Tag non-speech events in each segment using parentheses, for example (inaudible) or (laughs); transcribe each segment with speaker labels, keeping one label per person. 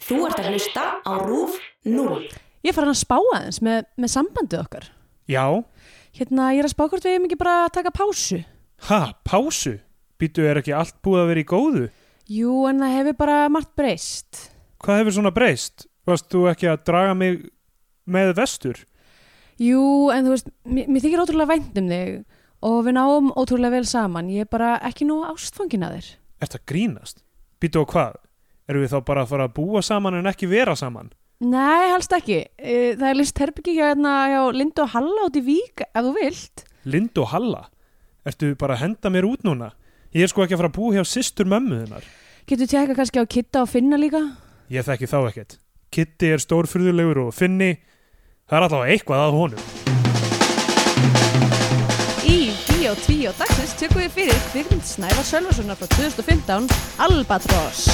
Speaker 1: Þú ert að hlusta á RÚF 0.
Speaker 2: Ég er farin að spá aðeins með, með sambandið okkar.
Speaker 3: Já,
Speaker 2: Hérna, ég er að spá hvort við hefum ekki bara að taka pásu.
Speaker 3: ha, pásu Býtu er ekki allt búið að vera í góðu
Speaker 2: Jú, en það hefur bara margt breyst.
Speaker 3: Hvað hefur svona breyst? Varst þú ekki að draga mig með vestur?
Speaker 2: Jú, en þú veist, mér, mér þykir ótrúlega vænt um þig og við náum ótrúlega vel saman. Ég er bara ekki nú ástfangin að þér.
Speaker 3: Ert að grínast? Býtu og hvað? Erum við þá bara að fara að búa saman en ekki vera saman?
Speaker 2: Nei, helst ekki. Eh, Það er list herbyggi hérna hjá Lindu og Halla út í Vík, ef þú vilt.
Speaker 3: Lind og Halla Ertu bara að henda mér út núna? Ég er sko ekki að fara að búa hjá systur mömmu þinnar
Speaker 2: Getur tjekka kannski á Kitta og Finna líka?
Speaker 3: Ég þekki þá ekkert. Kitty er stórfyrðulegur og Finni, það er allavega eitthvað að honum.
Speaker 2: Í Bíó 2 dagsins tökum við fyrir kvikmynd Snævar Sölvarssonar frá 2015 Albatross.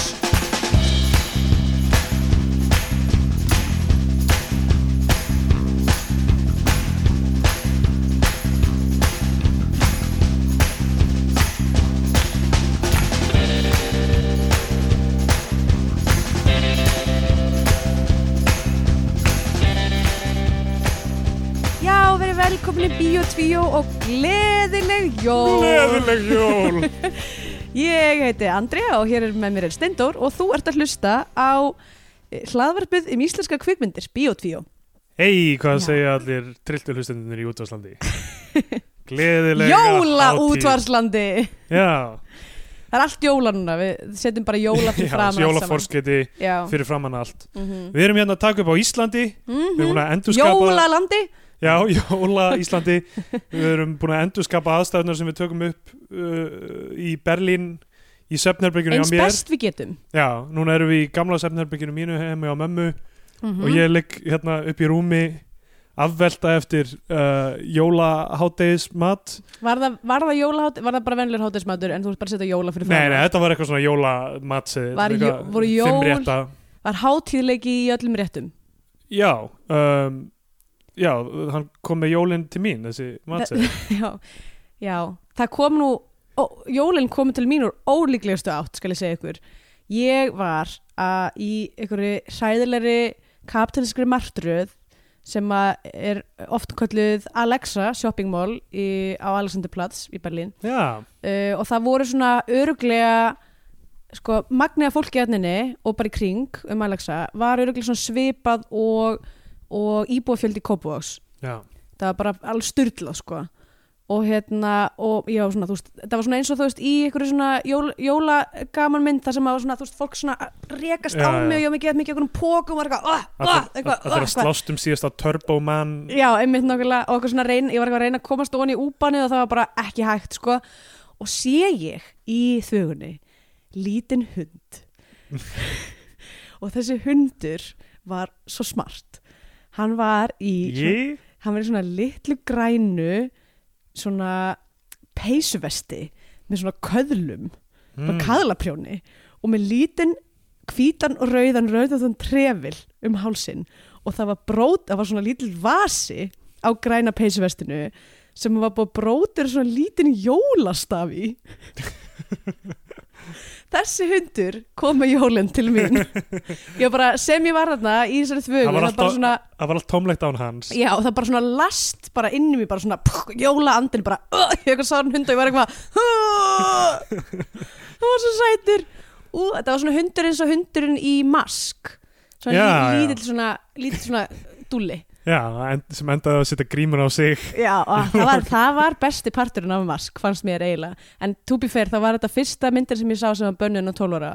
Speaker 2: Já, verið velkomin í Bíó 2 og gleðileg jól.
Speaker 3: Leðileg jól!
Speaker 2: Ég heiti Andrea og hér er með mér er Steindór og þú ert að hlusta á eh, hlaðvarpið um íslenska kvikmyndir, Bíó 2.
Speaker 3: Hei, hvað
Speaker 2: Já.
Speaker 3: segja allir trilltur hlustendunir í
Speaker 2: (laughs)
Speaker 3: útvarslandi? Gleðilega
Speaker 2: Jóla
Speaker 3: hátíð.
Speaker 2: útvarslandi!
Speaker 3: Já,
Speaker 2: Það er allt jóla núna, við setjum bara
Speaker 3: (laughs)
Speaker 2: jóla fyrir
Speaker 3: já
Speaker 2: fram
Speaker 3: jólaforskiti
Speaker 2: Já,
Speaker 3: fyrir framann allt.
Speaker 2: mm
Speaker 3: Við erum hérna að taka upp á Íslandi, við
Speaker 2: Mhm.
Speaker 3: erum búin að endurskapa...
Speaker 2: Jólalandi?
Speaker 3: Já, Jóla Íslandi. við erum búin að endurskapa aðstæðunar sem við tökum upp uh, í Berlín, í Sefnerbyggjunum
Speaker 2: Eins best við getum.
Speaker 3: Já, núna erum við í gamla sefnherbygginu mínu heimi á mömmu
Speaker 2: Mm
Speaker 3: og ég ligg hérna upp í rúmi afvelta eftir uh, jólaháttegismat
Speaker 2: Var það, var það jólahátt, var það bara venlur háttinsmatur en þú ert bara að setja jóla fyrir
Speaker 3: Nei,
Speaker 2: fram?
Speaker 3: nei, þetta var eitthvað svona jólamat
Speaker 2: Var jó- voru jól- Var hátíðleiki í öllum réttum?
Speaker 3: Já um, Já, hann kom með jólinn til mín þessi matseð
Speaker 2: (laughs) já, já, það kom nú, ó, jólin kom til mín úr ólíklegustu átt, skal ég segja ykkur. Ég var að í einhverju hræðilegri kapitalískri martröð sem að er oft kölluð Alexa shopping mall í, á Alexanderplatz í Berlín
Speaker 3: Já,
Speaker 2: uh, og það voru svona öruglega sko, magniða fólki aðninni og bara í kring um Alexa var öruglega svona svipað og, og íbúafjöldi Kópavóks
Speaker 3: já,
Speaker 2: það var bara alveg styrla sko. og hérna og já, svona, þú veist, það var svona eins og þú veist í einhverju svona jól, jólagaman mynd þar sem að var svona, þú veist, fólk svona rekast
Speaker 3: Já,
Speaker 2: á
Speaker 3: já.
Speaker 2: mig og ég var mikið að mikið okkur um pókum og var eitthvað, oh,
Speaker 3: að
Speaker 2: oh,
Speaker 3: þeir
Speaker 2: eitthvað,
Speaker 3: að þeir
Speaker 2: oh,
Speaker 3: að slást um síðasta turboman
Speaker 2: Já, einmitt nákvæmlega og okkur svona reyn, ég var eitthvað að reyna að komast ofan í úpanið og það var bara ekki hægt sko og sé ég í þögunni lítinn hund
Speaker 3: (laughs)
Speaker 2: og þessi hundur var svo smart hann var í svona,
Speaker 3: Ég?
Speaker 2: hann var í svona litlu grænu svona peysuvesti með svona köðlum
Speaker 3: Hmm.
Speaker 2: bara kaðlaprjóni og með lítinn hvítan og rauðan rauðan trefil um hálsin og það var brót, það var svona lítill vasi á græna peysuvestinu sem var búið brótur svona lítinn jólastaf í
Speaker 3: (laughs)
Speaker 2: þessi hundur kom með jólinn til mín
Speaker 3: (laughs)
Speaker 2: ég var bara, sem ég var þarna í þessari þvögu,
Speaker 3: Það var
Speaker 2: bara
Speaker 3: alltaf-
Speaker 2: svona
Speaker 3: Það var allt tómlegt án hans
Speaker 2: Já, og það bara svona last bara inn í mig, bara svona pff, jólaandin bara, uh, ég eitthvað sá hann hund og ég var eitthvað uh, það var svo sætur Ú, þetta var svona hundur eins og hundurinn í mask svona
Speaker 3: Já,
Speaker 2: lí-
Speaker 3: já.
Speaker 2: lítill svona lítill svona dúlli
Speaker 3: Já, en, sem endaði að setja grímur á sig
Speaker 2: Já, og það var, það var besti parturinn af mask, fannst mér eiginlega en to be fair, þá var þetta fyrsta myndin sem ég sá sem var bönnun og 12 ára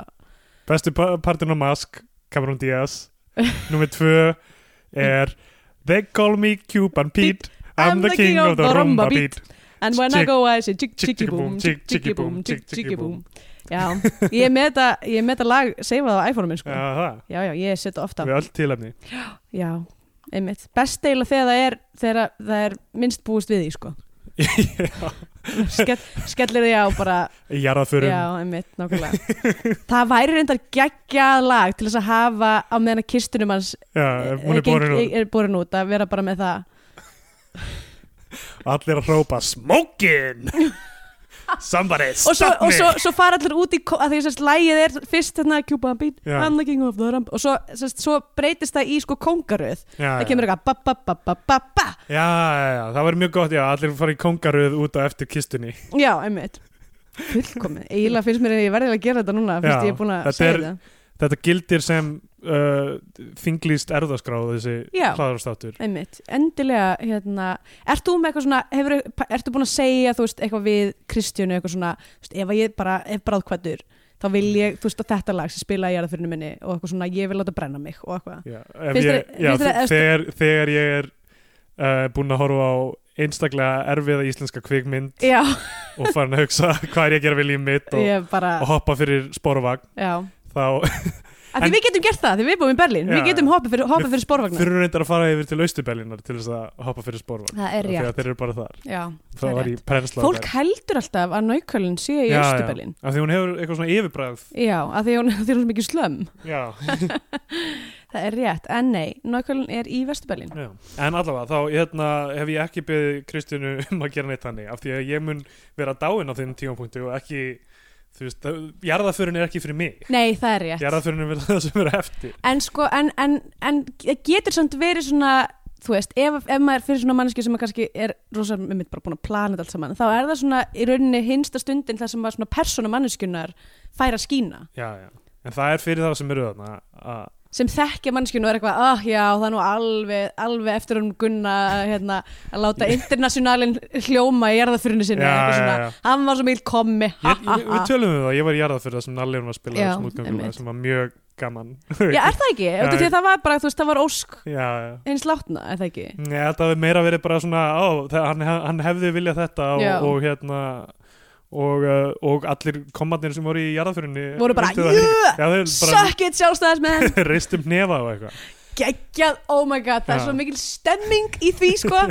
Speaker 3: Bestu pa- partin á Mask, Cameron Diaz Númer tvö er They call me Cuban Pete I'm, the king, of the rumba beat
Speaker 2: And when I
Speaker 3: Chick,
Speaker 2: go I say chick
Speaker 3: chick,
Speaker 2: chicki boom, chick chicki boom, chick chicki boom
Speaker 3: boom.
Speaker 2: Já, ég er með þetta, ég er með þetta lag seifað á iPhone-um minn sko
Speaker 3: Já, það,
Speaker 2: Já, já, ég setja ofta
Speaker 3: við öll tilefni
Speaker 2: Já, einmitt Best eiginlega þegar það er, þegar það er minnst búist við því,
Speaker 3: (laughs)
Speaker 2: sko Skell, Skellir því á bara
Speaker 3: Í jarðaförum
Speaker 2: Já, einmitt, nákvæmlega Það væri reyndar geggjað lag til þess að hafa á meðan að kistunum hans
Speaker 3: Já, eh,
Speaker 2: eh,
Speaker 3: hún er borin út
Speaker 2: er borin út að vera bara með það (laughs)
Speaker 3: Allir að hrópa Smokin Somebody
Speaker 2: og svo,
Speaker 3: stop
Speaker 2: og
Speaker 3: me
Speaker 2: svo, svo fara allir út í ko- að því að sérst lægið er fyrst hérna, þarna kjúpaðan bít
Speaker 3: Já.
Speaker 2: annað gengur of the ramp og svo, sérst, svo breytist það í sko kongaröð
Speaker 3: Já,
Speaker 2: það
Speaker 3: já.
Speaker 2: kemur eitthvað ba ba ba ba ba ba
Speaker 3: Já, já, já, það var mjög gott, já, allir fara í kongaröð út á eftir kistunni
Speaker 2: já, einmitt fullkomið, eiginlega finnst mér að ég verði að gera þetta núna fyrst
Speaker 3: Já,
Speaker 2: ég er búin að
Speaker 3: þetta
Speaker 2: segja
Speaker 3: er-
Speaker 2: þetta
Speaker 3: Þetta gildir sem uh, þinglýst erðaskráð þessi
Speaker 2: Já.
Speaker 3: hlaðarstáttur
Speaker 2: einmitt, endilega hérna, ert þú með eitthvað svona hefur, ert þú búin að segja, þú veist, eitthvað við Kristjánu, eitthvað svona, þú veist, ef að ég bara ef bráðkvættur, þá vil
Speaker 3: Mm.
Speaker 2: ég, þú veist, að þetta lag sem spila í jarðafyrinu minni og eitthvað svona, ég vil láta brenna mig og eitthvað
Speaker 3: Já, ef
Speaker 2: Finnst
Speaker 3: ég,
Speaker 2: þér-
Speaker 3: já
Speaker 2: finnst þér
Speaker 3: þe-
Speaker 2: að-
Speaker 3: þegar, þegar ég er uh, búin að horfa á einstaklega erfiða íslenska kvikmynd
Speaker 2: já,
Speaker 3: og farin að hugsa (laughs) hvað er ég að gera við líf mitt og,
Speaker 2: ég bara,
Speaker 3: og hoppa fyrir sporvagn
Speaker 2: já
Speaker 3: þá (laughs)
Speaker 2: Af því
Speaker 3: En-
Speaker 2: við getum gert það, því við búum í Berlín,
Speaker 3: Já.
Speaker 2: við getum hoppað fyrir, hoppa
Speaker 3: Við
Speaker 2: fyrir sporvagnar.
Speaker 3: þurfum reyndar að fara yfir til Austurbellinar til þess að hoppa fyrir sporvagn
Speaker 2: Það er
Speaker 3: Af því að
Speaker 2: rétt,
Speaker 3: þeir eru bara þar
Speaker 2: já.
Speaker 3: þá
Speaker 2: það er
Speaker 3: var
Speaker 2: rétt.
Speaker 3: ég prensla
Speaker 2: Fólk heldur alltaf að naukölinn sé í Östurbelín.
Speaker 3: af því hún hefur eitthvað svona yfirbræð
Speaker 2: Já, af því hún, (laughs) af því hún er svo mikið slömm.
Speaker 3: já,
Speaker 2: Það er rétt, en nei, naukölinn er í Vesturbelín.
Speaker 3: já. en allavega þá hérna, hef ég ekki beðið Kristínu um að gera neitt þannig af því að ég mun vera dáin á þeim tímapunkti og ekki þú veist, það- jarðaförin er ekki fyrir mig
Speaker 2: Nei, það er rétt.
Speaker 3: jarðaförin er fyrir það sem er eftir
Speaker 2: En sko, en, en, en það getur samt verið svona, þú veist, ef, ef maður er fyrir svona manneski sem er kannski er rosa, með mitt bara búin að plana þetta allt saman, þá er það svona í rauninni hinsta stundin þar sem að svona persóna manneskunar fær að skína.
Speaker 3: já, já. en það er fyrir það sem eru þarna að
Speaker 2: sem þekkja mannskjönu og er eitthvað ah já, það er nú alveg, alveg eftir hún Gunna hérna, að
Speaker 3: (laughs)
Speaker 2: láta internationalin hljóma í jarðafyrinu sinni
Speaker 3: Já,
Speaker 2: eitthvað
Speaker 3: já,
Speaker 2: svona,
Speaker 3: já.
Speaker 2: hann var svo mikil kommi ha,
Speaker 3: Ég-
Speaker 2: ha,
Speaker 3: ég-
Speaker 2: ha.
Speaker 3: Við tölum um það, ég var í jarðafyrða sem Nalli var að spila
Speaker 2: Já,
Speaker 3: þessum útgangulega
Speaker 2: einmitt.
Speaker 3: sem var mjög gaman
Speaker 2: já, er það ekki?
Speaker 3: Já,
Speaker 2: Eftir því
Speaker 3: ég-
Speaker 2: að það var bara, þú veist, það var ósk
Speaker 3: (laughs) Já, já
Speaker 2: eins látna, er það ekki?
Speaker 3: Ég held að það meira verið bara svona á, það, hann, hann hefði viljað þetta og,
Speaker 2: Já.
Speaker 3: og hérna og, uh, og allir komandir sem voru í jarðafyrinni
Speaker 2: Voru bara, "Yeah,
Speaker 3: yeah,
Speaker 2: Sökkið sjálfstæðismenn,
Speaker 3: reistum nefa og eitthvað
Speaker 2: geggjað, oh my god það er
Speaker 3: Já.
Speaker 2: svo mikil stemming í því,
Speaker 3: (laughs)
Speaker 2: sko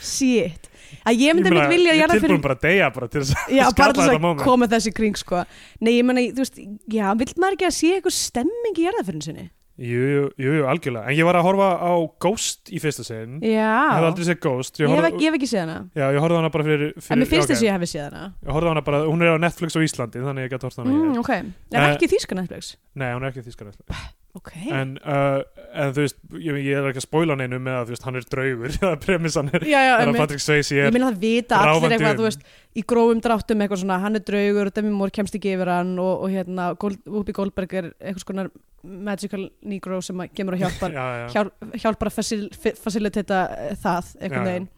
Speaker 2: shit, að ég myndi mitt vilja
Speaker 3: ég er
Speaker 2: jarðafyrinu
Speaker 3: tilbúin bara að deyja bara til þess að (laughs)
Speaker 2: Já, bara
Speaker 3: skapa
Speaker 2: til þess
Speaker 3: þetta
Speaker 2: að
Speaker 3: moment
Speaker 2: koma þessi kring sko. Nei, ég meina, þú veist, já, vill maður ekki að sé eitthvað stemming í jarðafyrinu sinni?
Speaker 3: jú, jú, jú, jú, algjörlega, en ég var að horfa á Ghost í fyrsta sinn, ég hef
Speaker 2: Já,
Speaker 3: aldrei séð Ghost
Speaker 2: ég
Speaker 3: ég
Speaker 2: hef,
Speaker 3: horfði,
Speaker 2: ekki, ég hef ekki séð hana
Speaker 3: já, ég horfði á hana bara fyrir, fyrir
Speaker 2: En mér finnst
Speaker 3: já, ok.
Speaker 2: þess að ég hef séð hana
Speaker 3: Ég horfði á hana bara, hún er á Netflix á Íslandi þannig að ég gæti horfði á hana
Speaker 2: mm,
Speaker 3: hér.
Speaker 2: Ok, er
Speaker 3: Eh,
Speaker 2: ekki þýskan Netflix
Speaker 3: Nei, hún er ekki þýskar Netflix
Speaker 2: Ok,
Speaker 3: en, uh, en þú veist, ég, ég er ekki að spóla neinu með að þú veist, hann er draugur (laughs) það er premissan er,
Speaker 2: já, já,
Speaker 3: það er að
Speaker 2: einmitt.
Speaker 3: Patrick Swayze
Speaker 2: ég
Speaker 3: er
Speaker 2: meina það vita allir
Speaker 3: ráfandi
Speaker 2: eitthvað
Speaker 3: um.
Speaker 2: þú veist, Í grófum dráttum eitthvað svona Hann er draugur og Demi Moore kemst ekki yfir hann Og, og hérna, Gold, Whoopi Goldberg er eitthvað skonar Magical Negro sem að kemur og hjálpar
Speaker 3: (laughs) já, já,
Speaker 2: hjálp, Hjálpar að facil, fi- facilitata eh, það
Speaker 3: Já,
Speaker 2: Eitthvað
Speaker 3: já.
Speaker 2: neginn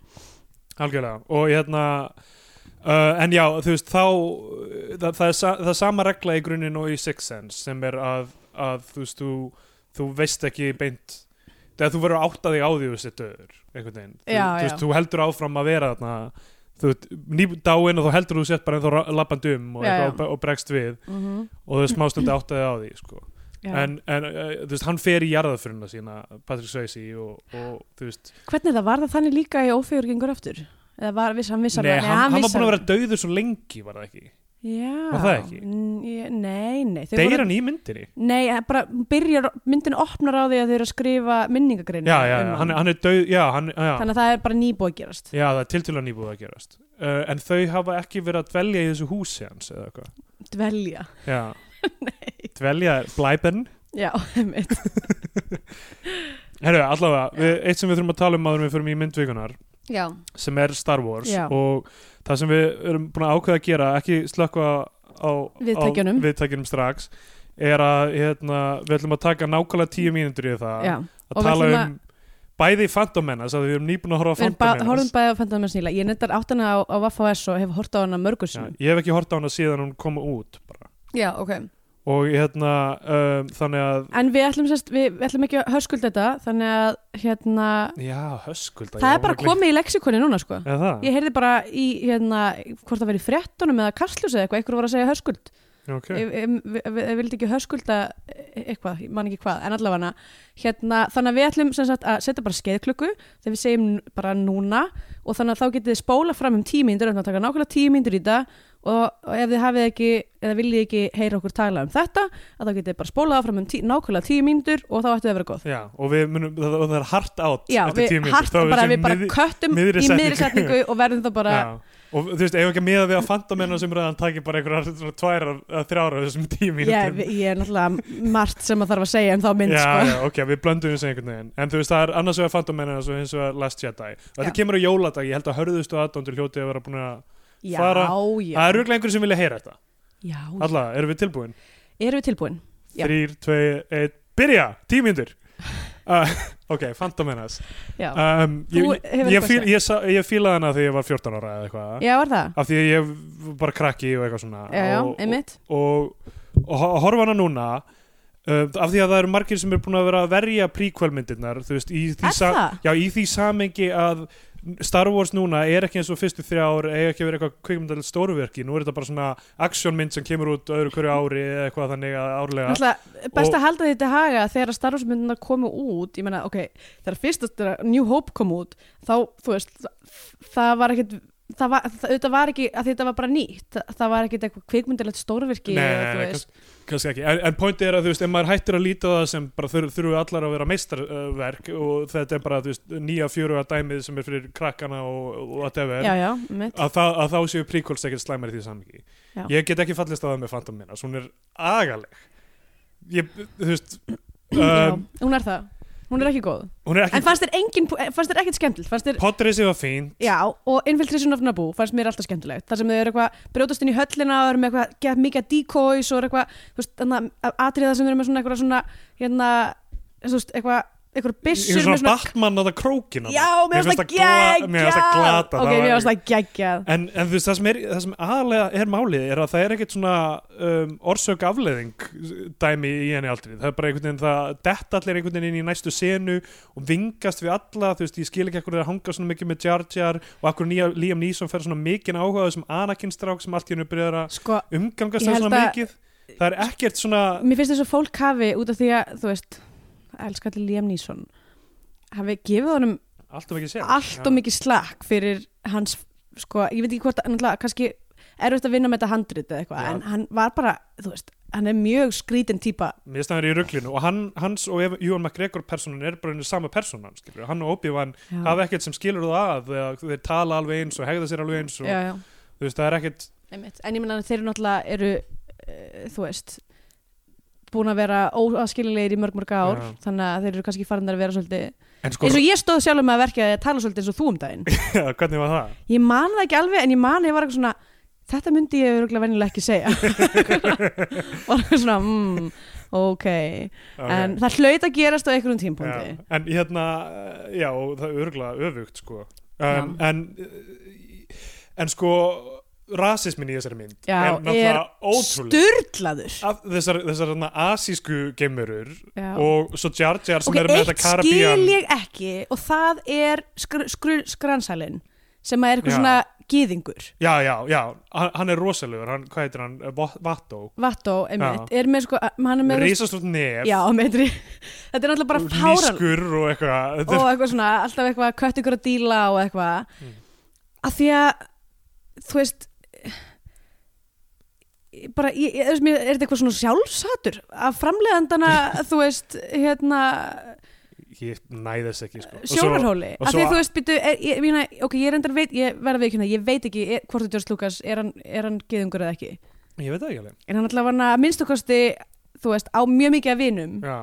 Speaker 3: algjörlega og hérna uh, en já, þú veist, þá uh, það, það, er sa, það er sama regla í grunninn og í Sixth Sense sem er að, að þú veist, þú, þú veist ekki beint þegar þú verður að átta þig á því þessi döður einhvern veginn, þú,
Speaker 2: Já,
Speaker 3: þú, veist,
Speaker 2: já.
Speaker 3: þú heldur áfram að vera þarna þú veist, nýdáin og þú heldur þú sett bara en þú lappandi um og,
Speaker 2: Já,
Speaker 3: eitthvað
Speaker 2: já.
Speaker 3: og, bre- og bregst við
Speaker 2: mm -hmm.
Speaker 3: og þau smástundi áttaði á því sko.
Speaker 2: Já.
Speaker 3: en, en uh, þú veist, hann fer í jarðaföruna sína Patrick Swayze og, og þú veist
Speaker 2: Hvernig það var það þannig líka í ófegur gengur aftur? Eða var, viss, hann vissi
Speaker 3: nei, hann, hann, var
Speaker 2: vissi
Speaker 3: búin að
Speaker 2: alveg.
Speaker 3: vera döður svo lengi var það ekki
Speaker 2: Já.
Speaker 3: Var það ekki?
Speaker 2: N- ég- Nei, nei. þau
Speaker 3: deyr
Speaker 2: voru-
Speaker 3: hann í myndinni
Speaker 2: Nei, hann bara byrjar, myndin opnar á því að þau eru að skrifa minningagreinu.
Speaker 3: já, já, já, hann, hann er döð já, hann, já,
Speaker 2: Þannig að það er bara nýbúið að gerast.
Speaker 3: já, það er tiltölulega nýbúið að gerast uh, en þau hafa ekki verið að dvelja í þessu húsi hans eða eitthvað
Speaker 2: Dvelja.
Speaker 3: já
Speaker 2: (laughs)
Speaker 3: dvelja er blæben
Speaker 2: Já, (laughs) einmitt.
Speaker 3: Herru, allavega, við, eitt sem við þurfum að tala um áður en við förum í myndvikunar
Speaker 2: Já.
Speaker 3: sem er Star Wars
Speaker 2: Já.
Speaker 3: og það sem við erum búin að ákveða að gera ekki slökka á
Speaker 2: Viðtækjunum.
Speaker 3: á viðtækjunum strax er að hérna, við ætlum að taka nákvæmlega tíu mínútur í það
Speaker 2: Mm. Já. og
Speaker 3: að
Speaker 2: við
Speaker 3: tala
Speaker 2: ætlum
Speaker 3: um bæði Phantom Menace að við erum nýbúin að horfa á
Speaker 2: Við ba-
Speaker 3: Phantom
Speaker 2: horfum
Speaker 3: Menace
Speaker 2: bæðið á Phantom Menace nýla. Ég nettar átt hana á, á Vaffa S og hef hort á hana mörgur
Speaker 3: Já,
Speaker 2: sinum.
Speaker 3: ég hef ekki hort á hana síðan hún kom út bara.
Speaker 2: Já, ok.
Speaker 3: og hérna um, þannig að
Speaker 2: En við ætlum, sest, við, við ætlum ekki að höskulda þetta, þannig að hérna,
Speaker 3: já, höskulda
Speaker 2: það er bara komið í leksikoni núna, sko.
Speaker 3: ja, það?
Speaker 2: Ég heyrði bara í, hérna, hvort það verið í fréttunum eða kastljósið eitthvað, eitthvað voru að segja höskuld.
Speaker 3: okay.
Speaker 2: ég, ég, ég, ég vildi ekki höskulda e- eitthvað, ég man ekki hvað, en allavega hérna, þannig að við ætlum sem sagt, að setja bara skeiðklukku þegar við segjum n- bara núna og þannig að þá getið þið spóla fram um tíu mínútur, þannig að taka nákvæmlega tíu mínútur í þetta og, og ef þið hafið ekki, eða viljið ekki heyra okkur tala um þetta, að þá getið þið bara spólað áfram um tí, nákvæmlega tíu mínútur og þá ættu þið að vera góð.
Speaker 3: já, og við munum, það, það er hart átt
Speaker 2: Já,
Speaker 3: eftir
Speaker 2: við,
Speaker 3: tíu mínútur
Speaker 2: hart,
Speaker 3: þá
Speaker 2: bara,
Speaker 3: séum
Speaker 2: við bara
Speaker 3: miði-
Speaker 2: köttum
Speaker 3: miðri
Speaker 2: í miðri
Speaker 3: setningu.
Speaker 2: setningu og verðum þá bara
Speaker 3: Já. og þú veist, eigum ekki að miða við að fantamennu sem ræðan taki bara einhverjar svona tvær að þrjára þessum tíu
Speaker 2: ég,
Speaker 3: mínútum
Speaker 2: ég er náttúrulega margt sem að þarf að segja um þá mynd
Speaker 3: já,
Speaker 2: sko.
Speaker 3: já, ok, við blöndum þessu einhvern veginn en þú veist, það er annars vegar fantamennu og hins vegar Last Jedi og þetta
Speaker 2: Já.
Speaker 3: kemur á jóladag, ég held að hörðustu aðdóndur hljótið að vera búin að
Speaker 2: já,
Speaker 3: fara-
Speaker 2: já,
Speaker 3: það er rúglega einhverjum sem vilja heyra þetta
Speaker 2: já.
Speaker 3: alla, erum við tilbúin?
Speaker 2: erum við tilbúin? Já.
Speaker 3: þrýr, tvei, eitt, byrja
Speaker 2: (laughs)
Speaker 3: tímyndur uh, ok, Phantom Menace
Speaker 2: Já.
Speaker 3: um,
Speaker 2: Þú
Speaker 3: ég,
Speaker 2: hefur
Speaker 3: ég,
Speaker 2: eitthvað
Speaker 3: fíl,
Speaker 2: að segja.
Speaker 3: ég, sa- ég fílaði hana þegar ég var 14 ára eða eitthvað
Speaker 2: já, var það?
Speaker 3: af því að ég var bara krakki og eitthvað svona
Speaker 2: já, já,
Speaker 3: Ah. og,
Speaker 2: einmitt
Speaker 3: og, og, og horfa hana núna Uh, af því að það eru margir sem eru búin að vera að verja prequel-myndirnar, þú veist, í því,
Speaker 2: Er það?
Speaker 3: já, í því samengi að Star Wars núna er ekki eins og fyrstu þrjá ár, eiga ekki að vera eitthvað kvikmyndalegt stórverki, nú er þetta bara svona actionmynd sem kemur út öðru hverju ári eða eitthvað þannig að árlega
Speaker 2: Náttúrulega, best að halda því til haga þegar að Star Wars myndina komu út ég meina, ok, þegar fyrst að þegar New Hope kom út þá, þú veist, þa- það var ekkit það var, það, auðvitað var ekki, að þetta var bara nýtt það, það var ekkit eitthvað kvikmyndilegt stórvirki
Speaker 3: Nei,
Speaker 2: eða,
Speaker 3: nei,
Speaker 2: þú
Speaker 3: nei,
Speaker 2: veist.
Speaker 3: kannski, kannski ekki en, en pointið er að þú veist, ef maður hættir að líta á það sem bara þur, þurfu allar að vera meistarverk og þetta er bara þú veist, nýja fjöruga dæmið sem er fyrir krakkana og, og whatever
Speaker 2: já, já, mitt
Speaker 3: að, það, að þá séu prequels ekkert slæmar í því samhengi
Speaker 2: Já.
Speaker 3: ég get ekki fallist á það með Phantom Menace hún er agaleg ég, þú veist um,
Speaker 2: já, hún er það, hún er ekki góð
Speaker 3: hún er
Speaker 2: en
Speaker 3: ekki
Speaker 2: fannst þér engin, fannst þér ekkit skemmtilegt fannst þér,
Speaker 3: Potterisi var fín
Speaker 2: já, og Infiltration of Naboo fannst mér alltaf skemmtilegt, þar sem þau eru eitthvað brjótast inn í höllina og eru með eitthvað get mikið decoys og eru eitthvað, þú veist, þannig að atriða sem eru með svona eitthvað svona hérna, þú veist, eitthvað eitthvað
Speaker 3: Ég
Speaker 2: byssur
Speaker 3: svona Batman að það krókin
Speaker 2: já, mér fannst það geggjað
Speaker 3: Mér fannst það glata
Speaker 2: ok,
Speaker 3: var-
Speaker 2: mér fannst það geggjað
Speaker 3: En, en þú veist, það sem, er, það sem aðalega er málið er að það er ekkert svona um, orsök afleðing dæmi í henni aldrei. Það er bara einhvern veginn það dett allir einhvern veginn inn í næstu senu og vingast við alla, þú veist, ég skil ekki ekkur að hanga svona mikið með Jar Jar og akkur nýja, Liam Neeson fer svona mikið áhuga á þessum Anakin strák sem allt í hennu byrjar að
Speaker 2: sko,
Speaker 3: umgangast
Speaker 2: Ég
Speaker 3: það
Speaker 2: held
Speaker 3: svona
Speaker 2: að-
Speaker 3: mikið. Það er ekkert svona,
Speaker 2: mér finnst þess að fólk hafi út af því að, þú veist elskar til Liam Neeson hafi gefið honum
Speaker 3: allt og mikið sér.
Speaker 2: allt og mikið slakk fyrir hans sko, ég veit ekki hvort, náttúrulega kannski erfitt að vinna með þetta handrit eða eitthvað
Speaker 3: Já.
Speaker 2: en hann var bara, þú veist, hann er mjög skrítin típa,
Speaker 3: Mér stæður í rugglinu og hann, hans og Ev- Ewan McGregor personan er bara einu sama personan, skilur. Hann og Obi-Wan
Speaker 2: Já.
Speaker 3: Mm. hafa ekkert sem skilur það að þegar þeir tala alveg eins og hegða sér alveg eins og
Speaker 2: já, já,
Speaker 3: þú veist það er ekkert
Speaker 2: einmitt en ég meina að þeir eru náttúrulega eru uh, þú veist búin að vera óaskililegir í mörg mörg ár
Speaker 3: Já.
Speaker 2: þannig að þeir eru kannski farinir að vera svolítið
Speaker 3: en sko,
Speaker 2: eins og ég stóð sjálf með að verka að tala svolítið eins og þú um daginn
Speaker 3: (laughs) hvernig var það?
Speaker 2: ég man það ekki alveg en ég man ég var eitthvað svona þetta myndi ég örgulega venjulega ekki
Speaker 3: (laughs)
Speaker 2: segja (laughs) og það svona mm, ok, en það hlaut að gerast á einhverjum tímpúndi
Speaker 3: já, en hérna, já, og það er örgulega öfugt sko um, en en sko rasismin í þessari mynd
Speaker 2: Já,
Speaker 3: er náttúrulega
Speaker 2: er
Speaker 3: ótrúlega
Speaker 2: Sturlaður
Speaker 3: Af þessar, þessar hana, asísku geimurur
Speaker 2: Já.
Speaker 3: og svo Jar Jar sem
Speaker 2: Ok,
Speaker 3: er með
Speaker 2: eitt
Speaker 3: þetta
Speaker 2: skil
Speaker 3: karabían
Speaker 2: ég ekki og það er skr, skr, skransalinn sem að er eitthvað
Speaker 3: Já.
Speaker 2: svona gýðingur
Speaker 3: já, já, já, hann, hann er rosalegur hann, hvað heitir hann, Va- Vato
Speaker 2: Vattó, einmitt, er með sko hann er með,
Speaker 3: risastórt nef
Speaker 2: já, meitri (laughs) þetta er náttúrulega bara fáran
Speaker 3: lískur og eitthvað Þetta er-
Speaker 2: og eitthvað svona, alltaf eitthvað kött ykkur að díla og eitthvað
Speaker 3: Mm.
Speaker 2: að því að þú veist ég- bara, ég, ég, þú veist, mér- er þetta eitthvað svona sjálfsatur að framleiðandana,
Speaker 3: (laughs)
Speaker 2: þú veist hérna,
Speaker 3: ég næði þess ekki sko. Og svo-
Speaker 2: sjónarhóli
Speaker 3: og
Speaker 2: að því
Speaker 3: svo-
Speaker 2: að þú veist, býtu, er, ég, mína, ok, ég reyndar veit, ég verða við ekki hérna, ég veit ekki er, hvort þú George Lucas, er hann, er hann geðungur eða ekki,
Speaker 3: ég veit það ekki alveg
Speaker 2: en hann alltaf var hann að minnstukosti, þú veist, á mjög mikið af vinum
Speaker 3: já.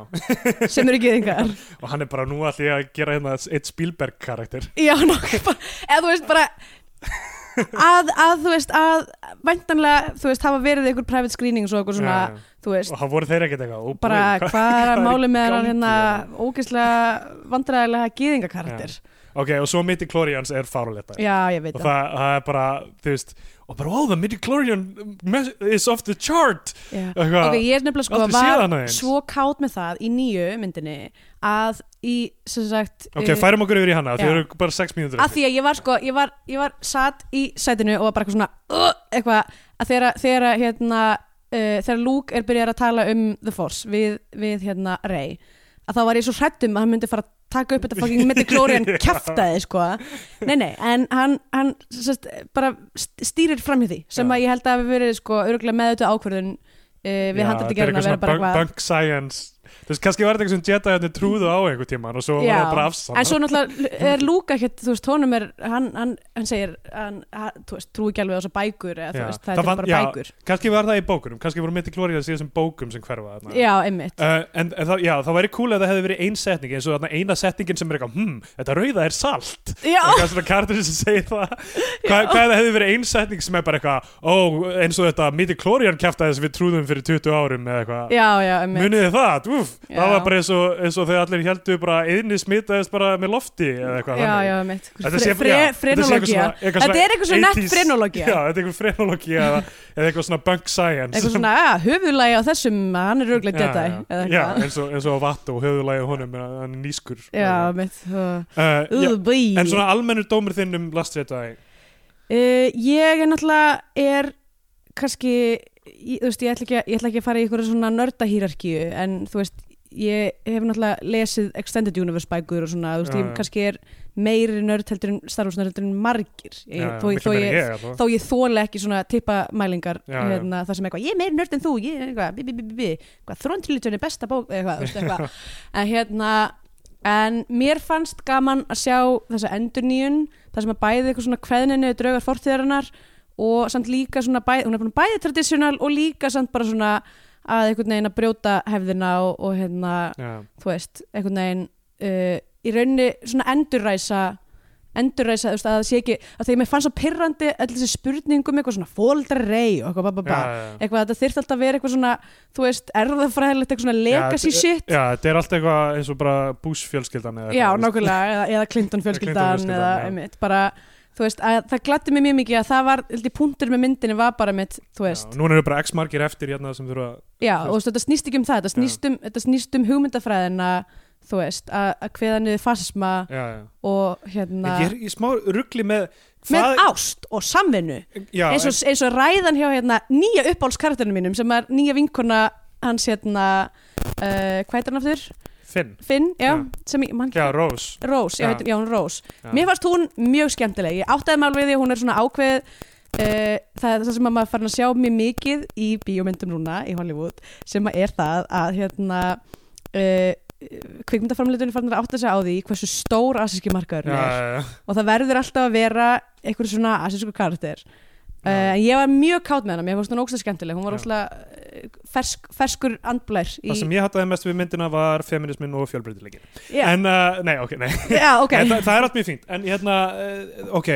Speaker 2: sem eru geðingar
Speaker 3: (laughs) og hann er bara nú allir að gera hérna eitt Spielberg karakter
Speaker 2: Já, nokkuð bara, eða þú veist bara að, að þú veist að væntanlega, þú veist, hafa verið einhver private screenings og eitthvað svona,
Speaker 3: Já, já.
Speaker 2: þú veist
Speaker 3: og það voru þeir ekkert eitthvað ó,
Speaker 2: bara
Speaker 3: boy, hvað-
Speaker 2: hvað er að
Speaker 3: í
Speaker 2: máli með
Speaker 3: gangi
Speaker 2: hann hérna
Speaker 3: hérna?
Speaker 2: ógeðslega vandræðilega gýðingakartir
Speaker 3: ok, og svo Mitty Clorians er fáruletta
Speaker 2: Já, ég veit
Speaker 3: og
Speaker 2: það
Speaker 3: það, það er bara, þú veist og bara, oh, the Mitty Clorian is off the chart
Speaker 2: Já.
Speaker 3: Eitthvað-
Speaker 2: Ok, ég er nefnilega sko
Speaker 3: Aldrei séð hann
Speaker 2: var
Speaker 3: aðeins.
Speaker 2: svo kátt með það í nýju myndinni að í, sem sagt
Speaker 3: ok,
Speaker 2: eh,
Speaker 3: færum okkur yfir í hana, þau
Speaker 2: Já.
Speaker 3: eru bara 6 mínútur
Speaker 2: að því að ég var sko, ég var, ég var satt í sætinu og var bara eitthvað svona uh, eitthvað, að þegar, að- þegar að, hérna uh, þegar Luke er byrjar að tala um The Force við, við hérna Rey að þá var ég svo hrættum að hann myndi fara að taka upp þetta fucking
Speaker 3: (laughs)
Speaker 2: midichlorian kjaftaði sko, nei nei, en hann, hann sest, bara st- stýrir fram í því sem
Speaker 3: Já.
Speaker 2: að ég held að hafi verið sko örgulega með þetta ákvörðun uh, við
Speaker 3: Já,
Speaker 2: handlætti gerðin að
Speaker 3: þetta
Speaker 2: vera
Speaker 3: er
Speaker 2: bara
Speaker 3: eitthvað svona
Speaker 2: eitthvað
Speaker 3: bunk- bunk science Þú veist, kannski var þetta eitthvað sem Jedi hérna trúðu á einhver tíma og svo var
Speaker 2: Já.
Speaker 3: það bara afsann
Speaker 2: en svo náttúrulega er Luke ekkert þú veist, honum er, hann, hann, hann segir hann, hann, þú veist, trú ekki alveg á þessar bækur eða, þú
Speaker 3: Já.
Speaker 2: veist,
Speaker 3: Það
Speaker 2: það,
Speaker 3: vann-
Speaker 2: er bara
Speaker 3: já.
Speaker 2: bækur
Speaker 3: Kannski var það í bókunum, kannski voru mitt í glórið að síðan sem bókum sem hverfa þarna
Speaker 2: já, einmitt
Speaker 3: Uh, en, en það, já, það væri cool ef það hefði verið ein setning eins og þarna eina setningin sem er eitthvað hm, þetta rauða er salt
Speaker 2: já,
Speaker 3: eitthvað svona kartur sem segir það Hva, hvað ef það hefði verið ein setning sem er bara eitthvað ó, eins og þetta midi klóriðan kæftaði sem við trúðum fyrir 20 árum eða eitthvað
Speaker 2: já, já, einmitt
Speaker 3: munið þið það, úf,
Speaker 2: Já.
Speaker 3: það var bara eins og, eins og þegar allir heldur bara einni smitaðist bara með lofti eða eitthvað
Speaker 2: já,
Speaker 3: þannig.
Speaker 2: já, einmitt
Speaker 3: Þetta sé- já, þetta sé eitthvað
Speaker 2: frenología
Speaker 3: svona-
Speaker 2: þetta
Speaker 3: eitthvað svona
Speaker 2: er eitthvað svona nett
Speaker 3: 80s
Speaker 2: frenología
Speaker 3: Já, þetta er eitthvað frenología eða, eða eitthvað svona bunk science (laughs)
Speaker 2: eitthvað svona, að, höfuðlægi á þessum hann er
Speaker 3: Já,
Speaker 2: röglega Jedi
Speaker 3: já.
Speaker 2: eða
Speaker 3: Já,
Speaker 2: eitthvað.
Speaker 3: eins og, eins og á vatt og höfuðlægi honum en hann er nýskur
Speaker 2: já, einmitt
Speaker 3: uh, já,
Speaker 2: uh, bý.
Speaker 3: En svona almennur dómur þinn um Last Jedi
Speaker 2: Uh, ég er náttúrulega er kannski, ég, þú veist, ég ætla, ekki, að- ég ætla ekki að fara í einhverja svona nördahýrarkíu en þú veist, ég hef náttúrulega lesið Extended Universe bækur og svona, þú veist,
Speaker 3: Já,
Speaker 2: ég
Speaker 3: já.
Speaker 2: kannski er meiri nörd heldur en Star Wars nörd heldur en margir ég,
Speaker 3: Já,
Speaker 2: þó, ég,
Speaker 3: miklu
Speaker 2: þó,
Speaker 3: meira
Speaker 2: ég,
Speaker 3: en ég,
Speaker 2: þó ég þóla ekki svona tippa mælingar
Speaker 3: Já, já.
Speaker 2: hérna, það sem eitthvað, ég er meiri nörd en þú ég er eitthvað, bí, bí, bí, bí, bí, eitthvað þróntilítjón er besta bók eitthvað, þú veist,
Speaker 3: (laughs)
Speaker 2: eitthvað en hérna, en mér fannst gaman að sjá þessa endurnýjun það sem að bæði eitthvað svona kveðninu draugar fortíðarinnar og samt líka svona bæði, hún er búin bæði tradisjonal og líka samt bara svona að einhvern veginn að brjóta hefðina og, og hérna,
Speaker 3: Já,
Speaker 2: þú veist, einhvern veginn uh, í rauninni svona endurræsa endurræsa, þú veist, að það sé ekki að þegar mér fannst svo pirrandi öll þessi spurningum eitthvað svona fóldrarei og eitthvað, ba, ba,
Speaker 3: já,
Speaker 2: ba.
Speaker 3: já.
Speaker 2: eitthvað þetta þyrfti alltaf að vera eitthvað svona þú veist, erðafræðilegt, eitthvað svona legacy
Speaker 3: Já,
Speaker 2: shit
Speaker 3: Já, þetta er allt eitthvað eins og bara Bush fjölskyldan eða
Speaker 2: Já,
Speaker 3: eitthvað.
Speaker 2: nákvæmlega, eða,
Speaker 3: (laughs)
Speaker 2: eða Clinton
Speaker 3: Clinton
Speaker 2: fjölskyldan
Speaker 3: fjölskyldan,
Speaker 2: eða
Speaker 3: já.
Speaker 2: einmitt, bara, þú veist, að, það gladdi mig mjög mikið að það var, held ég, punktur með myndinni var bara mitt, þú veist,
Speaker 3: Já, Núna eru bara x margir eftir hérna sem þurfa
Speaker 2: já, og þú veist, þetta snýst ekki um það, þetta snýst um, þetta snýst um hugmyndafræðina, þú veist, að, að hveða niður fasisma
Speaker 3: Já, já
Speaker 2: og hérna,
Speaker 3: Ég er í smá ruggli með
Speaker 2: með ást og samvinnu,
Speaker 3: já,
Speaker 2: eins og, eins og ræðan hjá hérna nýja uppáhaldskarakterinu mínum sem er nýja vinkona hans hérna, uh, hvað heitir hann aftur?
Speaker 3: en- Finn
Speaker 2: Finn, já,
Speaker 3: Já.
Speaker 2: sem ég, mann,
Speaker 3: Já, Rose
Speaker 2: Rós, já,
Speaker 3: Já.
Speaker 2: heitum, já, hún er Rós
Speaker 3: Já.
Speaker 2: Mér fannst hún mjög skemmtileg Ég áttaði mig alveg við því að hún er svona ákveð uh, Það er það sem að maður farin að sjá mjög mikið í bíómyndum núna í Hollywood sem að er það að hérna uh, kvikmyndaframleitunni farin að átta sig á því hversu stór asíski
Speaker 3: Já,
Speaker 2: markaðurinn er
Speaker 3: já, já.
Speaker 2: og það verður alltaf að vera einhver svona asísku karakter
Speaker 3: Já.
Speaker 2: Uh, en ég var mjög kátt með hana, mér fannst hún ógstlega skemmtileg hún var
Speaker 3: Já.
Speaker 2: ógstlega uh, fersk, ferskur andblær í...
Speaker 3: Það sem ég hattaði mest við myndina var feminismin og fjölbreytilegin
Speaker 2: já,
Speaker 3: En, uh, nei, ok, nei
Speaker 2: já, ok
Speaker 3: En það, það er allt mjög fínt En hérna, uh, ok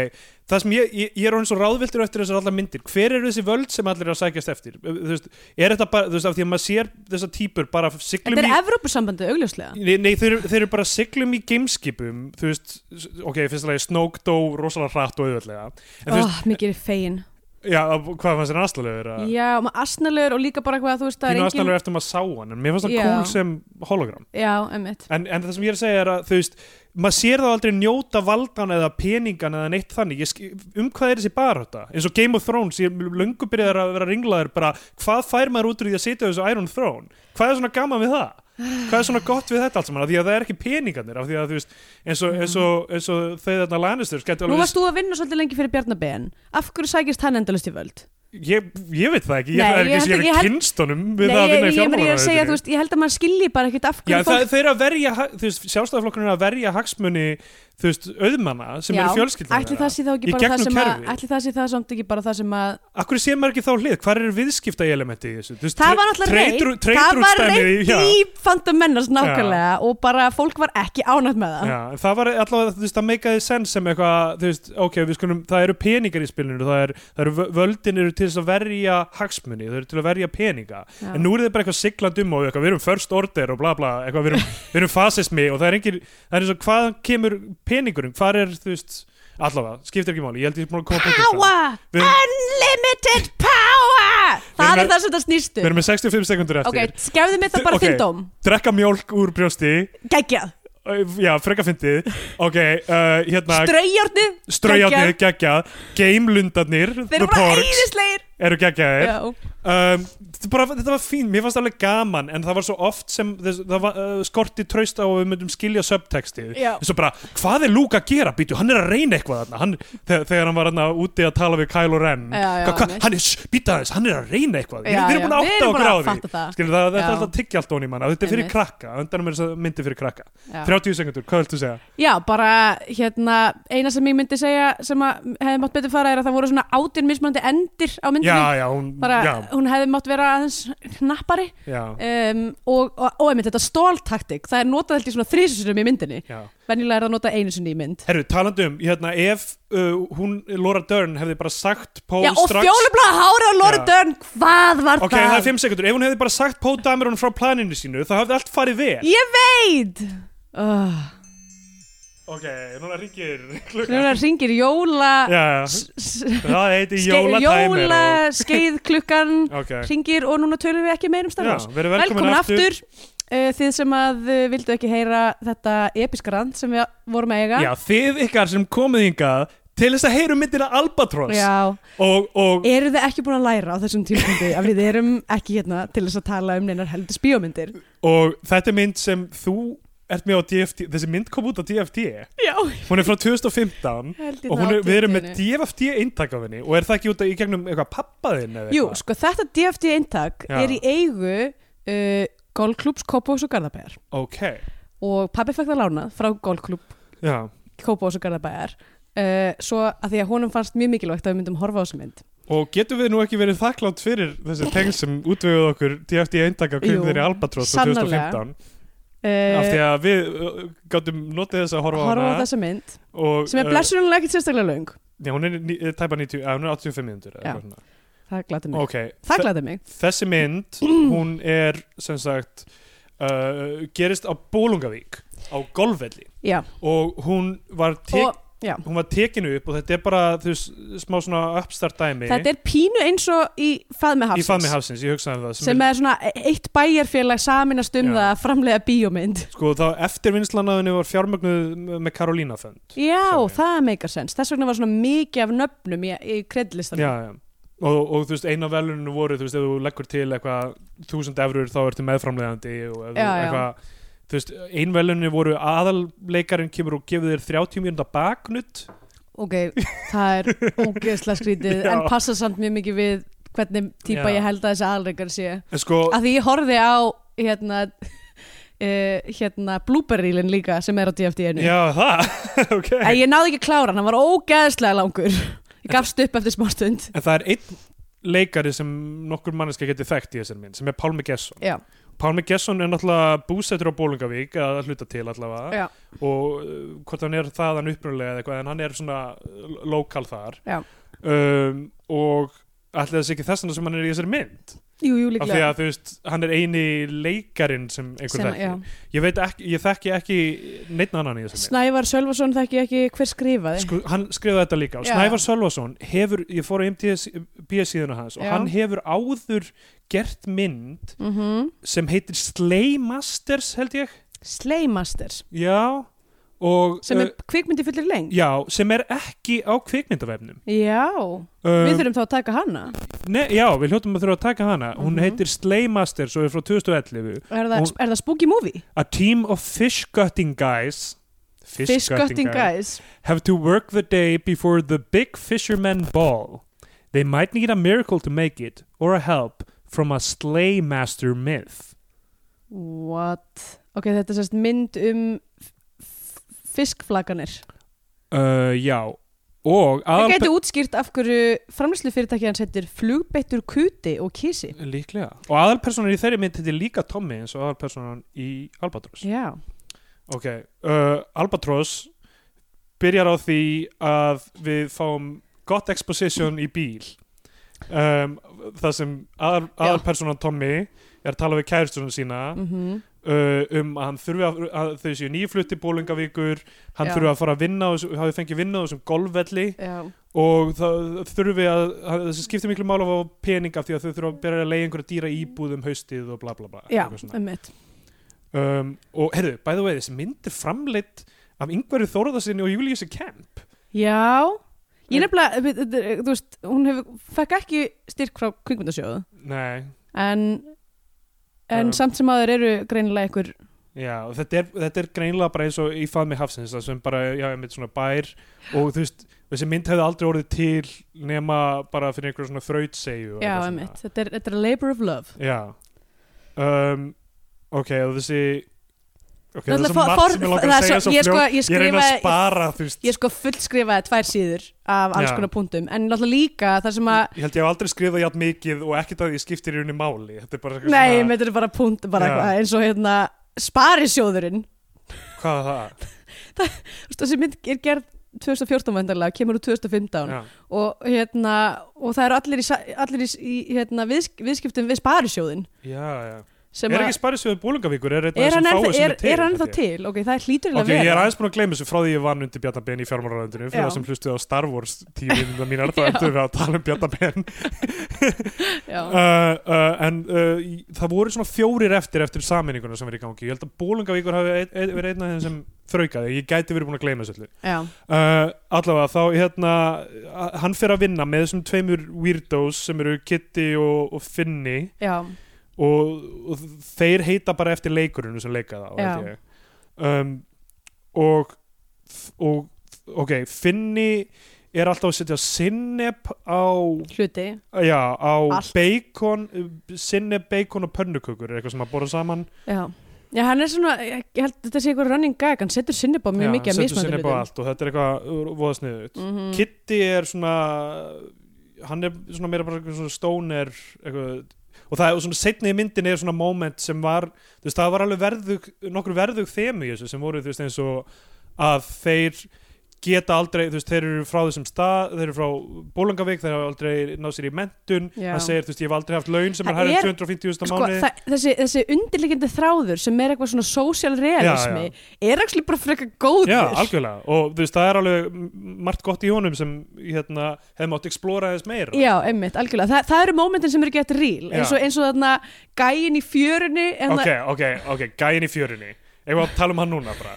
Speaker 3: Það sem ég, ég, ég er orðin svo ráðviltur eftir þessar allar myndir Hver eru þessi völd sem allir eru að sækjast eftir? Eh, Þú veist, er þetta bara, þú veist, af því að maður sér þessar típur bara siglum
Speaker 2: Þetta er
Speaker 3: í
Speaker 2: Evrópusambandi, augljóslega
Speaker 3: Nei, nei þeir, þeir eru bara siglum í gameskipum Þú veist, s- ok, fyrst að lagi Snoke dó rosalega hratt og auðvöldlega En þú
Speaker 2: Ó,
Speaker 3: veist,
Speaker 2: mikið er fegin
Speaker 3: já, hvað fannst þér aðstæðlegur?
Speaker 2: Ah. Já, maður asnalegur og líka bara hvað þú veist það
Speaker 3: Þínu
Speaker 2: er engin
Speaker 3: aðstæðlegur eftir maður sá hann En mér fannst það
Speaker 2: Já.
Speaker 3: cool sem hologram
Speaker 2: Já, emmitt
Speaker 3: en, en það sem ég er að segja er að þú veist maður sér þá aldrei njóta valdan eða peningan eða neitt þannig Ég sk- um hvað er þessi barata eins og Game of Thrones ég er löngu byrjaðar að vera ringlaður bara hvað fær maður út úr því að sitja á þessu Iron Throne hvað er svona gaman við það hvað er svona gott við þetta allt saman af því að það er ekki peningarnir af því að þú veist eins og, eins og, eins og þau þarna Lannisters gæti
Speaker 2: Nú
Speaker 3: alveg
Speaker 2: varst þú að vinna svolítið lengi fyrir Bjarnabén Af hverju sækist hann endalust í völd?
Speaker 3: ég, ég veit það ekki ég,
Speaker 2: Nei,
Speaker 3: það er
Speaker 2: ég held
Speaker 3: ekki
Speaker 2: ekki-
Speaker 3: sem
Speaker 2: ég
Speaker 3: ég hef
Speaker 2: held-
Speaker 3: kynst honum við það að
Speaker 2: ég,
Speaker 3: vinna í
Speaker 2: ég, ég, ég er að segja,
Speaker 3: fjármálaráðuneytinu.
Speaker 2: þú veist, ég held að maður skilji bara ekkit af hverju
Speaker 3: Já, það,
Speaker 2: fólk
Speaker 3: þeir eru að verja, ha- þú veist, sjálfstæðaflokkurinn er að verja hagsmuni, þú veist, auðmanna sem eru fjölskyldina
Speaker 2: ætli það sé þá ekki
Speaker 3: Í
Speaker 2: bara það
Speaker 3: gegnum
Speaker 2: sem að
Speaker 3: kerfið.
Speaker 2: Ætli það sé það samt ekki bara það sem að
Speaker 3: Akkur sé maður ekki þá hlið, hvað er viðskipta elementi í þessu? Þú veist,
Speaker 2: Það var náttúrulega reynd Það var reynd í Phantom Menace nákvæmlega og bara fólk var ekki ánætt með það
Speaker 3: Já, en það var allavega, þú veist, það meikaði sens sem eitthvað, þú veist, ok, við skulum, það eru peningar í spilinu, það, er, það eru vö- völdin eru til þess að verja hagsmuni, þau eru til að verja peninga,
Speaker 2: Já.
Speaker 3: en nú er þið bara eitthvað sigland um og eitthvað, við erum first order og bla bla, eitthvað,
Speaker 2: (laughs)
Speaker 3: við erum, við erum fasismi og það er engin, það er eins og hvaðan kemur peningurinn, hvað er, þú veist, allavega, skiptir ekki máli, ég held ég sem að koma punkti fram.
Speaker 2: Power!
Speaker 3: Við erum-
Speaker 2: Unlimited power! Það
Speaker 3: erum-
Speaker 2: er það sem það snýstu
Speaker 3: Við erum með 65 sekundur
Speaker 2: Ok,
Speaker 3: eftir,
Speaker 2: skefðu mig það bara
Speaker 3: Ok.
Speaker 2: þinn dóm
Speaker 3: drekka mjólk úr brjósti,
Speaker 2: Gægjað,
Speaker 3: Ö, já, freka fyndið, ok, uh, hérna,
Speaker 2: straujarni
Speaker 3: ströjarnir, geggjað, geimlundarnir,
Speaker 2: Þeir
Speaker 3: the
Speaker 2: eru bara
Speaker 3: porgs,
Speaker 2: æðislegir
Speaker 3: eru geggjaðir
Speaker 2: Já,
Speaker 3: um, þetta, bara, þetta var fín, mér fannst alveg gaman en það var svo oft sem þess, það var, uh, skorti traust á að við myndum skilja subtextið
Speaker 2: Já.
Speaker 3: eins og bara, hvað er Luke að gera býtu, hann er að reyna eitthvað þarna hann, þegar, þegar hann var þarna úti að tala við Kylo Ren
Speaker 2: Já, já,
Speaker 3: Hvað- hvað-
Speaker 2: mitt.
Speaker 3: hann er, býtu aðeins, hann er að reyna eitthvað
Speaker 2: Já,
Speaker 3: við, við erum
Speaker 2: já,
Speaker 3: búin að
Speaker 2: við
Speaker 3: átta
Speaker 2: erum
Speaker 3: okkur
Speaker 2: búin
Speaker 3: á
Speaker 2: að fatta
Speaker 3: því
Speaker 2: það.
Speaker 3: Skilur, það, þetta er
Speaker 2: Já.
Speaker 3: alltaf tiggja allt onni í manna þetta er fyrir
Speaker 2: Einmitt.
Speaker 3: krakka, á undanum er þess myndi fyrir krakka
Speaker 2: já.
Speaker 3: 30 sekundur, hvað viltu segja?
Speaker 2: Já, bara hérna eina sem ég myndi segja sem að hefði mátt betur fara er að það voru svona átján mismunandi endir á myndinni
Speaker 3: Já, já, hún,
Speaker 2: bara
Speaker 3: já,
Speaker 2: hún hefði mátt vera aðeins hnappari
Speaker 3: já,
Speaker 2: um, og, og, og einmitt þetta stóltaktik það er notað held í svona þrísusunum í myndinni
Speaker 3: já.
Speaker 2: venjulega er það notað einu sinni í mynd
Speaker 3: Herru, talandi um, hérna, ef uh, hún, Laura Dern, hefði bara sagt Pól
Speaker 2: Já, og
Speaker 3: strax...
Speaker 2: fjólublaða hára og Lóri
Speaker 3: Já.
Speaker 2: Dörn, hvað var
Speaker 3: Ok, það er fimm sekundur. Ef hún hefði bara sagt Pól Dameron frá planinu sínu, þá hafði allt farið vel.
Speaker 2: Ég veit! Oh,
Speaker 3: Ok, núna ríkir klukkan.
Speaker 2: núna ringir jóla
Speaker 3: Já,
Speaker 2: s- s-
Speaker 3: það heiti
Speaker 2: skei-
Speaker 3: jólatæmir.
Speaker 2: jóla skeiðklukkan
Speaker 3: (laughs) Ok,
Speaker 2: ringir og núna tölum við ekki meir um Star
Speaker 3: já,
Speaker 2: Wars
Speaker 3: verið velkomin,
Speaker 2: Velkomin
Speaker 3: aftur.
Speaker 2: aftur, uh, þið sem að uh, vildu ekki heyra þetta episka rand sem við vorum að eiga
Speaker 3: Já, þið ykkar sem komið hingað til þess að heyrum myndina Albatross.
Speaker 2: Já. E-
Speaker 3: Og, og,
Speaker 2: Eru þið ekki búin að læra á þessum tímpundi að við erum ekki hérna til þess að tala um neinar heldur spíómyndir
Speaker 3: og þetta er mynd sem þú ert með á DFT, þessi mynd kom út á DFT.
Speaker 2: Já,
Speaker 3: Hún er frá 2015.
Speaker 2: heldur
Speaker 3: og hún er, við erum með DFD eintak af henni og er það ekki út af í gegnum eitthvað pappaðinn eða
Speaker 2: Jú,
Speaker 3: eitthvað?
Speaker 2: sko þetta DFD eintak
Speaker 3: Já.
Speaker 2: er í eigu uh, golfklubs, kópós og garðabæjar
Speaker 3: ok,
Speaker 2: og pabbi fekk það lánað frá golfklub
Speaker 3: já,
Speaker 2: kópós og garðabæjar uh, svo að því að honum fannst mjög mikilvægt að við myndum horfa á þessa mynd
Speaker 3: og getum við nú ekki verið þakklátt fyrir þessi teng sem útveguð okkur DFD eintak af
Speaker 2: Jú,
Speaker 3: kveimðinni Albatross á
Speaker 2: sannarlega.
Speaker 3: 2015 af því
Speaker 2: uh,
Speaker 3: að við uh, gátum notið þess að horfa á
Speaker 2: horfa á
Speaker 3: hana
Speaker 2: þessa mynd
Speaker 3: og,
Speaker 2: sem er
Speaker 3: uh,
Speaker 2: blessunulega ekkert sérstaklega löng
Speaker 3: já, hún er ní- eh, tæpa 90, að, hún er 85 minnundur
Speaker 2: Já. Það glæti mig.
Speaker 3: ok,
Speaker 2: Það
Speaker 3: þe-
Speaker 2: glæti mig.
Speaker 3: þessi
Speaker 2: (clears throat)
Speaker 3: mynd hún er sem sagt uh, gerist á Bólungavík á golfvelli
Speaker 2: Já.
Speaker 3: og hún var tek,
Speaker 2: Og, já.
Speaker 3: hún var tekinu upp og þetta er bara þú veist, smá svona uppstart dæmi
Speaker 2: Þetta er pínu eins og í Faðmi
Speaker 3: í
Speaker 2: Hafsins.
Speaker 3: fami hafsins, ég hugsaði um það sem,
Speaker 2: Sem er svona eitt bæjarfélag saminast um
Speaker 3: Já.
Speaker 2: það að framlega bíómynd.
Speaker 3: er, sko þá eftirvinnslanaðinu var fjármögnuð með Karolína fönd
Speaker 2: Já,
Speaker 3: Sorry.
Speaker 2: það meikar sens. Þess vegna var svona mikið af nöfnum í, í
Speaker 3: já,
Speaker 2: kreddlistanum.
Speaker 3: já. Og, og þú veist, eina veluninu voru þú veist, ef þú leggur til eitthvað þúsund eurur þá ertu meðframlegandi og ef þú
Speaker 2: Já, já.
Speaker 3: eitthvað þú veist, ein veluninu voru aðalleikarinn kemur og gefur þér 30 mínúnda baknutt
Speaker 2: Ok, það er ógeðslega skrítið
Speaker 3: Já.
Speaker 2: en passa samt mjög mikið við hvernig típa
Speaker 3: Já.
Speaker 2: ég held að þessi aðalreikar sé.
Speaker 3: en sko,
Speaker 2: Að því ég horfði á hérna, (laughs) uh, hérna Blúberílin líka sem er á DFD-inu.
Speaker 3: já (laughs) það ok,
Speaker 2: En ég náði ekki að klára hann, hann var ógeðslega langur Ég gafst upp eftir smá stund
Speaker 3: en það er einn leikari sem nokkur manneska geti þekkt í þessar minn sem er Pálmi Gesson
Speaker 2: Já,
Speaker 3: Pálmi Gesson er náttúrulega búsettur á Bólingavík að hluta til allavega
Speaker 2: já,
Speaker 3: og uh, hvort hann er þaðan upprunalega eða eitthvað en hann er svona uh, lokal þar
Speaker 2: Já.
Speaker 3: um, og ætli þessi ekki þessana sem hann er í þessari mynd
Speaker 2: jú, jú,
Speaker 3: af því
Speaker 2: líklega
Speaker 3: að þú veist, hann er eini leikarinn sem einhver
Speaker 2: Sem- já.
Speaker 3: þekki ég, veit ekki, ég þekki ekki neitt annan í þessari mynd
Speaker 2: Snævar Sölvason þekki ég ekki hver skrifaði
Speaker 3: Sku, hann skrifaði þetta líka og
Speaker 2: Já.
Speaker 3: Snævar Sölvason hefur, ég fór á MTS síðuna hans og
Speaker 2: Já.
Speaker 3: hann hefur áður gert mynd
Speaker 2: mm -hmm.
Speaker 3: sem heitir Slay Masters held ég
Speaker 2: Sleimasters
Speaker 3: Já, og
Speaker 2: sem er
Speaker 3: uh,
Speaker 2: kvikmyndi fullir lengt
Speaker 3: Já, sem er ekki á kvikmyndavefnum
Speaker 2: Já, við
Speaker 3: um,
Speaker 2: þurfum þá að taka hana
Speaker 3: ne, Já, við hljóttum að þurfa að taka hana Hún
Speaker 2: Mhm.
Speaker 3: heitir Slaymasters og er frá 2011
Speaker 2: Er það,
Speaker 3: Hún-
Speaker 2: er það spooky movie?
Speaker 3: A team of fish gutting guys Fish,
Speaker 2: Fish Gutting
Speaker 3: guys
Speaker 2: Guys
Speaker 3: Have to work the day before the big fisherman ball They might need a miracle to make it Or a help from a Slaymaster myth
Speaker 2: What? Ok, þetta er sérst mynd um f- f- fiskflaganir
Speaker 3: uh, Já, og
Speaker 2: Það
Speaker 3: aðal-
Speaker 2: gæti útskýrt af hverju framlýslu fyrirtæki hans heitir flugbeittur kuti og kísi
Speaker 3: Líklega. Og aðalpersonan í þeirri mynd heitir líka Tommy eins og aðalpersonan í Albatross.
Speaker 2: Já,
Speaker 3: Ok, uh, Albatross byrjar á því að við fáum gott exposition í bíl um, það sem aðal, aðalpersonan Tommy er að tala við kæristunum sína
Speaker 2: mhm
Speaker 3: uh, um að hann þurfi að, að þau séu nýflutti bólingavíkur, hann
Speaker 2: Já.
Speaker 3: þurfi að fara að vinna á þessu- hafi fengið vinna á þessum golfvelli
Speaker 2: Já,
Speaker 3: og það þurfi að að- þessi skiptir miklu mála á pening af því að þau þurfa að byrja að leiða einhverja dýra íbúð um haustið og bla bla bla
Speaker 2: já
Speaker 3: eitthvað svona.
Speaker 2: um
Speaker 3: um, og heyrðu, by the way, þessi mynd er framleitt af yngveru Þórðarsinni og Júliusi Kemp
Speaker 2: Já, Ég nefnilega, við- þetta- þú veist, hún hefur, fekk ekki styrk frá kvikmyndasjóðu
Speaker 3: Nei,
Speaker 2: en, en
Speaker 3: Já.
Speaker 2: samt sem aður eru greinilega einhver
Speaker 3: já, og þetta er, þetta er greinlega bara eins og í faðmi hafsins það sem bara, já, ég svona bær og þú veist, þessi mynd hefði aldrei orðið til nema bara fyrir einhverjum svona þrautsegju og
Speaker 2: Já,
Speaker 3: eitthvað svona.
Speaker 2: emitt, þetta er, þetta er a labor of love
Speaker 3: Já um, Ok, og þessi Ok, það
Speaker 2: Náttúrulega
Speaker 3: er svo
Speaker 2: for-
Speaker 3: margt
Speaker 2: for-
Speaker 3: sem ég langar
Speaker 2: það
Speaker 3: að
Speaker 2: er
Speaker 3: segja
Speaker 2: svo-
Speaker 3: svo
Speaker 2: ég sko-
Speaker 3: fljótt.
Speaker 2: ég
Speaker 3: Ég reyna að
Speaker 2: skrifaði-
Speaker 3: spara þú veist
Speaker 2: Ég sko fullskrifaði tvær síður af alls
Speaker 3: Já.
Speaker 2: konar punktum en náttúrulega líka þar sem að
Speaker 3: Ég held ég hef aldrei skrifað ját mikið og ekkert að ég skiptir í rauninni máli Þetta er bara eitthvað
Speaker 2: Nei, með þetta er bara punkt bara
Speaker 3: Já.
Speaker 2: eitthvað, eins og hérna sparisjóðurinn
Speaker 3: Hvað er það?
Speaker 2: Þú veist, þessi mynd er gerð 2014 vendarlega, kemur úr 2015
Speaker 3: Já,
Speaker 2: og hérna, og það eru allir í, sa- allir í, í hérna, viðsk, viðskiptum við sparisjóðin
Speaker 3: já, já
Speaker 2: sem
Speaker 3: Er
Speaker 2: að-
Speaker 3: ekki sparisjóður búlingavíkur? Er, einn af
Speaker 2: er hann
Speaker 3: þessum
Speaker 2: ennþá
Speaker 3: fáu sem
Speaker 2: er, er hann ennþá
Speaker 3: held ég?
Speaker 2: til? Ok, það er hlýtur
Speaker 3: Ok,
Speaker 2: eiginlega að
Speaker 3: ég er
Speaker 2: vera.
Speaker 3: aðeins búin að gleyma þessu frá því ég vann undir Bjarnabenn í fjármálaráðundinu fyrir
Speaker 2: Já.
Speaker 3: það sem hlustuði á Star Wars tímið
Speaker 2: (laughs)
Speaker 3: mínar, þá endur við að tala um Bjarnabenn
Speaker 2: Já.
Speaker 3: uh, uh, en uh, í- það voru svona fjórir eftir eftir saminninguna sem verið í gangi ég held að Bólungavíkur hafi ein, ein, verið einn af þeim sem þraukaði, ég gæti verið búin að gleyma þessu öllu
Speaker 2: Já.
Speaker 3: uh, allavega þá hérna a- hann fer að vinna með þessum tveimur weirdos sem eru Kitty og, og Finni
Speaker 2: Já.
Speaker 3: og, og þeir heita bara eftir leikurinu sem leika það
Speaker 2: Já.
Speaker 3: held ég. um, og og ok, Finni er alltaf að setja sinneb á
Speaker 2: Hluti.
Speaker 3: Já, á
Speaker 2: Allt.
Speaker 3: bacon, sinni bacon og pönnukökur er eitthvað sem að borða saman
Speaker 2: Já. Já, hann er svona, ég held þetta sé eitthvað running gag, hann setur sinnið bá mjög
Speaker 3: Já,
Speaker 2: mikið að
Speaker 3: setur
Speaker 2: mismöndu
Speaker 3: sinnep á allt og þetta er eitthvað voða sniðut
Speaker 2: Mm -hmm.
Speaker 3: Kitty er svona hann er svona meira bara eitthvað svona stoner eitthvað, og það er og svona setni í myndin er svona moment sem var þú veist, það var alveg verðug, nokkur verðug þemu í þessu sem voru þú veist eins og að þeir geta aldrei, þú veist, þeir eru frá þessum stað þeir eru frá Bólangavík, þeir hafa aldrei náð sér í mentun,
Speaker 2: Já.
Speaker 3: hann segir, þú veist, ég hef aldrei haft laun sem er
Speaker 2: Það
Speaker 3: hærri
Speaker 2: er-
Speaker 3: en 250.000 á
Speaker 2: Sko,
Speaker 3: mánuði
Speaker 2: það, þessi, þessi undirleikindi þráður sem er eitthvað svona social realismi
Speaker 3: Já,
Speaker 2: er ekki bara frekar góður
Speaker 3: Já, algjörlega og þú veist, það er alveg m- margt gott í honum sem hérna, hefði mátt explora þess meira
Speaker 2: Já, einmitt, algjörlega. Þa, það eru mómentin sem eru gett real,
Speaker 3: Já.
Speaker 2: eins og, eins og þarna gæin í fjörunni, en
Speaker 3: Ok, ok, ok, gæin í fjörunni Ef að tala um hann núna
Speaker 2: (laughs)
Speaker 3: bara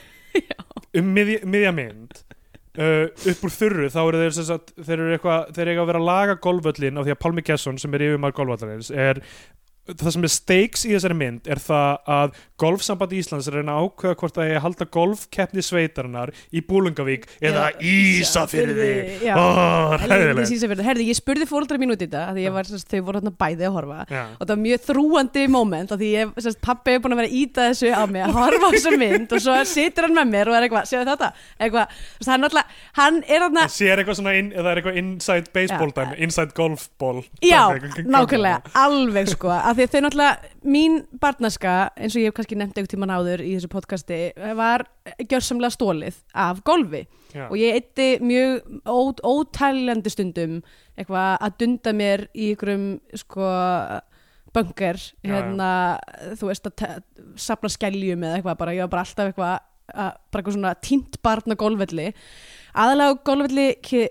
Speaker 3: Um miðja, miðja mynd uh, upp úr þurru þá eru þeir sem sagt, þeir eru eitthvað, þeir eiga að vera að laga golföllin af því að Pálmi Gesson sem er yfirmaður golfvallarins er það sem er stakes í þessari mynd er það að golfsamband Íslands er að reyna að ákveða hvort það er að halda golfkeppni sveitarinnar í Búlungavík eða
Speaker 2: Já,
Speaker 3: Ísafyrði
Speaker 2: Ísafirði, já.
Speaker 3: oh,
Speaker 2: Helvítis Ísafjörður. Herði, ég spurði fóreldra mín út í þetta af því ég var, sérst, þau voru hérna bæði að horfa
Speaker 3: Já.
Speaker 2: og það var mjög þrúandi moment af því ég, sérst, pappi hefur búin að vera að íta þessu á mig að horfa á þessu mynd og svo situr hann með mér og er eitthvað, séu þetta eitthvað, þú veist, hann alltaf, hann er þarna
Speaker 3: Það sér eitthvað svona, inn, það er eitthvað inside baseball
Speaker 2: Já.
Speaker 3: dæmi, inside golf ball
Speaker 2: Já,
Speaker 3: dæmi, eitthvað-
Speaker 2: nákvæmlega, alveg sko af því að þau náttúrulega, mín barnaska eins og ég hef kannski nefnt einhvern tímann áður í þessu podcasti, var gjörsamlega stólið af golfi
Speaker 3: Já.
Speaker 2: og ég eitti mjög ó, ótæljandi stundum eitthvað að dunda mér í ykkurum sko böngar
Speaker 3: Já, já.
Speaker 2: hérna, þú veist að te- safna skeljum eða eitthvað bara, ég var bara alltaf eitthvað að, bara eitthvað svona tínt barn á golfvelli aðalega á golfvelli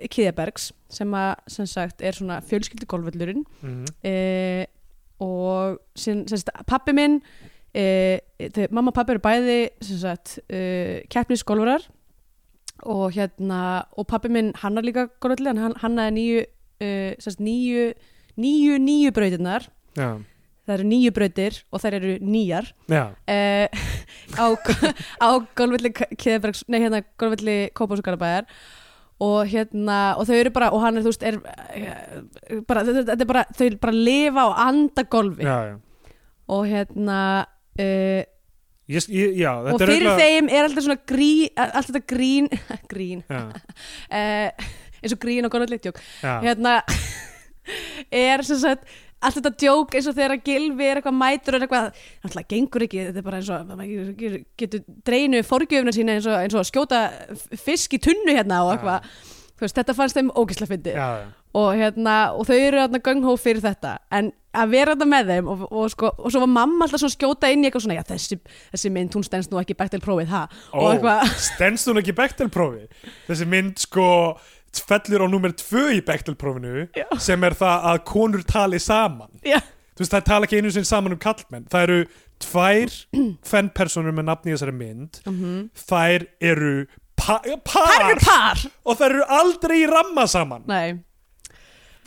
Speaker 2: Kiðabergs sem að sem sagt er svona fjölskyldi golfvellurinn
Speaker 3: Mhm.
Speaker 2: e, og sem, sem sagt, pappi minn e, þau, mamma og pappi eru bæði sem sagt, e, keppnisgólfarar og hérna og pappi minn hannar líka golfvelli hann hannaði nýju e, sem sagt, nýju, nýju, nýju brautirnar
Speaker 3: Já,
Speaker 2: það eru nýju brautir og þær eru nýjar
Speaker 3: já,
Speaker 2: uh, (laughs) á, á golfvelli Keðbergs, nei hérna golfvelli Kópás og Garabæðar og hérna, og þau eru bara, og hann er þú veist er, eh, bara, þau- þetta er bara þau bara lifa og anda golfi
Speaker 3: já, já.
Speaker 2: og hérna uh,
Speaker 3: Ég, ég, já þetta
Speaker 2: og
Speaker 3: er
Speaker 2: fyrir
Speaker 3: örugglega-
Speaker 2: þeim er alltaf svona grín alltaf þetta grín, (laughs) grín
Speaker 3: Já,
Speaker 2: (laughs) uh, eins og grín og golfvelli tjók
Speaker 3: já,
Speaker 2: hérna (laughs) er sem sagt allt þetta djók eins og þegar að gilfi er eitthvað mætur og er eitthvað, náttúrulega gengur ekki þetta er bara eins og maður getur dreinu forgjöfna sína eins og, eins og að skjóta f- fisk í tunnu hérna og eitthvað þú veist, þetta fannst þeim ógislega fyndi
Speaker 3: já, já.
Speaker 2: og, hérna, og þau eru hérna ganghó fyrir þetta en að vera þetta með þeim og, og, sko, og svo var mamma alltaf svona að skjóta inn í eitthvað svona, já þessi, þessi mynd, hún stendst nú ekki bækt til prófið, ha?
Speaker 3: Ó,
Speaker 2: og eitthvað, (laughs)
Speaker 3: stendst hún ekki í Bechtelprófi þessi mynd sko fellur á númer tvö í Bechtelprófinu sem er það að konur tali saman
Speaker 2: já,
Speaker 3: þú veist það tala ekki einu sinni saman um kallmenn það eru
Speaker 2: (clears throat)
Speaker 3: tvær fennpersonur með nafni í þessari mynd þær eru
Speaker 2: Mhm.
Speaker 3: pa,
Speaker 2: Þær eru
Speaker 3: par
Speaker 2: par
Speaker 3: og þær eru aldrei í ramma saman
Speaker 2: Nei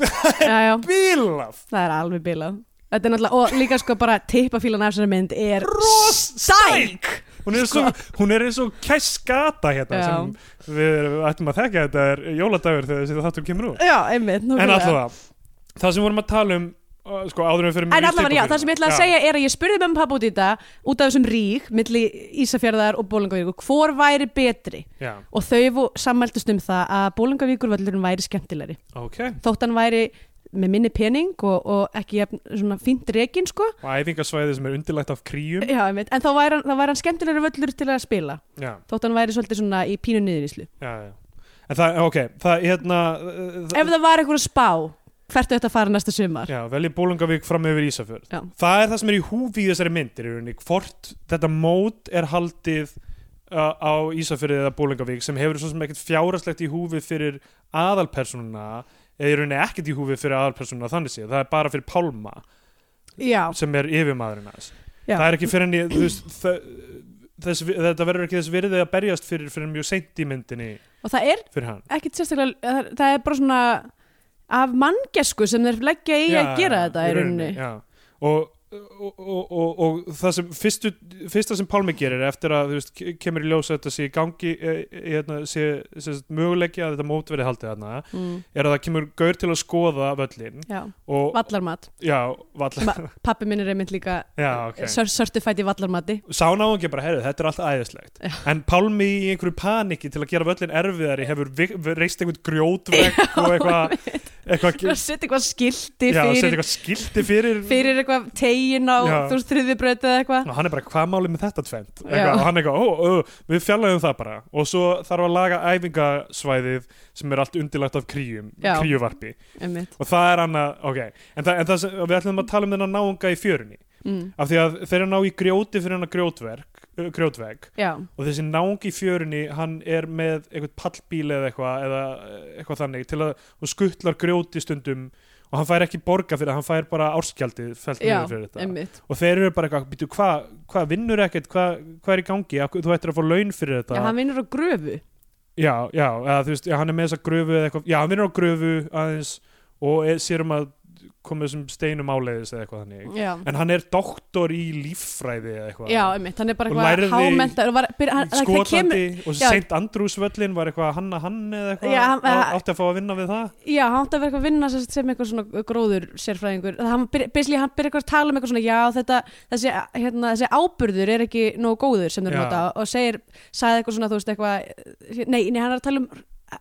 Speaker 2: já, já,
Speaker 3: bílað
Speaker 2: Það er alveg bilað Þetta er náttúrulega, og líka sko bara tippafílan af þessari mynd er
Speaker 3: Ros-
Speaker 2: stæk
Speaker 3: hún er, svo, hún er eins og kæskata hérna
Speaker 2: Sko- Já.
Speaker 3: sem við ættum að þekka þetta er jóladagur þegar þessi þáttur kemur úr
Speaker 2: Já, einmitt
Speaker 3: en
Speaker 2: nákvæmlega.
Speaker 3: allavega, það sem vorum að tala um uh, sko áður en við fyrir
Speaker 2: En allavega, já, það sem ég ætla að segja er að ég spurði með pappa út í þetta út af þessum rík, milli Ísafjörðar og Bólingavíkur, hvor væri betri?
Speaker 3: já,
Speaker 2: Og þau vo- sammæltust um það að Bólingavíkur völlurinn væri skemmtilegri.
Speaker 3: ok,
Speaker 2: Þótt hann væri með minni pening og, og ekki jafn, svona fínt rekin, sko.
Speaker 3: og æfingasvæði sem er undirlegt af kríum
Speaker 2: Já, einmitt. En þá væri, hann- þá væri hann skemmtilegri völlur til að spila.
Speaker 3: já,
Speaker 2: Þótt hann væri svolítið svona í pínu niðuríslu.
Speaker 3: já, já en það, ok, það, hérna uh, það-
Speaker 2: Ef það var einhver að spá, hvert auðvitað að fara næsta sumar?
Speaker 3: já, velji Bólungavík fram yfir Ísafjörð
Speaker 2: Já.
Speaker 3: það er það sem er í húfi í þessari myndir rauninni, hvort þetta mót er haldið uh, á Ísafyrði eða Bólingavík sem hefur svo sem ekkert fjárastlegt í húfi fyrir aðalpersonuna eða í rauninni ekkert í húfi fyrir aðalpersonuna þannig séð, það er bara fyrir Pálma
Speaker 2: Já,
Speaker 3: sem er yfirmaðurinn hans
Speaker 2: Já.
Speaker 3: það er ekki fyrir henni þú veist, þ- þess, þetta verður ekki þess virðið að berjast fyrir, fyrir mjög seint í myndinni
Speaker 2: og það er
Speaker 3: fyrir hann
Speaker 2: ekkit sérstaklega, það er- það er bara svona af manngesku sem þeir leggja í að gera þetta í rauninni.
Speaker 3: já. og Og, og, og, og það sem fyrstu, fyrsta sem Pálmi gerir eftir að þú veist, ke- kemur í ljós að þetta sé í gangi e, e, hérna, sé, sé möguleiki að þetta mót verði haldið þarna
Speaker 2: Mm.
Speaker 3: er að það kemur gaur til að skoða völlin
Speaker 2: Já,
Speaker 3: og (laughs)
Speaker 2: vallarmat.
Speaker 3: já, vall,
Speaker 2: Ma- Pappi minn er einmitt líka
Speaker 3: (laughs) já, ok
Speaker 2: okay. certified í vallarmati.
Speaker 3: sána á ekki bara, heyrðu, þetta er allt æðislegt en Pálmi í einhverju paniki til að gera völlin erfiðari hefur vi- reist einhvern grjótvegg og eitthvað eitthvað
Speaker 2: Að setja eitthvað skilti
Speaker 3: já, setja
Speaker 2: fyrir,
Speaker 3: eitthvað skilti fyrir
Speaker 2: fyrir eitthvað tegin á
Speaker 3: Já.
Speaker 2: þú veist þriðibraut eða eitthvað.
Speaker 3: og hann er bara, hvað málið með þetta
Speaker 2: Já.
Speaker 3: tvent eitthvað, og hann er eitthvað, ó, ó, við fjarlægum það bara og svo þarf að laga æfingasvæðið sem er allt undirlagt af kríum
Speaker 2: Já.
Speaker 3: kríuvarpi,
Speaker 2: Einmitt.
Speaker 3: og það er annað ok, en, það, en það sem, við ætlum að tala um þennan náunga í fjörunni,
Speaker 2: Mm.
Speaker 3: af því að þeir ná í grjóti fyrir hennar grjótverk uh, grjótvegg,
Speaker 2: Já,
Speaker 3: og þessi náungi í fjörunni hann er með eitthvað pallbíl eða eitthvað, eða eh, eitthvað þannig til að, og skuttlar grjóti stundum og hann fær ekki borga fyrir, það, hann fær bara árskjaldið fælt
Speaker 2: já,
Speaker 3: niður fyrir þetta
Speaker 2: einmitt.
Speaker 3: og þeir eru bara eitthvað, býtu, hvað hva vinnur ekkert, hvað hva er í gangi Af hverju- þú ættir að fá laun fyrir þetta
Speaker 2: Já, hann vinnur á gröfu.
Speaker 3: já, já, eða, þú veist, já, hann er með þessa gröfu eða eitthvað, já, hann vinnur á gröfu aðeins og er, sér um að koma þessum steinum áleiðis eða eitthvað þannig
Speaker 2: Já.
Speaker 3: en hann er doktor í líffræði eða eitthvað
Speaker 2: Já, einmitt, hann er bara
Speaker 3: Og
Speaker 2: eitthvað
Speaker 3: lærði-
Speaker 2: hámentar og var, byrja, hann, það- það
Speaker 3: Skotlandi
Speaker 2: kemur,
Speaker 3: og
Speaker 2: já.
Speaker 3: St. Andrúsvöllin var eitthvað hann að hann eða eitthvað
Speaker 2: Já, hann-
Speaker 3: á- átti að fá að vinna við það
Speaker 2: já, hann átti að vera eitthvað að vinna sem, sem eitthvað svona gróður sérfræðingur Það hann byrja, basically, hann byrja eitthvað að tala um eitthvað svona já, þetta, þessi, hérna, þessi áburður er ekki nógu góður sem þeir
Speaker 3: Já.
Speaker 2: nota og segir, sagði eitthvað svona, þú veist, eitthvað nei, nei, hann er að tala um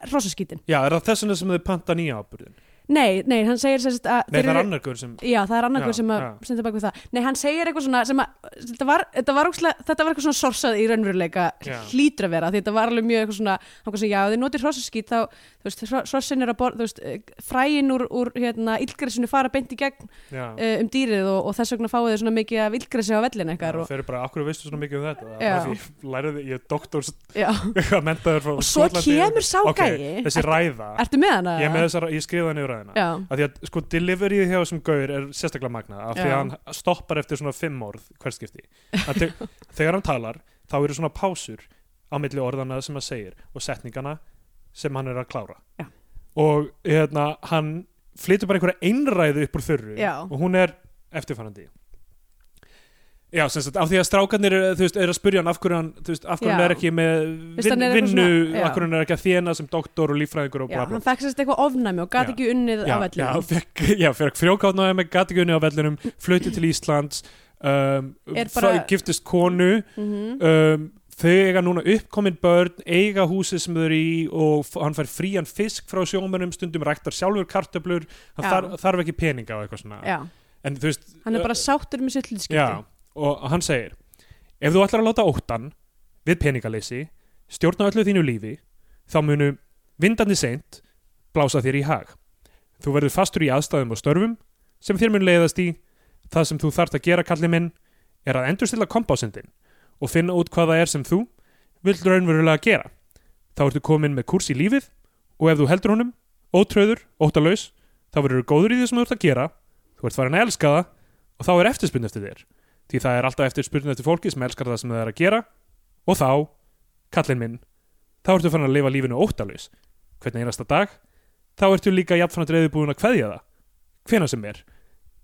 Speaker 2: hrossaskítin
Speaker 3: já, er það þess vegna sem þau panta nýja ábyrðin nei,
Speaker 2: Nei, nei, hann segir sem sagt að þeir
Speaker 3: það er
Speaker 2: eru-
Speaker 3: annar guður sem
Speaker 2: Já, það er annar
Speaker 3: Já,
Speaker 2: hver sem að
Speaker 3: já.
Speaker 2: stendur bak við það Nei, hann segir eitthvað svona sem að þetta var, þetta var, ókslega, þetta var eitthvað svona sorsað í raunveruleika
Speaker 3: Já.
Speaker 2: hlýtur að vera því þetta var alveg mjög eitthvað svona, hann var svona já, ef þið notir hrossaskít þá, þú veist, hro- hrossin er að borð, þú veist, eh, fræin úr, úr hérna, illgresinu fara beint í gegn
Speaker 3: já,
Speaker 2: uh, um dýrið og, og þess vegna fáið þið svona mikið af illgresi á vellin
Speaker 3: já,
Speaker 2: eitthvað og,
Speaker 3: þeir eru bara, akkur veistu svona mikið um þetta Það
Speaker 2: Já.
Speaker 3: er því, læriði, ég er doktor
Speaker 2: já.
Speaker 3: (laughs) eitthvað mentaður frá
Speaker 2: og svo
Speaker 3: Skotlandi.
Speaker 2: kemur sá
Speaker 3: Ok,
Speaker 2: gæi
Speaker 3: þessi ræða,
Speaker 2: Ertu með hana?
Speaker 3: ég, er með þessa, ég skrifa það niður ræðina
Speaker 2: Já,
Speaker 3: af því að sko deliveryið hjá þessum gaur er sérstaklega magnað, af því að
Speaker 2: Já.
Speaker 3: hann stoppar eftir svona fimm orð hver skipti Að
Speaker 2: (laughs)
Speaker 3: þeg- þegar hann talar, þá eru svona pásur á milli orðana sem hann segir og setningana sem hann er að klára
Speaker 2: Já.
Speaker 3: og hérna, hann flytur bara einhverja einræðu upp úr þurru
Speaker 2: Já.
Speaker 3: og hún er eftirfarandi Já, sem sagt, af því að strákarnir er, veist, er að spyrja hann af hverju hann, þú veist, af hverju hann
Speaker 2: Já.
Speaker 3: er ekki með
Speaker 2: Veist, hann
Speaker 3: vin,
Speaker 2: er eitthvað
Speaker 3: vinnu,
Speaker 2: svona- já.
Speaker 3: af hverju hann er ekki að þjena sem doktor og líffræðingur og
Speaker 2: já
Speaker 3: bla bla
Speaker 2: hann fekk sérst eitthvað ofnæmi og gat
Speaker 3: Já.
Speaker 2: ekki unnið á
Speaker 3: já,
Speaker 2: vellin
Speaker 3: já, fekk, já, fekk frjókáttnáði með gattigunni á vellinum flutið til Íslands um,
Speaker 2: Er
Speaker 3: bara...
Speaker 2: bara-
Speaker 3: giftist konu
Speaker 2: Mhm.
Speaker 3: um, þau eiga núna uppkomin börn eiga húsið sem þau eru í og f- hann fær frían fisk frá sjómanum stundum ræktar sjálfur kartöflur hann
Speaker 2: Já.
Speaker 3: þarf, þarf ekki peninga og eitthvað svona
Speaker 2: Já,
Speaker 3: en þú veist
Speaker 2: hann er bara sáttur með sitt hlutskipti
Speaker 3: já, og hann segir ef þú ætlar að láta óttan við peningaleysi stjórna öllu þínu lífi þá munu vindandi seint blása þér í hag þú verður fastur í aðstæðum og störfum sem þér mun leiðast í það sem þú þarft að gera kalli minn er að endurstilla kompásindin og finna út hvað það er sem þú vilt raunverulega gera þá ertu komin með kurs í lífið og ef þú heldur honum, ótröður, óttalaus þá verður þú góður í því sem þú ert að gera þú ert farin að elska það og þá er eftirspurn eftir þér því það er alltaf eftirspurn eftir fólki sem elskar það sem það er að gera og þá, kallinn minn þá ertu fann að lifa lífinu óttalus hvernig einasta dag þá ertu líka jafnframt reyðubúin að kveðja það hvena sem er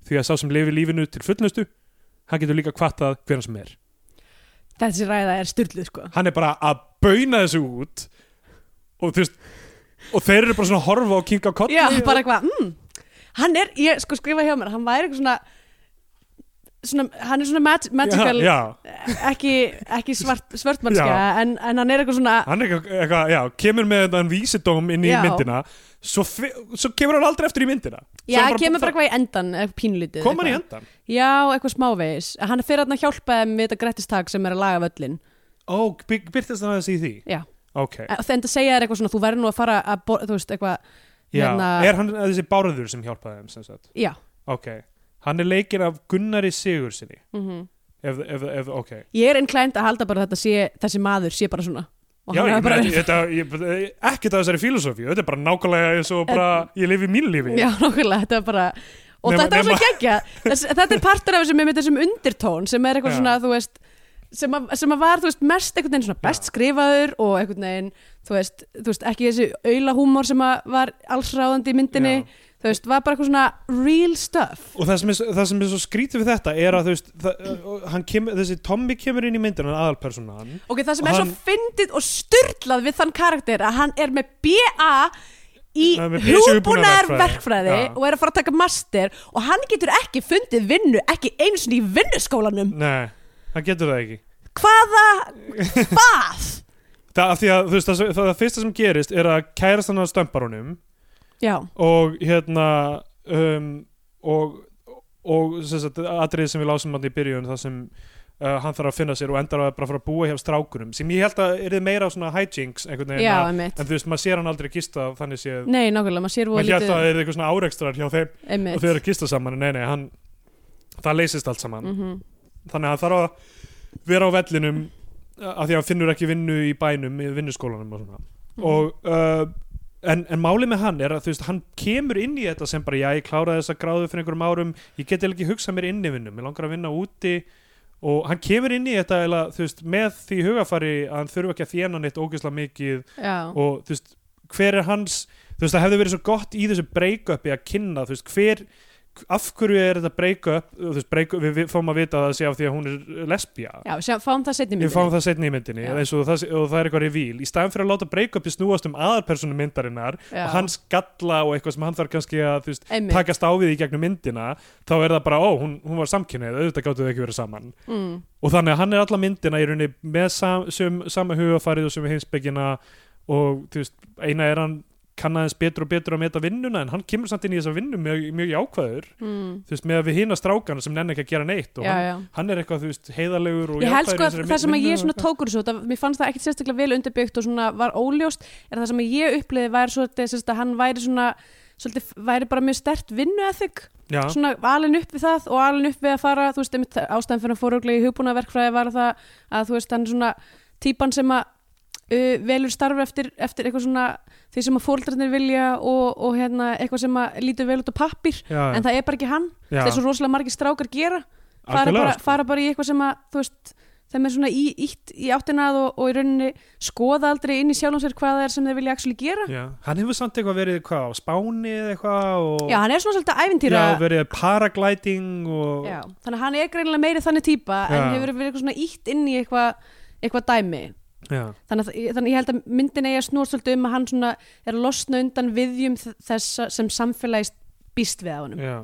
Speaker 3: því að sá sem lifi lífinu til fullnustu hann getur líka kvatt það hvena sem er
Speaker 2: Þessi ræða er styrluð sko
Speaker 3: hann er bara að bauna þessu út og þú veist og þeir eru bara svona að horfa og kinka koll
Speaker 2: Já, bara eitthvað, mm, hann er, ég sko skrifa hjá mér, hann væri eitthvað svona, svona hann er svona mag magical,
Speaker 3: já,
Speaker 2: ekki, ekki svart, svartmannskja, en, en hann er eitthvað svona,
Speaker 3: hann er eitthvað, eitthvað, já, kemur með þann vísidóm inn í
Speaker 2: Já.
Speaker 3: myndina svo, fi- svo kemur hann aldrei eftir í myndina
Speaker 2: já,
Speaker 3: Svo er
Speaker 2: kemur bara eitthvað í endan, eitthvað pínlítið.
Speaker 3: kom hann í
Speaker 2: eitthvað.
Speaker 3: endan
Speaker 2: Já, eitthvað smávegis. Hann fyrir þarna að hjálpa þeim við þetta grettistak sem er að laga völlin.
Speaker 3: ó, byr- byrtist það þessi í því
Speaker 2: Já,
Speaker 3: ok,
Speaker 2: En- og þetta segja þér eitthvað svona, þú verður nú að fara að, bor- þú veist, eitthvað,
Speaker 3: já,
Speaker 2: hérna-
Speaker 3: er hann þessi bárður sem hjálpaði þeim sem sagt,
Speaker 2: já,
Speaker 3: ok hann er leikinn af Gunnari Sigursinni
Speaker 2: mhm.
Speaker 3: ef, ef, ef, ok
Speaker 2: Ég er inklæmt að halda bara að þetta sé, þessi maður sé bara svona. Og
Speaker 3: já,
Speaker 2: hann
Speaker 3: ég,
Speaker 2: hafi bara
Speaker 3: bara...
Speaker 2: verið-
Speaker 3: þetta, ég, ekki það þessari filosófíu þetta er bara nákvæmlega eins og bara ég lifi mínu lífi
Speaker 2: Já, nákvæmlega, þetta er bara og
Speaker 3: Nema-
Speaker 2: þetta er
Speaker 3: nema-
Speaker 2: alltaf geggja Þess, þetta er partur af þessum, einmitt þessum undirtón sem er eitthvað
Speaker 3: Já.
Speaker 2: svona, þú veist sem að, sem að var, þú veist, mest einhvern veginn svona best
Speaker 3: Já.
Speaker 2: skrifaður og einhvern veginn þú veist, þú veist ekki þessi aulahúmor sem að var allsráðandi í myndinni
Speaker 3: Já.
Speaker 2: þú veist, var bara eitthvað svona real stuff
Speaker 3: og það sem, er, það sem er svo skrítið við þetta er að þú veist, það, eh, hann kemur, þessi Tommy kemur inn í myndina, aðalpersonan
Speaker 2: ok, það sem
Speaker 3: Og
Speaker 2: er
Speaker 3: hann-
Speaker 2: svo fyndið og styrlað við þann karakter að hann er með BA í
Speaker 3: Hann er með BSc í
Speaker 2: hugbúnaðar
Speaker 3: hugbúnaðarverkfræði.
Speaker 2: verkfræði
Speaker 3: Já.
Speaker 2: og er að fara að taka master og hann getur ekki fundið vinnu, ekki einu sinni í vinnuskólanum
Speaker 3: nei, hann getur það ekki
Speaker 2: hvaða hvað
Speaker 3: það, af því að, þú veist, það, það, það fyrsta sem gerist er að kærast hann að stömpar honum
Speaker 2: (laughs) já,
Speaker 3: og hérna um, og, og sem sagt, atrið sem við lásum hann í byrjun það sem uh, hann þarf að finna sér og endar að bara fara að búa hjá strákunum sem ég held að er meira svona hijinks einhvern veginn
Speaker 2: já,
Speaker 3: að-
Speaker 2: einmitt
Speaker 3: en þú veist, maður sér hann aldrei gista þannig séð,
Speaker 2: nei, nákvæmlega, maður sér
Speaker 3: maður
Speaker 2: voða
Speaker 3: held að
Speaker 2: lítið
Speaker 3: það er eitthvað svona árekstrar hjá þeim og
Speaker 2: einmitt
Speaker 3: þau eru að gista saman, en nei, nei, hann það leysist allt saman,
Speaker 2: Mhm.
Speaker 3: þannig að hann þarf að vera á vellinum af því að hann finnur ekki vinnu í bænum í vinnuskólanum og svona og, uh, en, en málið með hann er að þú veist, hann kemur inn í þetta sem bara, já, ég kláraði þessa gráðu fyrir einhverjum árum, ég get eiginlega ekki hugsað mér inn í vinnu, mér langar að vinna úti og hann kemur inn í þetta eiginlega, þú veist, með því hugafari að hann þurfa ekki að þjena neitt ógeðslega mikið
Speaker 2: já,
Speaker 3: og þú veist, hver er hans þú veist, það hefði verið svo gott í þessu break-upi að kynna, þú veist, hver af hverju er þetta break-up þú veist, break við, við fáum að vita að það sé af því að hún er lesbía,
Speaker 2: já, sjá, fáum það setni
Speaker 3: við fáum það setni í myndinni
Speaker 2: Já.
Speaker 3: eins og það, sé- og það er eitthvað revíl, í staðan fyrir að láta break-upi snúast um aðarpersonu myndarinnar
Speaker 2: já,
Speaker 3: og hans galla og eitthvað sem hann þarf kannski að þú veist,
Speaker 2: einmitt
Speaker 3: takast á við í gegnum myndina þá er það bara, ó, hún, hún var samkynneið auðvitað gáttu þau ekki verið saman
Speaker 2: mm.
Speaker 3: og þannig að hann er alla myndina í rauninni með sam, sem, sama hugafarið og sem heimsbyggina og þú veist, eina er hann kann aðeins betur og betur að meta vinnuna en hann kemur samt inn í þessa vinnu mjög, mjög jákvæður
Speaker 2: Mm.
Speaker 3: þú veist, með að við hina strákana sem nenni ekki að gera neitt og
Speaker 2: já,
Speaker 3: hann,
Speaker 2: já
Speaker 3: hann er eitthvað, þú veist, heiðarlegur og
Speaker 2: Ég held
Speaker 3: jákvæður
Speaker 2: sko
Speaker 3: í
Speaker 2: að
Speaker 3: þessari
Speaker 2: það sem að
Speaker 3: vinnu
Speaker 2: ég
Speaker 3: og
Speaker 2: svona
Speaker 3: eitthvað.
Speaker 2: tókur svo, það, mér fannst það ekkit sérstaklega vel undirbyggt og svona var óljóst er það sem að ég uppliði væri svo að hann væri svona, svolítið, væri bara mjög stert vinnu
Speaker 3: Já,
Speaker 2: svona alin upp við það og alin upp við að fara þú veist, einmitt það- ástæðan fyrir að fóruglega í hugbúnaverkfræði var það að þú veist, hann er svona típan sem að uh, velur starf eftir, eftir eitthvað svona því sem að fóreldrarnir vilja og, og hérna, eitthvað sem að lítur vel út á pappir
Speaker 3: já,
Speaker 2: en það er bara ekki hann,
Speaker 3: já,
Speaker 2: það er svo rosalega margir strákar gera fara
Speaker 3: algjörlega,
Speaker 2: bara,
Speaker 3: sko.
Speaker 2: fara bara í eitthvað sem að þú veist, þeim er svona í, ítt í áttinað og, og í rauninni skoða aldrei inn í sjálfum sér hvað það er sem þeir vilja actually gera
Speaker 3: Já, hann hefur samt eitthvað verið hvað, á Spáni eða eitthvað og
Speaker 2: Já, hann er svona svolítið ævintýra
Speaker 3: Já, verið paragliding og
Speaker 2: Já, þannig að hann er greinilega meiri þannig típa en
Speaker 3: Já.
Speaker 2: hefur verið eitthvað svona ítt inn í eitthvað eitthvað dæmi.
Speaker 3: Já.
Speaker 2: Þannig að, þannig að ég held að myndin eigi að snúa svolítið um að hann svona er að losna undan viðjum þ- þess sem samfélagist býst við á honum.
Speaker 3: Já.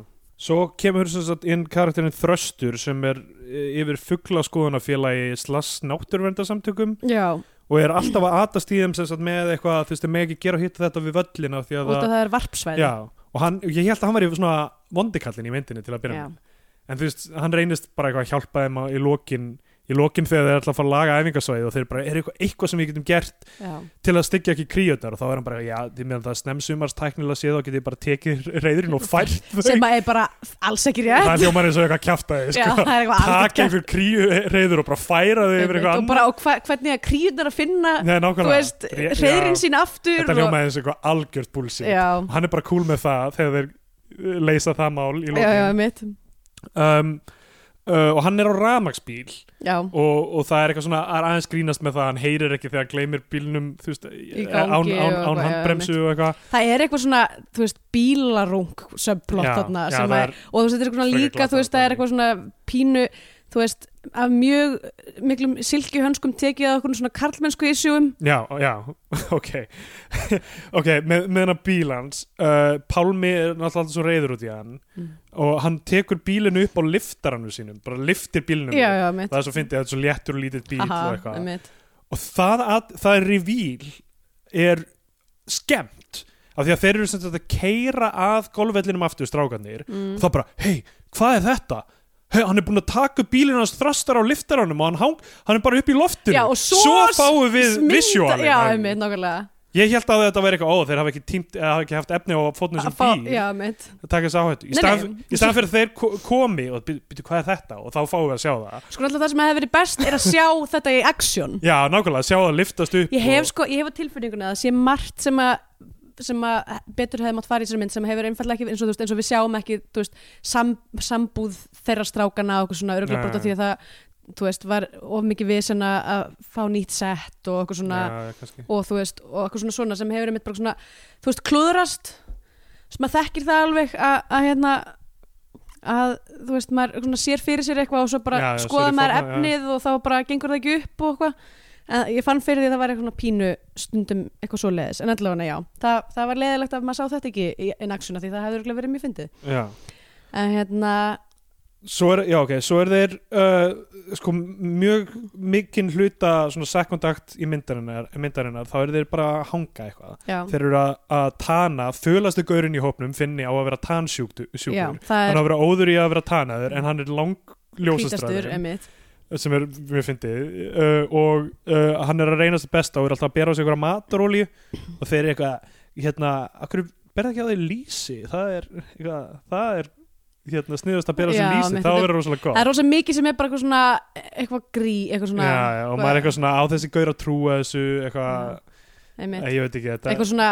Speaker 3: Svo kemur sem sagt inn karakterinn Þröstur sem er eh, yfir fugglaskoðunafélagi slass náttúrverndarsamtökum
Speaker 2: Já,
Speaker 3: og er alltaf að atast í þeim sem sagt með eitthvað þú veist, þeir megi ekki gera hitt þetta við völlina því
Speaker 2: út
Speaker 3: að
Speaker 2: af
Speaker 3: það,
Speaker 2: það er varpsvæði.
Speaker 3: já, og hann, ég held að hann var yfir svona vondikallin í myndinni til að byrja
Speaker 2: Já.
Speaker 3: með, en þú veist, hann reynist bara eitthvað að hjálpa þeim á, í lokin í lokin þegar þeir ætla að fara að laga æfingasvæði og þeir bara, er eitthvað, eitthvað sem við getum gert
Speaker 2: Já.
Speaker 3: til að styggja ekki kríutnar og þá er hann bara, já, því meðan það er snemsumars tæknilega séð og getið bara tekið (laughs) reyðurinn og fært þau
Speaker 2: Sem að er bara alls ekki rétt.
Speaker 3: það hljómar eins og eitthvað
Speaker 2: (laughs)
Speaker 3: kjaftaði
Speaker 2: Já,
Speaker 3: sko.
Speaker 2: það er eitthvað alveg
Speaker 3: taka einhver kríu reyður og bara færa þau yfir eitthvað
Speaker 2: Og bara og hva, hvernig að kríunar að finna,
Speaker 3: Nei, nákvæmlega.
Speaker 2: þú veist,
Speaker 3: Ré- já,
Speaker 2: reyðrin sín aftur.
Speaker 3: þetta hljómar eins og eitthvað algjört búlsi
Speaker 2: Já,
Speaker 3: hann er bara cool með eh, það þegar þeir leysa það mál í
Speaker 2: já, já,
Speaker 3: lókin
Speaker 2: mitt.
Speaker 3: um, uh, og hann er á ramagsbíl
Speaker 2: já,
Speaker 3: og, og það er eitthvað svona að aðeins grínast með það að hann heyrir ekki þegar hann gleymir bílnum þú veist, án,
Speaker 2: gangi
Speaker 3: án,
Speaker 2: og
Speaker 3: án, án
Speaker 2: eitthvað, já,
Speaker 3: handbremsu og eitthvað
Speaker 2: það er eitthvað svona, þú veist, bílarung subplot
Speaker 3: Já,
Speaker 2: þarna
Speaker 3: já,
Speaker 2: sem
Speaker 3: það
Speaker 2: er,
Speaker 3: er
Speaker 2: og þú veist, þetta er eitthvað svona
Speaker 3: frekar
Speaker 2: líka, þú veist,
Speaker 3: glatað
Speaker 2: það er eitthvað svona pínu, þú veist, af mjög miklum silkihönskum tekið að okkur svona karlmennsku issueum
Speaker 3: já, já, (laughs) ok ok, með, með hann bílans uh, Pálmi er náttúrulega alltaf svo reyður út í hann
Speaker 2: Mm.
Speaker 3: og hann tekur bílinu upp á liftarannu sínum, bara liftir bílinu
Speaker 2: já, já, mitt
Speaker 3: það er svo fyndið, þetta er svo léttur og lítill bíl og eitthvað
Speaker 2: mitt
Speaker 3: og það, að, það er revíl er skemmt af því að þeir eru sem þetta að keira að golfvellinum aftur strákanir
Speaker 2: Mm.
Speaker 3: og það bara, hei, hvað er þetta? Hey, hann er búin að taka upp bílinn hans þrastar á liftaranum og hann, hang, hann er bara upp í loftinu
Speaker 2: Já, og svo
Speaker 3: fáum við
Speaker 2: Smynda-
Speaker 3: visualin
Speaker 2: já,
Speaker 3: Hann-
Speaker 2: mitt, nákvæmlega
Speaker 3: ég held að þetta væri eitthvað, ó, þeir hafa ekki, tímt, eða hafa ekki haft efni á að fótna
Speaker 2: Að
Speaker 3: sem
Speaker 2: fá-
Speaker 3: bíl
Speaker 2: já, mitt
Speaker 3: að taka þessu áhættu í
Speaker 2: Nei,
Speaker 3: stað
Speaker 2: nei.
Speaker 3: í stað fyrir að þeir ko- komi og byrju hvað er þetta og þá fáum við að sjá það
Speaker 2: sko alltaf það sem hefði verið best er að sjá þetta í action
Speaker 3: já, nákvæmlega, sjá það liftast upp
Speaker 2: ég hef
Speaker 3: og,
Speaker 2: sko, ég hef á tilfinninguna að það sé margt sem að sem að betur hefði mátt fara í sér mynd sem hefur einfallega ekki, eins og, þú veist, eins og við sjáum ekki þú veist, sam, sambúð þeirra strákana og okkur svona öruglega
Speaker 3: Nei.
Speaker 2: brota því að það þú veist, var of mikið við sem að að fá nýtt sett og okkur svona
Speaker 3: já, kannski.
Speaker 2: og þú veist, og okkur svona svona sem hefur einmitt bara svona, þú veist, klúðrast sem að þekkir það alveg að, að hérna að þú veist, maður svona sér fyrir sér eitthvað og svo bara
Speaker 3: Já, já,
Speaker 2: skoða
Speaker 3: sorry,
Speaker 2: maður
Speaker 3: fórna- já.
Speaker 2: efnið og þá bara gengur það ekki upp og eitthvað en ég fann fyrir því að það var eitthvað svona pínu stundum eitthvað svo leiðis, en allavega já það, það var leiðilegt að maður sá þetta ekki í- in action af því það hefði örugglega verið mjög fyndið
Speaker 3: já
Speaker 2: en hérna,
Speaker 3: Svo er, já, ok, svo er þeir uh, sko mjög mikinn hluta svona sekundakt í myndarinnar, myndarinnar þá eru þeir bara að hanga eitthvað
Speaker 2: já,
Speaker 3: þeir eru að, að tana, fölastu gaurinn í hópnum finni á að vera tansjúkur
Speaker 2: já
Speaker 3: hann
Speaker 2: það
Speaker 3: á
Speaker 2: er
Speaker 3: að vera óður í að vera tanaður en hann er lang
Speaker 2: hvítastur,
Speaker 3: ljósastræður
Speaker 2: emitt
Speaker 3: sem er mjög fyndið uh, og uh, hann er að reynast það besta og er alltaf að bera á sig einhverja matarolíu og þeir eru eitthvað, hérna, akkur berða ekki á þeir lýsi, það er eitthvað, það er hérna sniðast að bera á sig
Speaker 2: Já,
Speaker 3: lýsi,
Speaker 2: mitt,
Speaker 3: þá
Speaker 2: þetta er-
Speaker 3: verður rosalega gott
Speaker 2: það er rosa mikið sem er bara eitthvað svona eitthvað grí, eitthvað svona
Speaker 3: já, já, og maður er eitthvað svona á þessi gaur að trúa þessu eitthvað,
Speaker 2: einmitt.
Speaker 3: eh, ég veit ekki þetta
Speaker 2: eitthvað svona,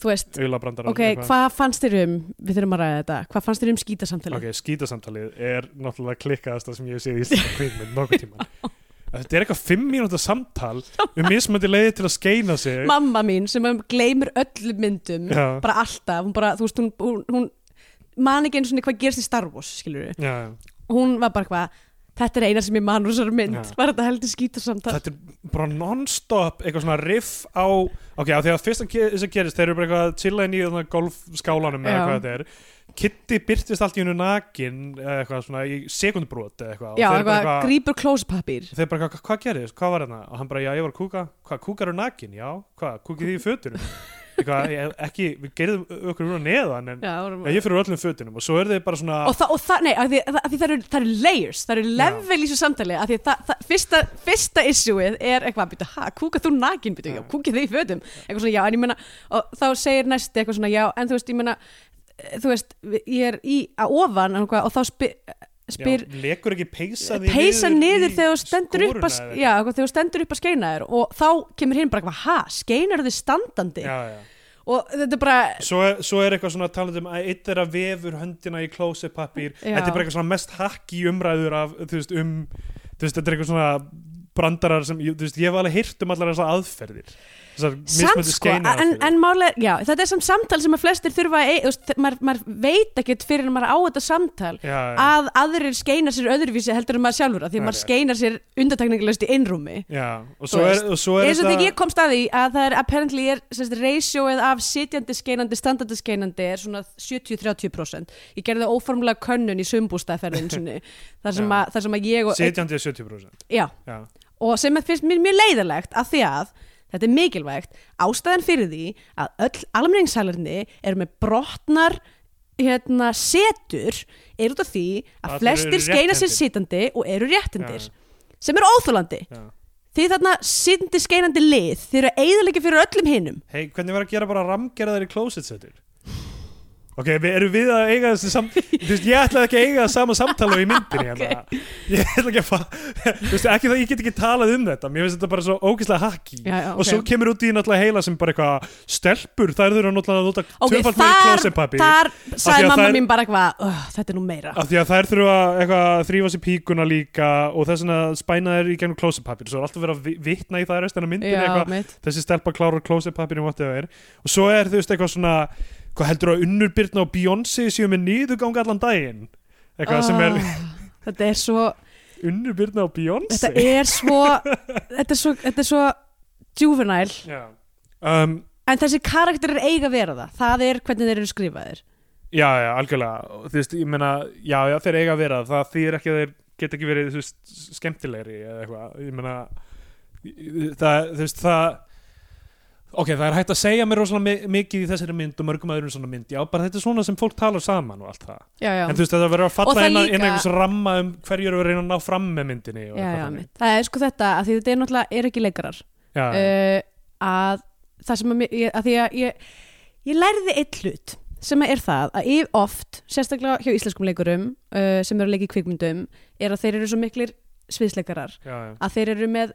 Speaker 2: þú veist
Speaker 3: auðlabrandar
Speaker 2: ok, hvað fannst þér um við þurfum að ræða þetta, hvað fannst þér um skítasamtali
Speaker 3: ok, skítasamtalið er náttúrulega klikkaðasta sem ég hef séð í Íslanda kvíðmynd
Speaker 2: (laughs)
Speaker 3: nokkuð tíma þetta er eitthvað fimm mínúta samtal um mismöndi leiði til að skeina sig
Speaker 2: mamma mín sem gleymir öllum myndum
Speaker 3: já,
Speaker 2: bara alltaf, hún bara, þú veist hún, hún, hún man ekki einu svona hvað gerst í Star Wars skilur
Speaker 3: já,
Speaker 2: hún var bara hvað þetta er eina sem ég man úr þessari mynd
Speaker 3: Já.
Speaker 2: var þetta heldur skítasamtal
Speaker 3: þetta er bara non-stop eitthvað svona riff á ok, af því að fyrst þess að gerist, þeir eru bara eitthvað að chilla inn í þarna golfskálanum eða
Speaker 2: Já.
Speaker 3: hvað þetta er Kitty byrtist allt í hennu nakin eitthvað svona í sekundbrot eitthvað, og
Speaker 2: já,
Speaker 3: þeir eru bara
Speaker 2: eitthvað, grípur klóspapír
Speaker 3: Og þeir bara, hvað hva gerðist, hvað var þetta? Og hann bara, já, ég var að kúka, hvað, kúkar eru nakin, já, hvað, kúkið þið í
Speaker 2: (laughs)
Speaker 3: fötunum? Eitthvað, ég- ekki, við gerðum okkur úr að neðan, en
Speaker 2: já,
Speaker 3: já, ég fyrir öllum fötunum og svo eru þeir bara svona,
Speaker 2: og það, og það, nei, af því, af því það, eru, það eru layers það eru level í þessu samtali af því það, það, fyrsta, fyrsta issueið er eitthvað býtu, ha, kúka þú nakin býtu, já,
Speaker 3: Já.
Speaker 2: kúka þig í fötum eitthvað svona, já, en ég meina, og þá segir næsti eitthvað svona, já, en þú veist, ég meina eh, þú veist, við- ég er í að ofan og, hvað, og þá spyr, spyr
Speaker 3: já, lekur ekki peysa því
Speaker 2: peysa niður
Speaker 3: í
Speaker 2: þegar þú stendur upp að,
Speaker 3: skúruna eða
Speaker 2: já, eitthvað, þegar þú stendur upp að skeina þér og þá kemur hinn bara, eitthvað, ha, skeinar þið standandi
Speaker 3: eitthvað. já, já.
Speaker 2: og þetta er bara
Speaker 3: Svo er, svo er eitthvað svona talandi um að eitt er að vefur höndina í klósepapír
Speaker 2: Já.
Speaker 3: þetta er bara eitthvað svona mest hakk í umræður af, þú veist, um þú veist, þetta er eitthvað svona brandarar sem, ég- þú veist, ég hef alveg heyrt um allar þessar aðferðir þessar
Speaker 2: Samt
Speaker 3: mismöndu
Speaker 2: sko, en, en málega, já, þetta er samt samtal sem að flestir þurfa að, ei- þú veist, þe- maður, maður veit ekkert fyrir en maður á þetta samtal
Speaker 3: já,
Speaker 2: að aðrir skeinar sér öðruvísi heldur en maður sjálfur að því að
Speaker 3: Nei,
Speaker 2: maður
Speaker 3: nei.
Speaker 2: skeinar sér undartekningilegst í innrúmi.
Speaker 3: já, og
Speaker 2: þú
Speaker 3: svo er,
Speaker 2: veist,
Speaker 3: og svo er
Speaker 2: Eins og þegar ég komst að því að það er apparently er sérst, ratioið af sitjandi skeinandi, standandi skeinandi er svona 70-30%. Ég gerði óformlega könnun í sumbústaðferðin sinni, þar sem,
Speaker 3: Já.
Speaker 2: að, þar sem að ég og...
Speaker 3: sitjandi er 70%
Speaker 2: já,
Speaker 3: já,
Speaker 2: og sem að finnst mér mjög leiðilegt af því að þetta er mikilvægt ástæðan fyrir því að öll almenningssalerni eru með brotnar hérna, setur er út af því að,
Speaker 3: Að þeir
Speaker 2: flestir
Speaker 3: eru
Speaker 2: skeina sér
Speaker 3: rétthendir.
Speaker 2: sitandi og eru réttindir
Speaker 3: Já.
Speaker 2: sem er óþólandi
Speaker 3: já.
Speaker 2: þið þarna sitandi skeinandi lið þið eru eiðalegi fyrir öllum hinnum
Speaker 3: hei, hvernig var að gera bara ramgerðar í klósetsetur ok, við erum við að eiga þessi
Speaker 2: (laughs)
Speaker 3: sam þú veist, ég ætlaði ekki að eiga það sama samtala og í myndinni hérna. ég ætla ekki að fa þú veist, ekki það, ég get ekki talað um þetta mér finnst þetta bara svo ógeðslega haki
Speaker 2: Já, já,
Speaker 3: og svo
Speaker 2: ok.
Speaker 3: kemur út í náttúrulega heila sem bara eitthvað stelpur, þær þurfa náttúrulega að nota
Speaker 2: Ok,
Speaker 3: tvöfalt meiri
Speaker 2: þar,
Speaker 3: klósettpappír.
Speaker 2: þar
Speaker 3: Af því
Speaker 2: sagði
Speaker 3: að
Speaker 2: mamma
Speaker 3: þær-
Speaker 2: mín bara eitthvað "Ugh, Þetta er nú meira
Speaker 3: af því að þær þurfa eitthvað að þrýfa sér píkuna líka og þess vegna spæna þær í gegnum klósepapir svo er alltaf verið að vi- vitna í það rest en að myndin
Speaker 2: Já,
Speaker 3: eitthvað
Speaker 2: mitt
Speaker 3: þessi stelpa klárar klósepapir og whatever og svo er þú veist eitthvað svona hvað heldur að unnurbyrna og Beyoncé séu með nýðugang allan daginn eitthvað sem er
Speaker 2: Ah.
Speaker 3: (laughs)
Speaker 2: Þetta er svo
Speaker 3: unnurbyrna og
Speaker 2: Þetta
Speaker 3: Beyoncé
Speaker 2: er svo Þetta er svo, þetta er svo juvenile
Speaker 3: já. Um,
Speaker 2: En þessi karakter er eiga að vera það Það er hvernig þeir eru skrifaðir
Speaker 3: já, já, algjörlega Og þú veist, ég meina, já, já, þeir eiga að vera það þýðir ekki að þeir geta ekki verið þú veist, skemmtilegri eða eitthvað ég meina, það, þú veist, það ok, það er hægt að segja mér rosalega mi- mikið í þessari mynd og mörgum öðrum svona mynd, já, bara þetta er svona sem fólk talar saman og allt það,
Speaker 2: Já, já,
Speaker 3: en þú veist, þetta verður að
Speaker 2: Og það
Speaker 3: falla inn,
Speaker 2: líka-
Speaker 3: líka... inn einhvers ramma um hverju eru að reyna að ná fram með myndinni
Speaker 2: já,
Speaker 3: og eitthvað
Speaker 2: já
Speaker 3: þannig.
Speaker 2: mitt Það er sko þetta, að því þetta er náttúrulega er ekki leikarar
Speaker 3: já,
Speaker 2: uh, að það sem að, mér- ég, að því að ég, ég lærði eitt hlut sem er það að yf oft, sérstaklega hjá íslenskum leikurum uh, sem eru að leika í kvikmyndum er að þeir eru svo miklir sviðsleikarar
Speaker 3: já, já,
Speaker 2: að þeir eru með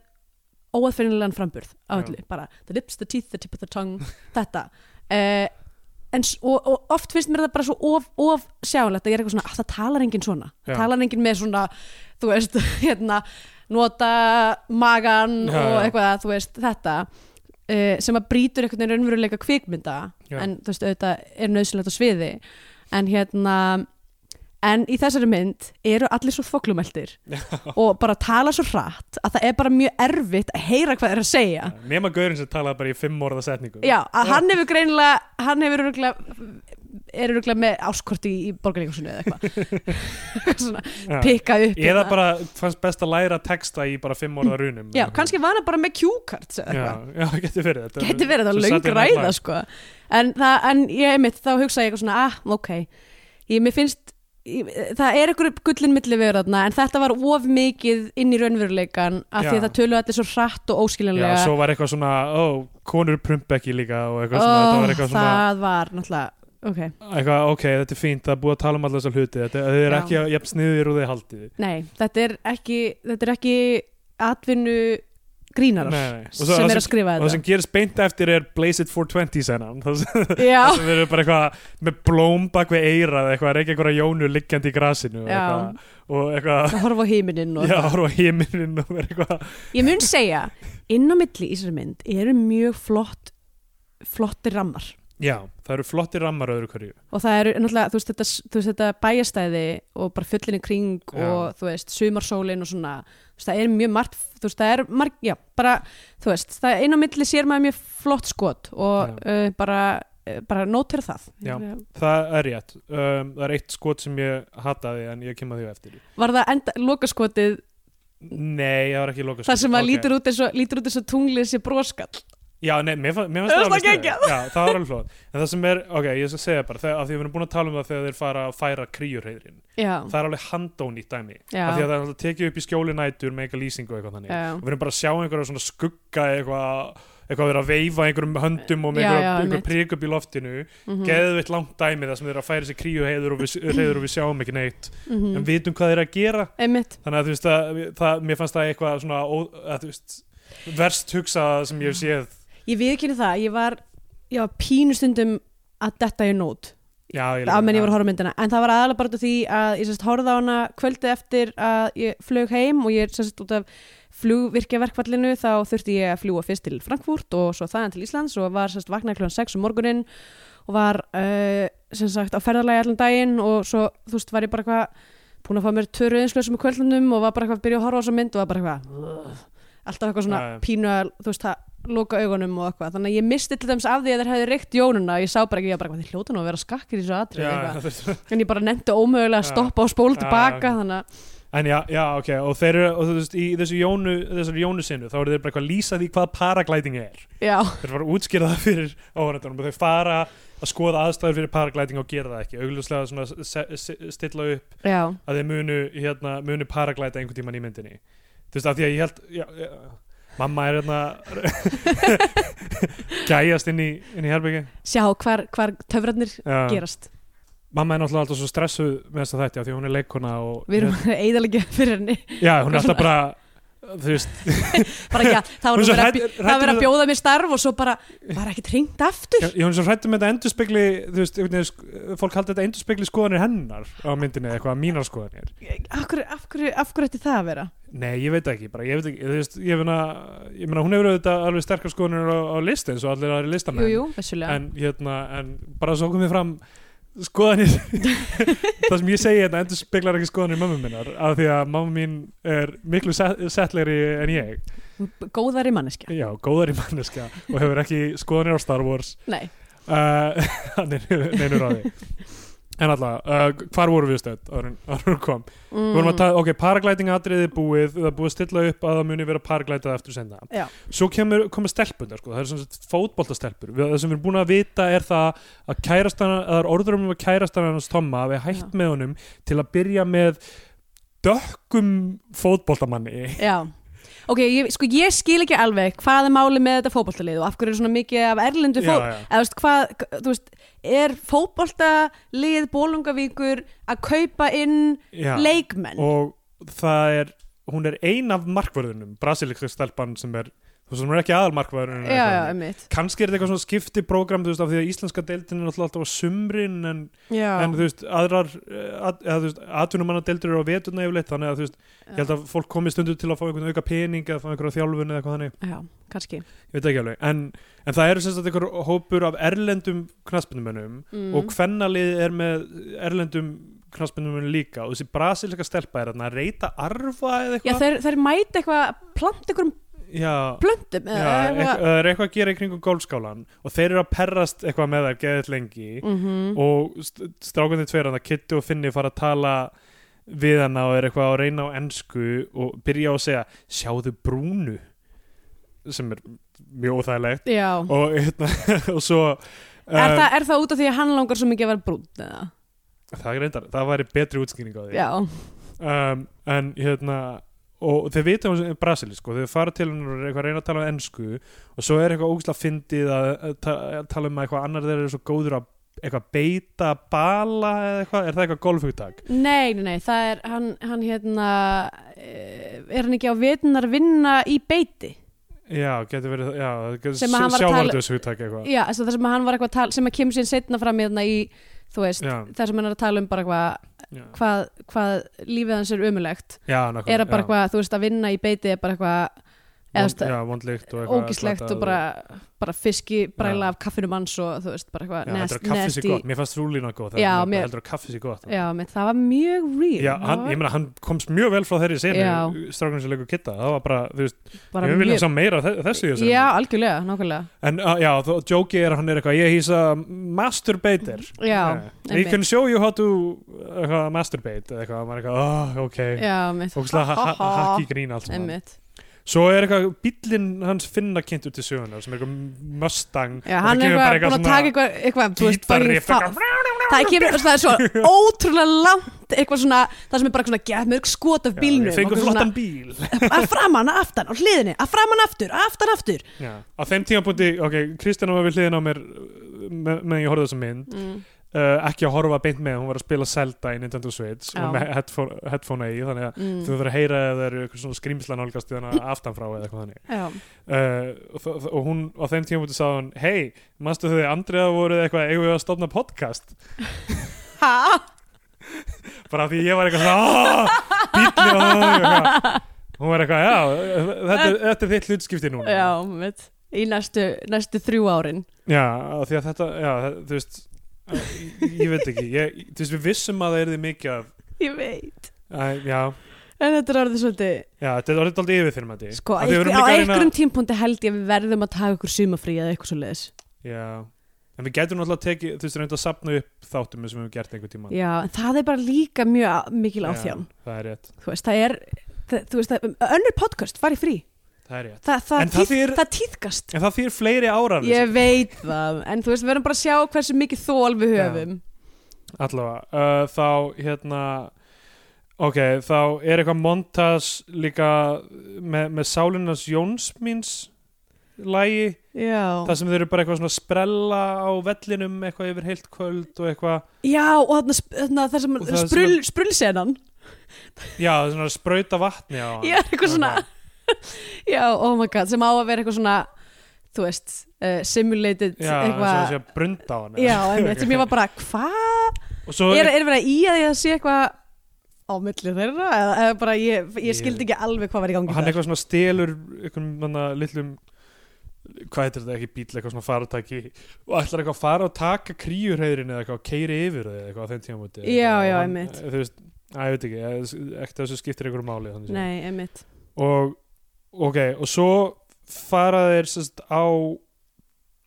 Speaker 2: óaðfinnilegan framburð á
Speaker 3: Já.
Speaker 2: öllu, bara the lips, the teeth, the tip of the tongue þetta uh, en, s- og, og oft finnst mér það bara svo of, of sjálegt að ég er eitthvað svona, að það talar enginn svona
Speaker 3: Já.
Speaker 2: það talar enginn með svona þú veist, (laughs) hérna, nota magan
Speaker 3: Já,
Speaker 2: og
Speaker 3: já.
Speaker 2: eitthvað, þú veist, þetta uh, sem að brýtur einhvern veginn raunveruleika kvikmynda
Speaker 3: Já.
Speaker 2: en þú veist, auðvitað er nöðsilegt á sviði en hérna en í þessari mynd eru allir svo
Speaker 3: (laughs)
Speaker 2: þoklumæltir og bara tala svo hratt að það er bara mjög erfitt að heyra hvað þeir eru að segja
Speaker 3: já. nema gaurinn sem talaði bara í fimm orða setningu
Speaker 2: Já, að hann hefur greinilega hann hefur öruglega er öruglega með áskorti í borgarleikursunni eða
Speaker 3: (laughs)
Speaker 2: eitthvað Eitthvað svona,
Speaker 3: Já.
Speaker 2: pikka upp
Speaker 3: eða
Speaker 2: hérna.
Speaker 3: bara fannst best að læra texta í bara fimm orða runum
Speaker 2: Já, kannski var hann bara með Q-cards eða eitthvað
Speaker 3: já, já, (laughs) getur verið þetta
Speaker 2: Geti verið það
Speaker 3: Svo
Speaker 2: löng
Speaker 3: Saturday Night
Speaker 2: ræða sko en, það, en ég mitt þá hugsa ég eitthvað svona ah, ok, ég mér finnst ég, það er einhver gullin milli við þarna en þetta var of mikið inn í raunveruleikan af því
Speaker 3: Já.
Speaker 2: að það tölu allir svo hratt og
Speaker 3: Já,
Speaker 2: óskiljanlega
Speaker 3: svo var eitthvað svona, ó, konur prumpekki líka og eitthvað svona, þetta
Speaker 2: Ó,
Speaker 3: var eitthvað svona
Speaker 2: það var náttúrulega ok,
Speaker 3: eitthvað, ok, þetta er fínt, það er búið að tala um alltaf þessar hluti, þetta þau eru
Speaker 2: Já.
Speaker 3: ekki jafn sniðir og þið haldið.
Speaker 2: nei, þetta er ekki þetta er ekki atvinnu grínarar
Speaker 3: Nei, nei. Og svo-
Speaker 2: sem
Speaker 3: það
Speaker 2: er að skrifa
Speaker 3: Og það
Speaker 2: þetta
Speaker 3: sem gerist beint eftir er Blaze it 420 senan, það sem
Speaker 2: (laughs) já,
Speaker 3: það sem eru bara eitthvað með blóm bak við eirað, eitthvað, reykja einhverja jónu liggjandi í grasinu og
Speaker 2: Já.
Speaker 3: eitthvað, og eitthvað,
Speaker 2: að horfa á heiminin og
Speaker 3: já, horfa á himinin og vera eitthvað,
Speaker 2: ég mun segja, inn á milli í þessari mynd eru mjög flott flottir rammar
Speaker 3: já, það eru flottir rammar öðru hverju.
Speaker 2: og það eru náttúrulega, þú veist, þetta, þú veist, þetta bæjastæði og bara fullinni kring
Speaker 3: Já.
Speaker 2: og þú veist, sumarsólin og svona þú veist, það er mjög margt, þú veist, það er margt, já, bara, þú veist, það er inn á milli sér maður mjög flott skot og uh, bara, uh, bara nótir það
Speaker 3: Já. Það er rétt, um, það er eitt skot sem ég hataði en ég kem að því á eftir.
Speaker 2: var það enda, lokaskotið
Speaker 3: Nei, það var ekki lokaskot.
Speaker 2: þar sem að
Speaker 3: Ok.
Speaker 2: lítur út eins og lítur út eins og tunglið sé broskall
Speaker 3: Já, nei, mér fa- mér
Speaker 2: Mér
Speaker 3: fannst
Speaker 2: fannst það
Speaker 3: sniðugt. Já, það var alveg flott En það sem er, ok, ég skal segja bara þegar, af því við erum búin að tala um það þegar þeir fara að færa kríurheyðrin
Speaker 2: já,
Speaker 3: Það er alveg handónýtt dæmi
Speaker 2: Já.
Speaker 3: Af því að það er alltaf tekið upp í skjóli nætur með eitthvað lýsingu og eitthvað þannig
Speaker 2: Já.
Speaker 3: Og við erum bara að sjá einhverja svona skugga eitthvað eitthvað að vera að veifa einhverjum höndum og með
Speaker 2: Já,
Speaker 3: einhverja,
Speaker 2: já,
Speaker 3: einhverja
Speaker 2: einmitt. Mhm.
Speaker 3: prik upp í loftinu geðveitt langt dæmi þar sem þeir eru að færa sér kríuheyður og, við- hreiður og við sjáum ekki neitt
Speaker 2: mm
Speaker 3: en vitum hvað þeir eru að gera
Speaker 2: einmitt
Speaker 3: þannig að þú veist að það, mér fannst það eitthvað svona ó, að, þú veist, verst hugsað sem ég hef séð
Speaker 2: ég viðkynni það, ég var, ég var pínustundum að detta í nót
Speaker 3: Já, ég
Speaker 2: af menn ég
Speaker 3: líka.
Speaker 2: var að horfa á myndina en það var aðalega bara út af því að ég sérst horfði á hana kvöldið eftir að ég flög heim og ég sérst út af flugvirkjaverkvallinu þá þurfti ég að fljúa fyrst til Frankfurt og svo þaðan til Íslands og var sérst vaknaði kljóðan 6 um morgunin og var uh, sem sagt á ferðalagi allan daginn og svo þú veist var ég bara eitthvað búin að fá mér töru einslösum í kvöldunum og var bara eitthvað að byrja að horfa á þessa mynd og var bara eitthvað "Ugh." alltaf eitthvað svona
Speaker 3: Já, já.
Speaker 2: pínu að þú veist að loka augunum og eitthvað þannig að ég misti til dæmis af því að þeir hefði reykt jónuna og ég sá bara ekki, ég var bara eitthvað, þeir hljóta nú að vera skakkir í þessu atrið
Speaker 3: Já,
Speaker 2: eitthvað
Speaker 3: þú veist.
Speaker 2: en ég bara nefndi ómögulega að
Speaker 3: Já.
Speaker 2: stoppa og spóla
Speaker 3: Já,
Speaker 2: tilbaka
Speaker 3: já,
Speaker 2: þannig að,
Speaker 3: en já, já, ok, og þeir eru og þú veist, í þessu jónu, þessari jónu sinu þá eru þeir bara eitthvað að lýsa því hvað paraglæting er
Speaker 2: já,
Speaker 3: þeir eru bara að útskýra það fyrir áhverjandunum og þeir fara að skoða aðstæður fyrir paraglæting og gera það ekki, augljóslega svona se- se- stilla upp
Speaker 2: já
Speaker 3: að þeir munu hérna, munu paraglæta einhvern tíman í myndinni þú veist, af því að ég held já, já, mamma er
Speaker 2: (laughs)
Speaker 3: hérna gæjast inn í, inn í herbyggi
Speaker 2: sjá hvar, hvar töfrarnir
Speaker 3: Já.
Speaker 2: gerast
Speaker 3: mamma er náttúrulega alltaf svo stressuð með þess að þetta því hún er leikona og
Speaker 2: Við erum (laughs) að eiðalega fyrir henni
Speaker 3: já, hún er alltaf bara þú veist,
Speaker 2: bara ekki að það
Speaker 3: Hún
Speaker 2: var
Speaker 3: er svo
Speaker 2: að vera,
Speaker 3: hrædd-
Speaker 2: hrætt,
Speaker 3: hrædd
Speaker 2: að vera
Speaker 3: um
Speaker 2: að
Speaker 3: það-
Speaker 2: bjóða mér starf og svo bara, bara ekki trengt aftur
Speaker 3: já, ég hún er svo hrættum með þetta endurspegli þú veist, einhvern veginn, sk- fólk haldi þetta endurspegli skoðanir hennar á myndinni eða eitthvað mínar skoðanir
Speaker 2: af hverju, af hverju, af hverju ætti það að vera
Speaker 3: nei, ég veit ekki, bara ég veit ekki þú veist, ég meina, ég meina hún hefur auðvitað alveg sterkar skoðanir á, á listi eins og allir aðri listamenn
Speaker 2: jú, jú, vissulega
Speaker 3: en hérna, en bara svo komið fram
Speaker 2: (laughs)
Speaker 3: skoðanir það sem ég segi hérna endur speglar ekki skoðanir mamma minnar af því að mamma mín er miklu set- settlegri en ég
Speaker 2: góðari manneskja
Speaker 3: já, góðari manneska og hefur ekki skoðanir á Star Wars
Speaker 2: nei,
Speaker 3: uh, (laughs) neinu ráði en alltaf, uh, hvar voru við stödd árun, árun kom
Speaker 2: mm,
Speaker 3: Við vorum að tala, ok, paraglæting atriði búið, það er búið að stilla upp að það muni vera paraglætað eftir senda.
Speaker 2: Já.
Speaker 3: Svo kemur, komur stelpunar, sko, það eru svona fótboltastelpur. Við- Það sem við erum búin að vita er það að kærastana, að það er orður um að kærastana hans Tomma hafi hætt með honum til að byrja með dökkum fótboltamanni.
Speaker 2: já ok, ég, sko ég skil ekki alveg hvað er máli með þetta fótboltalið og af hverju er svona mikið af erlendu
Speaker 3: Já,
Speaker 2: fótboltalið
Speaker 3: já.
Speaker 2: eða veist hvað, þú veist er fótboltalið Bólungavíkur að kaupa inn
Speaker 3: Já.
Speaker 2: leikmenn
Speaker 3: Og það er, hún er ein af markvörðunum, brasilíksu stelpan sem er, þú veist, hún er ekki aðal markvörðunum.
Speaker 2: já, já, einmitt
Speaker 3: Kanski er þetta eitthvað svona skiptiprógram, þú veist, af því að íslenska deildin er náttúrulega alltaf á sumrin en
Speaker 2: já,
Speaker 3: en þú veist, aðrar eh, at, eða, þú veist, atvinnumanna deildur eru á veturna yfirleitt þannig að þú veist, ég held að fólk komi stundu til að fá einhvern auka pening eða fá einhverja þjálfun eða eitthvað þannig,
Speaker 2: já, kannski
Speaker 3: ég veit ekki alveg en, en það eru sem sagt einhver hópur af erlendum knaspinumönnum
Speaker 2: mm.
Speaker 3: og hvennalið er með erlendum knaspinumönnum líka og þessi brasilika stelpa er þarna að reyta arfa eða
Speaker 2: já,
Speaker 3: eitthvað
Speaker 2: þeir, þeir mæta eitthvað plant einhverjum
Speaker 3: já,
Speaker 2: plöntum
Speaker 3: já, eitthvað- það er eitthvað að gera í kringum golfskálan og þeir eru að perrast eitthvað með þær geðið lengi
Speaker 2: mm -hmm.
Speaker 3: og st- strákarnir tveir hann að Kitty og Finni fara að tala við hana og er eitthvað að reyna á ennsku og byrja á að segja sjáðu brúnu sem er mjög óþægilegt
Speaker 2: já.
Speaker 3: og, hérna, (laughs) og svo
Speaker 2: Mhm. er,
Speaker 3: um,
Speaker 2: það, er það út af því að hann langar svo mikið að vera brúnn eða?
Speaker 3: það, er reyndar, það væri betri útskýring á því
Speaker 2: Já,
Speaker 3: um, en hérna og þeir vita hún er brasilis sko, þeir fara til hún og eru eitthvað að reyna að tala um ennsku og svo er eitthvað ógæslega fyndið að, að, ta- að tala um að eitthvað annar þeir eru svo góður að eitthvað beita bala eða eitthvað, er það eitthvað golfhugtak?
Speaker 2: nei, nei, nei, það er hann, hann hérna eh, er hann ekki á vetunar vinna í beiti
Speaker 3: Já, getur verið, já, það
Speaker 2: Sem að hann var
Speaker 3: getur
Speaker 2: að tala-
Speaker 3: sjávarðus hugtæk eitthvað.
Speaker 2: Já, þess að það sem hann var eitthvað að tala sem að kemur síðan setna fram hérna í þú veist,
Speaker 3: Já.
Speaker 2: þar sem hann er að tala um bara eitthvað
Speaker 3: Já,
Speaker 2: hvað, hvað lífið hans er umulegt
Speaker 3: já nákvæmlega.
Speaker 2: er að bara eitthvað, þú veist, að vinna í beiti er bara eitthvað eða þú veist,
Speaker 3: Vond, já, vondlíkt og eitthvað.
Speaker 2: ógíslegt
Speaker 3: slatað
Speaker 2: og bara, bara fiski bræla
Speaker 3: Já.
Speaker 2: af kaffinu manns og þú veist, bara
Speaker 3: Já,
Speaker 2: eitthvað
Speaker 3: heldur að kaffi sér
Speaker 2: nasty-
Speaker 3: gott, mér fannst rúlína góð,
Speaker 2: Já,
Speaker 3: það
Speaker 2: mér-
Speaker 3: heldur að kaffi sér gott.
Speaker 2: Já, menn það var mjög real
Speaker 3: Já, hann, ég meina, hann komst mjög vel frá þeirri senu,
Speaker 2: Já.
Speaker 3: strákunum sem leikur kitta, það var bara, þú veist,
Speaker 2: Bara
Speaker 3: ég vil
Speaker 2: mjög-
Speaker 3: vilja sá meira af þe- þessu í þessu.
Speaker 2: Já, algjörlega, nákvæmlega
Speaker 3: En uh, já, þó, jóki er að hann er eitthvað, ég hýsa masturbator.
Speaker 2: Já,
Speaker 3: Nei, Ég
Speaker 2: einmitt.
Speaker 3: can show you how to uh, masturbate, eða eitthvað, maður er eitthvað, oh, ok,
Speaker 2: Já, mitt
Speaker 3: ógíslega ha ha hakki grín allt saman.
Speaker 2: Einmitt.
Speaker 3: Svo er eitthvað bíllinn hans finna kynntur til sögunar sem er eitthvað Mustang
Speaker 2: Já,
Speaker 3: Og
Speaker 2: hann er
Speaker 3: það
Speaker 2: eitthvað
Speaker 3: kemur bara
Speaker 2: búin að taka eitthvað, eitthvað þú veist, fucking
Speaker 3: gítarriff,
Speaker 2: fa- Það kemur, það er
Speaker 3: (laughs)
Speaker 2: svo ótrúlega langt eitthvað svona, það sem er bara svona gett mörg skot af bílnum
Speaker 3: Við fengum
Speaker 2: og svona,
Speaker 3: flottan bíl
Speaker 2: Að framan, að aftan, á hliðinni, að framan aftur, að aftan aftur
Speaker 3: já. Á þeim tímapunkti, ok, Kristján var við hliðin á mér uh, me- meðan ég horfði á þessa mynd
Speaker 2: mm.
Speaker 3: uh, ekki að horfa beint með, hún var að spila Zelda í Nintendo Switch
Speaker 2: Já.
Speaker 3: og með headphone, headphone í þannig að
Speaker 2: Mm.
Speaker 3: þú verður að heyra eða það eru eitthvað svona skrýmsla nálgast
Speaker 2: (laughs)
Speaker 3: í þannig aftanfrá eða eitthvað þannig
Speaker 2: Já,
Speaker 3: uh, og, þ- þ- og hún á þeim tímapunkti sagði hann hei, manstu þau Andriða voruð eitthvað eigum við að stofna podcast
Speaker 2: ha?
Speaker 3: (laughs) bara af því ég var eitthvað bílni og það hún var eitthvað, já, þetta, er- þetta er þitt hlutskipti núna
Speaker 2: Já, mitt Í næstu, næstu þrjú árin
Speaker 3: já af því að þetta, já, það- þú veist ég, ég veit ekki, ég, þú veist við vissum að það er því mikið af,
Speaker 2: Ég veit
Speaker 3: að, já,
Speaker 2: En þetta er orðið svolítið
Speaker 3: já, þetta er orðið aldrei yfir fyrir maður
Speaker 2: Sko, einhver, á einhverjum tímpúndi held ég að við verðum að taka ykkur sumafrí eða eitthvað svo leiðis.
Speaker 3: já, en við getum náttúrulega tekið, þú veist, reynda að sapna upp þáttum sem við höfum gert einhver tíma
Speaker 2: Já, en það er bara líka mjög á- mikil áþján.
Speaker 3: það er rétt,
Speaker 2: Þú veist, það er, það, þú veist, það, önnur podcast fari frí.
Speaker 3: það er rétt
Speaker 2: Það, það,
Speaker 3: En það
Speaker 2: tíð, það,
Speaker 3: þýðir-
Speaker 2: tíðkast.
Speaker 3: en það fyrir fleiri árar
Speaker 2: Ég veit það, en þú veist, við verðum bara að sjá hversu mikið þól við höfum.
Speaker 3: allavega uh, þá hérna ok, þá er eitthvað montas líka með, með sálinas Jóns míns lægi
Speaker 2: já.
Speaker 3: það sem þeir eru bara eitthvað svona að sprella á vellinum eitthvað yfir heilt kvöld og eitthvað
Speaker 2: já, og þarna, sp- þarna það sem
Speaker 3: Og það sem
Speaker 2: sprull, sprullsenan
Speaker 3: já, svona að sprauta vatni á hann
Speaker 2: Já, eitthvað svona Já, oh my god, sem á að vera eitthvað svona þú veist, uh, simulated
Speaker 3: já, eitthvað svona
Speaker 2: eitthvað
Speaker 3: sé að brunda á hann
Speaker 2: Já, einmitt, sem ég var bara, hvað?
Speaker 3: og svo
Speaker 2: Er, er verið í að ég sé eitthvað á milli þeirra? Eða, eða bara, ég,
Speaker 3: Ég-
Speaker 2: ég skildi ekki alveg hvað var í
Speaker 3: og
Speaker 2: gangi
Speaker 3: hann
Speaker 2: þar.
Speaker 3: eitthvað svona stelur einhvern manna lillum hvað heitir þetta ekki bíl, eitthvað svona farutæki og ætlar eitthvað að fara og taka kríurheyðrin eða eitthvað og keiri yfir þau eitthvað á þeim tímamúti
Speaker 2: Já, já,
Speaker 3: hann,
Speaker 2: einmitt.
Speaker 3: þú veist, að ég veit ekki, eh, ekkert af þessu skiptir einhverju máli þannig séð.
Speaker 2: Nei, einmitt
Speaker 3: og ok, og svo fara þeir sérst á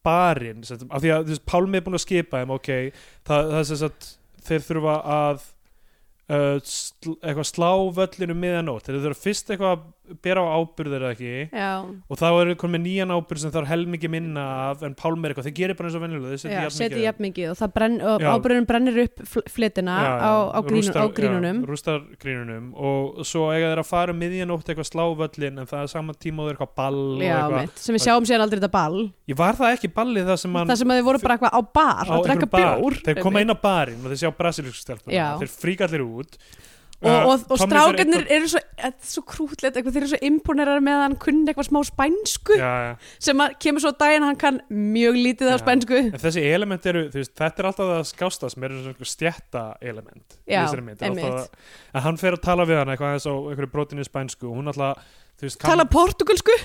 Speaker 3: barinn, sérst, af því að þú veist, Pálmi er búin að skipa þeim, ok það, það er sérst að þeir þurfa að uh, sl, eitthvað slá völlinu miðanótt, þeir þurfa fyrst eitthvað að bera á ábyrður eða ekki
Speaker 2: Já,
Speaker 3: og þá eru komin með nýjan ábyrð sem þarf helmingi minna af en Pálmi er eitthvað, þeir gerir bara eins og venjulega þeir setja
Speaker 2: já seti
Speaker 3: jafnmikið
Speaker 2: jafn mikið og, það brenn, og
Speaker 3: Já.
Speaker 2: ábyrðunum brennir upp fl- fletina
Speaker 3: Já,
Speaker 2: á, á, grínu,
Speaker 3: rústar-
Speaker 2: á grínunum
Speaker 3: já, rústar grínunum og svo eiga þeir að fara um miðjanótt eitthvað slá völlin en það er saman tíma og þeir eitthvað ball
Speaker 2: Já,
Speaker 3: og eitthvað
Speaker 2: einmitt, sem við sjáum síðan aldrei þetta ball
Speaker 3: Ég var það ekki ballið það sem hann
Speaker 2: Það sem að þið voru bara eitthvað á bar að drekka bjór
Speaker 3: Þeir koma inn á barinn og þeir sjá brasilísku stelpuna
Speaker 2: Já.
Speaker 3: Þeir fríka allir út
Speaker 2: og,
Speaker 3: Uh,
Speaker 2: og, og
Speaker 3: Tommy
Speaker 2: strákarnir
Speaker 3: fer
Speaker 2: eru svo, þetta er svo krútlegt eitthvað, þeir eru svo imponerar með að hann kunni eitthvað smá spænsku
Speaker 3: eitthvað- Já, já.
Speaker 2: sem að kemur svo á daginn að hann kann mjög lítið á
Speaker 3: Já.
Speaker 2: spænsku
Speaker 3: En þessi element eru, þú veist, þetta er alltaf það skásta sem eru svona stjætta element í
Speaker 2: Já,
Speaker 3: þessari mynd. Það er alltaf
Speaker 2: einmitt.
Speaker 3: að- En hann fer að tala við hann eitthvað eins á einhverju brotinu spænsku og hún alltaf, þú veist,
Speaker 2: tala portugalsku,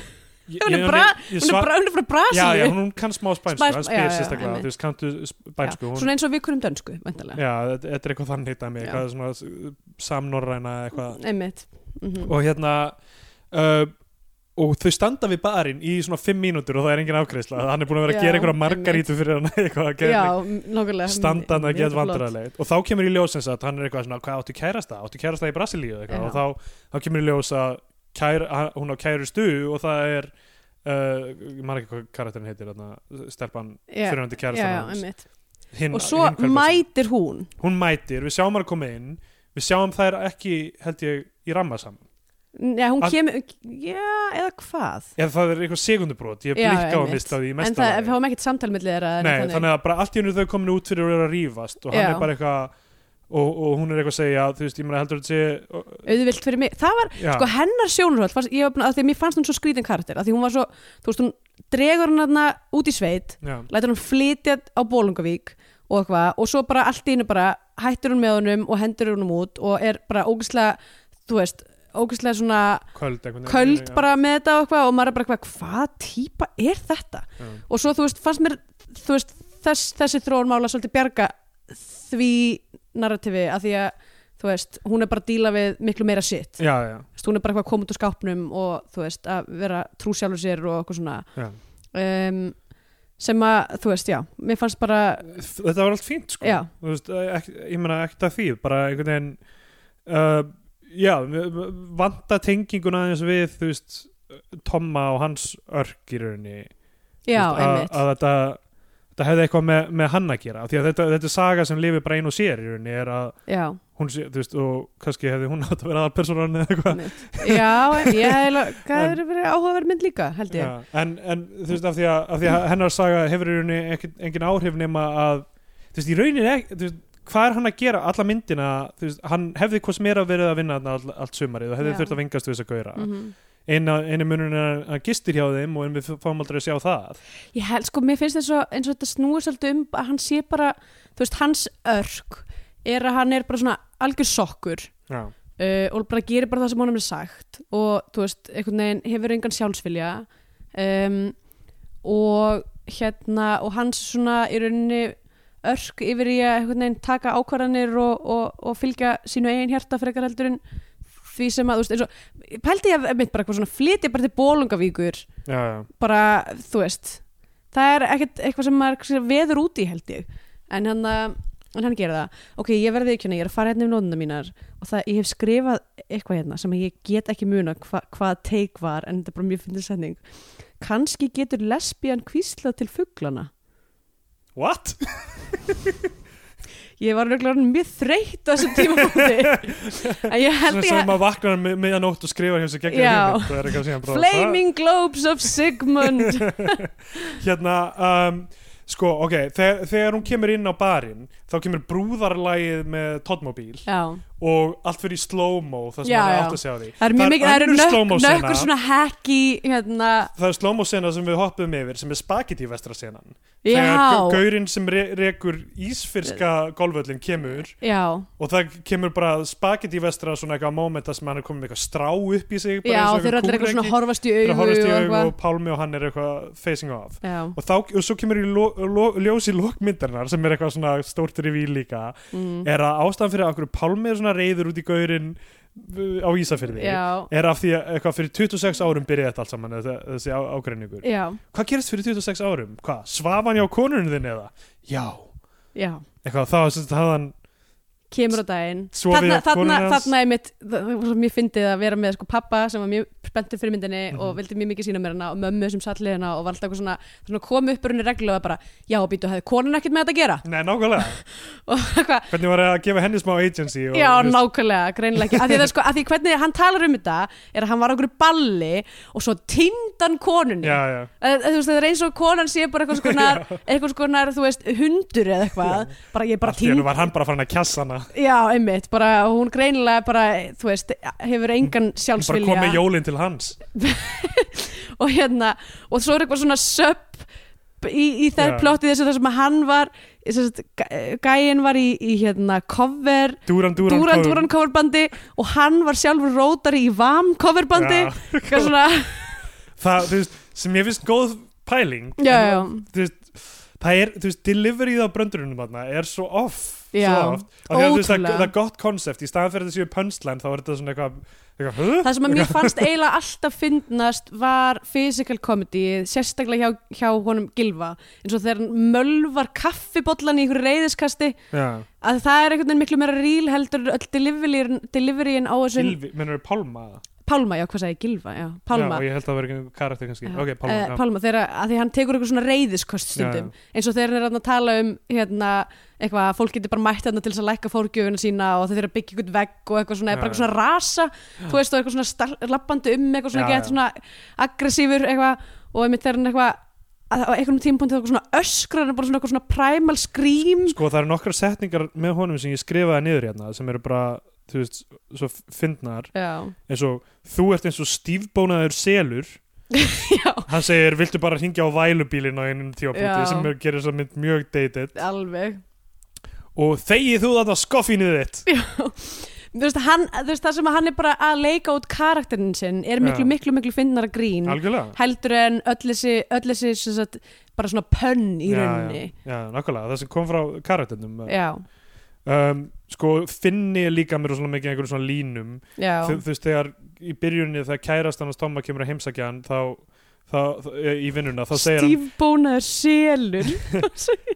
Speaker 3: Ég-
Speaker 2: hún
Speaker 3: ég-
Speaker 2: er bra-
Speaker 3: ég- ég
Speaker 2: hún er
Speaker 3: svar-
Speaker 2: bara hún er frá
Speaker 3: Já, já,
Speaker 2: Brasilíu
Speaker 3: hún kann smá spænsku,
Speaker 2: Spæns-
Speaker 3: hann
Speaker 2: já,
Speaker 3: spyr
Speaker 2: já,
Speaker 3: sérstaklega,
Speaker 2: einmitt.
Speaker 3: þú veist, kanntu sp-
Speaker 2: Já,
Speaker 3: spænsku, hún
Speaker 2: svona eins og við kunum dönsku væntanlega,
Speaker 3: Já, þetta þetta er eitthvað þannig dæmi,
Speaker 2: Já.
Speaker 3: eitthvað svona s- samnorræna eitthvað
Speaker 2: einmitt Mhm.
Speaker 3: og hérna uh, og þau standa við barinn í svona fimm mínútur og það er engin afgreiðsla hann er búin að vera að
Speaker 2: Já,
Speaker 3: gera einhverja margarítu fyrir hann eitthvað að
Speaker 2: já,
Speaker 3: gera
Speaker 2: nokkulega
Speaker 3: standa hann að
Speaker 2: Mjög
Speaker 3: geta
Speaker 2: flott.
Speaker 3: vandræðilegt og þá kemur í ljós eins að hann er eitthvað svona hvað áttu kærasta, áttu kærasta í Brasilíu eða eitthvað,
Speaker 2: Já.
Speaker 3: og þá, þá kemur í ljós að kær, að hún á kærustu og það er uh, ég man ekki hvað karakterin heitir þarna, stelpan
Speaker 2: Já, já,
Speaker 3: fyrirhandi
Speaker 2: já,
Speaker 3: kærasta hans
Speaker 2: einmitt
Speaker 3: hinn,
Speaker 2: og svo
Speaker 3: hinn hver-
Speaker 2: mætir hún
Speaker 3: hún mætir, við sjáum hann koma inn við sjáum þær ekki held ég í ramma saman
Speaker 2: já, hún
Speaker 3: Að-
Speaker 2: kemur, já, eða hvað
Speaker 3: Ef það er eitthvað segundubrót, ég
Speaker 2: Já,
Speaker 3: blikka á
Speaker 2: einmitt.
Speaker 3: mist á því í
Speaker 2: en
Speaker 3: mesta
Speaker 2: það,
Speaker 3: lagi.
Speaker 2: við fáum ekkert samtal millir þeirra eða
Speaker 3: Nei,
Speaker 2: neitt
Speaker 3: þannig að bara allt í hennu þau komin út fyrir að vera að rífast og hann
Speaker 2: Já.
Speaker 3: er bara eitthvað og, og hún er eitthvað að segja, þú veist, ég meina heldur að þetta sé
Speaker 2: auðvilt fyrir mig, það var
Speaker 3: Já,
Speaker 2: sko hennar sjónurhald fannst, ég, var búin að- af því að mér fannst hún svo skrítin karakter af því hún var svo, þú veist, hún dregur hann hana út í sveit,
Speaker 3: já,
Speaker 2: lætur hann flytja á Bólungavík og eitthvað og svo bara allt í einu bara hættur hún með honum og hendur honum út og er bara ógæslega, þú veist ógæslega svona
Speaker 3: köld eitthvað
Speaker 2: köld bara með þetta og eitthvað og maður er bara eitthvað, hvað típa er þetta?
Speaker 3: Já.
Speaker 2: Og svo þú veist, fannst mér þú veist, þess, þessi þróun mála svolítið bjarga því narrativi að því að þú veist, hún er bara að díla við miklu meira sitt
Speaker 3: Já, já,
Speaker 2: Þú veist, hún er bara eitthvað að koma út úr skápnum og þú veist, að vera trú sjálfur sér og eitthvað svona
Speaker 3: já.
Speaker 2: um, sem að, þú veist, já mér fannst bara,
Speaker 3: Þetta var allt fínt, sko
Speaker 2: Já.
Speaker 3: Þú veist, ek, ég meina ekkert að því, bara einhvern veginn uh, Já, vanda tenginguna aðeins við, þú veist Tomma og hans örk í rauninni
Speaker 2: já,
Speaker 3: Þú veist, að,
Speaker 2: einmitt
Speaker 3: að þetta, þetta hefði eitthvað með, með hann að gera af því að þetta, þetta er saga sem lifir bara einu og sér í rauninni er að
Speaker 2: já,
Speaker 3: hún sé, þú veist, og kannski hefði hún (laughs) átt að vera aðalpersonan eða eitthvað
Speaker 2: einmitt. já, en- ég hefði
Speaker 3: (laughs)
Speaker 2: hvað er verið áhugaverð mynd líka, held
Speaker 3: Já,
Speaker 2: ég
Speaker 3: en, en þú veist, af því að, af því að hennar saga hefur í rauninni ekki, engin áhrif nema að þú veist, í rauninni ekki, þú veist, hvað er hann að gera alla myndina, þú veist, hann hefði hvers meira verið að vinna all, allt sumarið og hefði
Speaker 2: Já.
Speaker 3: þurft að vingast við þess að gauðra
Speaker 2: mm
Speaker 3: mm. einu munurinn er að hann gistir hjá þeim og en við fáum aldrei að sjá það
Speaker 2: ég held, sko, mér finnst þess að eins og þetta snúið svolítið um að hann sé bara, þú veist, hans örk er að hann er bara svona algjör sokkur
Speaker 3: Já,
Speaker 2: uh, og bara gerir bara það sem honum er sagt og þú veist, einhvern veginn hefur engan sjálfsvilja um, og hérna og hans svona í rauninni örk yfir í að einhvern veginn taka ákvarðanir og, og, og fylgja sínu eigin hjarta frekar heldur en því sem að, þú veist, eins og pældi ég að mitt bara eitthvað svona flytja bara til bólungavíkur
Speaker 3: já, já.
Speaker 2: bara, þú veist það er ekkert eitthvað sem maður kannski veður út í held ég en hann, uh, en hann gerir það ok, ég verði ekki hérna, ég er að fara hérna um nótuna mínar og það, ég hef skrifað eitthvað hérna sem ég get ekki muna hva, hvað teik var en þetta er bara mjög fyndið setning kannski getur lesbían kvíslað til fuglana
Speaker 3: What?
Speaker 2: ég var nögglega mjög þreytt á þessum
Speaker 3: (laughs)
Speaker 2: tímafóti en ég held
Speaker 3: Svona
Speaker 2: ég
Speaker 3: sem maður vaknar um mi- miðan ótt og skrifar hjá sér gegn
Speaker 2: Já.
Speaker 3: það er eitthvað síðan bara
Speaker 2: Flaming Globes of
Speaker 3: (laughs)
Speaker 2: Sigmund
Speaker 3: það, hérna um, sko ok, þegar, þegar hún kemur inn á barinn þá kemur brúðarlægið með Todmobíl
Speaker 2: Já,
Speaker 3: og allt fyrir í slow-mo það sem
Speaker 2: Já,
Speaker 3: maður
Speaker 2: já.
Speaker 3: átt að segja á því
Speaker 2: það er mjög mikið, það eru
Speaker 3: önnur slow-mo
Speaker 2: nökk-
Speaker 3: sena.
Speaker 2: nökkur svona hacky hérna,
Speaker 3: það er slow-mo sena sem við hoppum yfir sem er spagetti vestra senan
Speaker 2: já, Eh.
Speaker 3: þegar gaurinn sem re rekur ísfyrska golföllin kemur
Speaker 2: já
Speaker 3: og það kemur bara spagetti vestra svona eitthvað momenta sem hann er komið með eitthvað strá upp í sig bara
Speaker 2: já,
Speaker 3: eins og
Speaker 2: þeir eru
Speaker 3: einhver
Speaker 2: allir eitthvað svona
Speaker 3: kúreki.
Speaker 2: horfast í
Speaker 3: Þeir eru
Speaker 2: augu
Speaker 3: að horfast í
Speaker 2: og
Speaker 3: augu
Speaker 2: eitthvað.
Speaker 3: og Pálmi og hann er eitthvað facing off
Speaker 2: já,
Speaker 3: og, þá, og svo kemur í lo, lo, ljós í lokmyndarnar sem er eitthvað svona stórt revíl líka
Speaker 2: mm,
Speaker 3: er að ástæðan fyrir að okkur Pálmi er svona reyður út í gaurinn uh, á Ísafirði
Speaker 2: já,
Speaker 3: er af því að eitthvað fyrir 26 árum byrjaði þetta allt saman þessi, þessi á, ágreiningur
Speaker 2: já,
Speaker 3: hvað gerist fyrir 26 árum? hvað? Svafan hjá konurinn þinn eða? já
Speaker 2: já
Speaker 3: eitthvað þá sem sagt hafðan
Speaker 2: kemur á daginn
Speaker 3: Svo við
Speaker 2: þarna, þarna,
Speaker 3: konur hans.
Speaker 2: þarna er mitt, það það var svo mjög fyndið að vera með sko pappa sem var mjög spenntur fyrir myndinni
Speaker 3: Mhm.
Speaker 2: og vildi mjög mikið sína mér hana og mömmu sem satt liðina og var alltaf eitthvað svona, svona kom upp rauninni reglulega bara, já, býtu, hefði konun ekkert með þetta að gera (laughs)
Speaker 3: nei nákvæmlega
Speaker 2: og eitthvað,
Speaker 3: hvernig var að gefa henni smá agency og,
Speaker 2: Já,
Speaker 3: þú veist,
Speaker 2: nákvæmlega, greinilega ekki af því, að það sko, af því hvernig hann talar um þetta er að hann var á okkur balli og svo tindan konunni
Speaker 3: já, já.
Speaker 2: Að- að Eh, Þú veist, það er eins og konan sé bara eitthvað skonar,
Speaker 3: (laughs)
Speaker 2: eitthvað skonar, þú veist, hundur eða eitthvað, bara ég bara
Speaker 3: allt í hennu
Speaker 2: tind
Speaker 3: var hann bara farin að kjassa hana
Speaker 2: Já, einmitt, bara hún greinilega bara, þú veist, hefur engan
Speaker 3: hann bara kom
Speaker 2: sjálfsvilja
Speaker 3: með jólinn til hans
Speaker 2: og hérna, og svo er eitthvað svona söp í, í þær
Speaker 3: Já.
Speaker 2: plotti þessu þar sem að hann var þess að gæin var í, í hérna cover
Speaker 3: Dúran Dúran,
Speaker 2: Dúran
Speaker 3: kom.
Speaker 2: Dúran coverbandi og hann var sjálfur rótari í VAM coverbandi
Speaker 3: Já.
Speaker 2: eitthvað svona,
Speaker 3: (laughs) það, þú veist, sem ég finnst góð pæling
Speaker 2: já, já,
Speaker 3: þú veist, það er, þú veist, deliveryð á bröndurunum þarna er svo off
Speaker 2: Já,
Speaker 3: svo oft, af því að þú veist, það,
Speaker 2: ótrúlega.
Speaker 3: það er gott konsept í staðan fyrir þessu punchline þá er þetta svona eitthvað, eitthvað huh?
Speaker 2: það sem að mér fannst eiginlega alltaf fyndnast var physical comedy sérstaklega hjá, hjá honum Gilva eins og þegar hann mölvar kaffibollan í einhverju reyðiskasti
Speaker 3: já,
Speaker 2: að það er einhvern veginn miklu meira ríl heldur en öll deliveryin, deliveryin á þessum
Speaker 3: Gilvi, mennur við Pálma
Speaker 2: Pálma, já, hvað sagði ég, Gilva, já, Pálma
Speaker 3: já, og ég held að það verið einhver karakter kannski
Speaker 2: Já.
Speaker 3: ok, Pálma,
Speaker 2: Eh,
Speaker 3: já.
Speaker 2: Pálma þegar að að því hann tekur eitthvað svona reyðiskost stundum eins og þegar hann er þarna að tala um hérna, eitthvað að fólk getur bara mætt þarna til þess að lækka fórgjöfuna sína og þeir eru að byggja eitthvað vegg og eitthvað svona, er bara
Speaker 3: Já.
Speaker 2: eitthvað svona rasa þú veist og eitthvað svona star- lappandi um eitthvað svona
Speaker 3: Já,
Speaker 2: gett
Speaker 3: já.
Speaker 2: svona aggressífur eitthvað og einmitt þegar hann eitthvað að- á einhvern tímpúndi eitthvað svona öskra hann er bara svona eitthvað svona primal scream
Speaker 3: sko það eru nokkra setningar með honum sem ég skrifaði niður hérna sem eru bara, þú veist, svo fyndnar
Speaker 2: Já,
Speaker 3: eins og, þú ert eins og stífbónaður selur
Speaker 2: (laughs) já,
Speaker 3: hann segir, viltu bara hringja á vælubílin á einum tíapunkti
Speaker 2: Já.
Speaker 3: sem er, gerir svo mynd mjög dated
Speaker 2: alveg
Speaker 3: og þegið þú þarna skoffinuð þitt
Speaker 2: Þú veist, hann, þú veist, það sem að hann er bara að leika út karakterinn sinn er miklu,
Speaker 3: Já.
Speaker 2: miklu, miklu, miklu fyndnara grín
Speaker 3: algjörlega
Speaker 2: heldur en öll þessi, öll þessi sem sagt, bara svona pönn í rauninni
Speaker 3: já, já, nákvæmlega, það sem kom frá karakternum
Speaker 2: já, já,
Speaker 3: um, sko finni er líka mér svona mikið einhverjum svona línum
Speaker 2: já,
Speaker 3: Þú- þú veist þegar í byrjunni þegar kærastan hans Tomma kemur að heimsækja hann þá, þá, þá í vinnuna þá segir
Speaker 2: stífbónaður selur
Speaker 3: hann,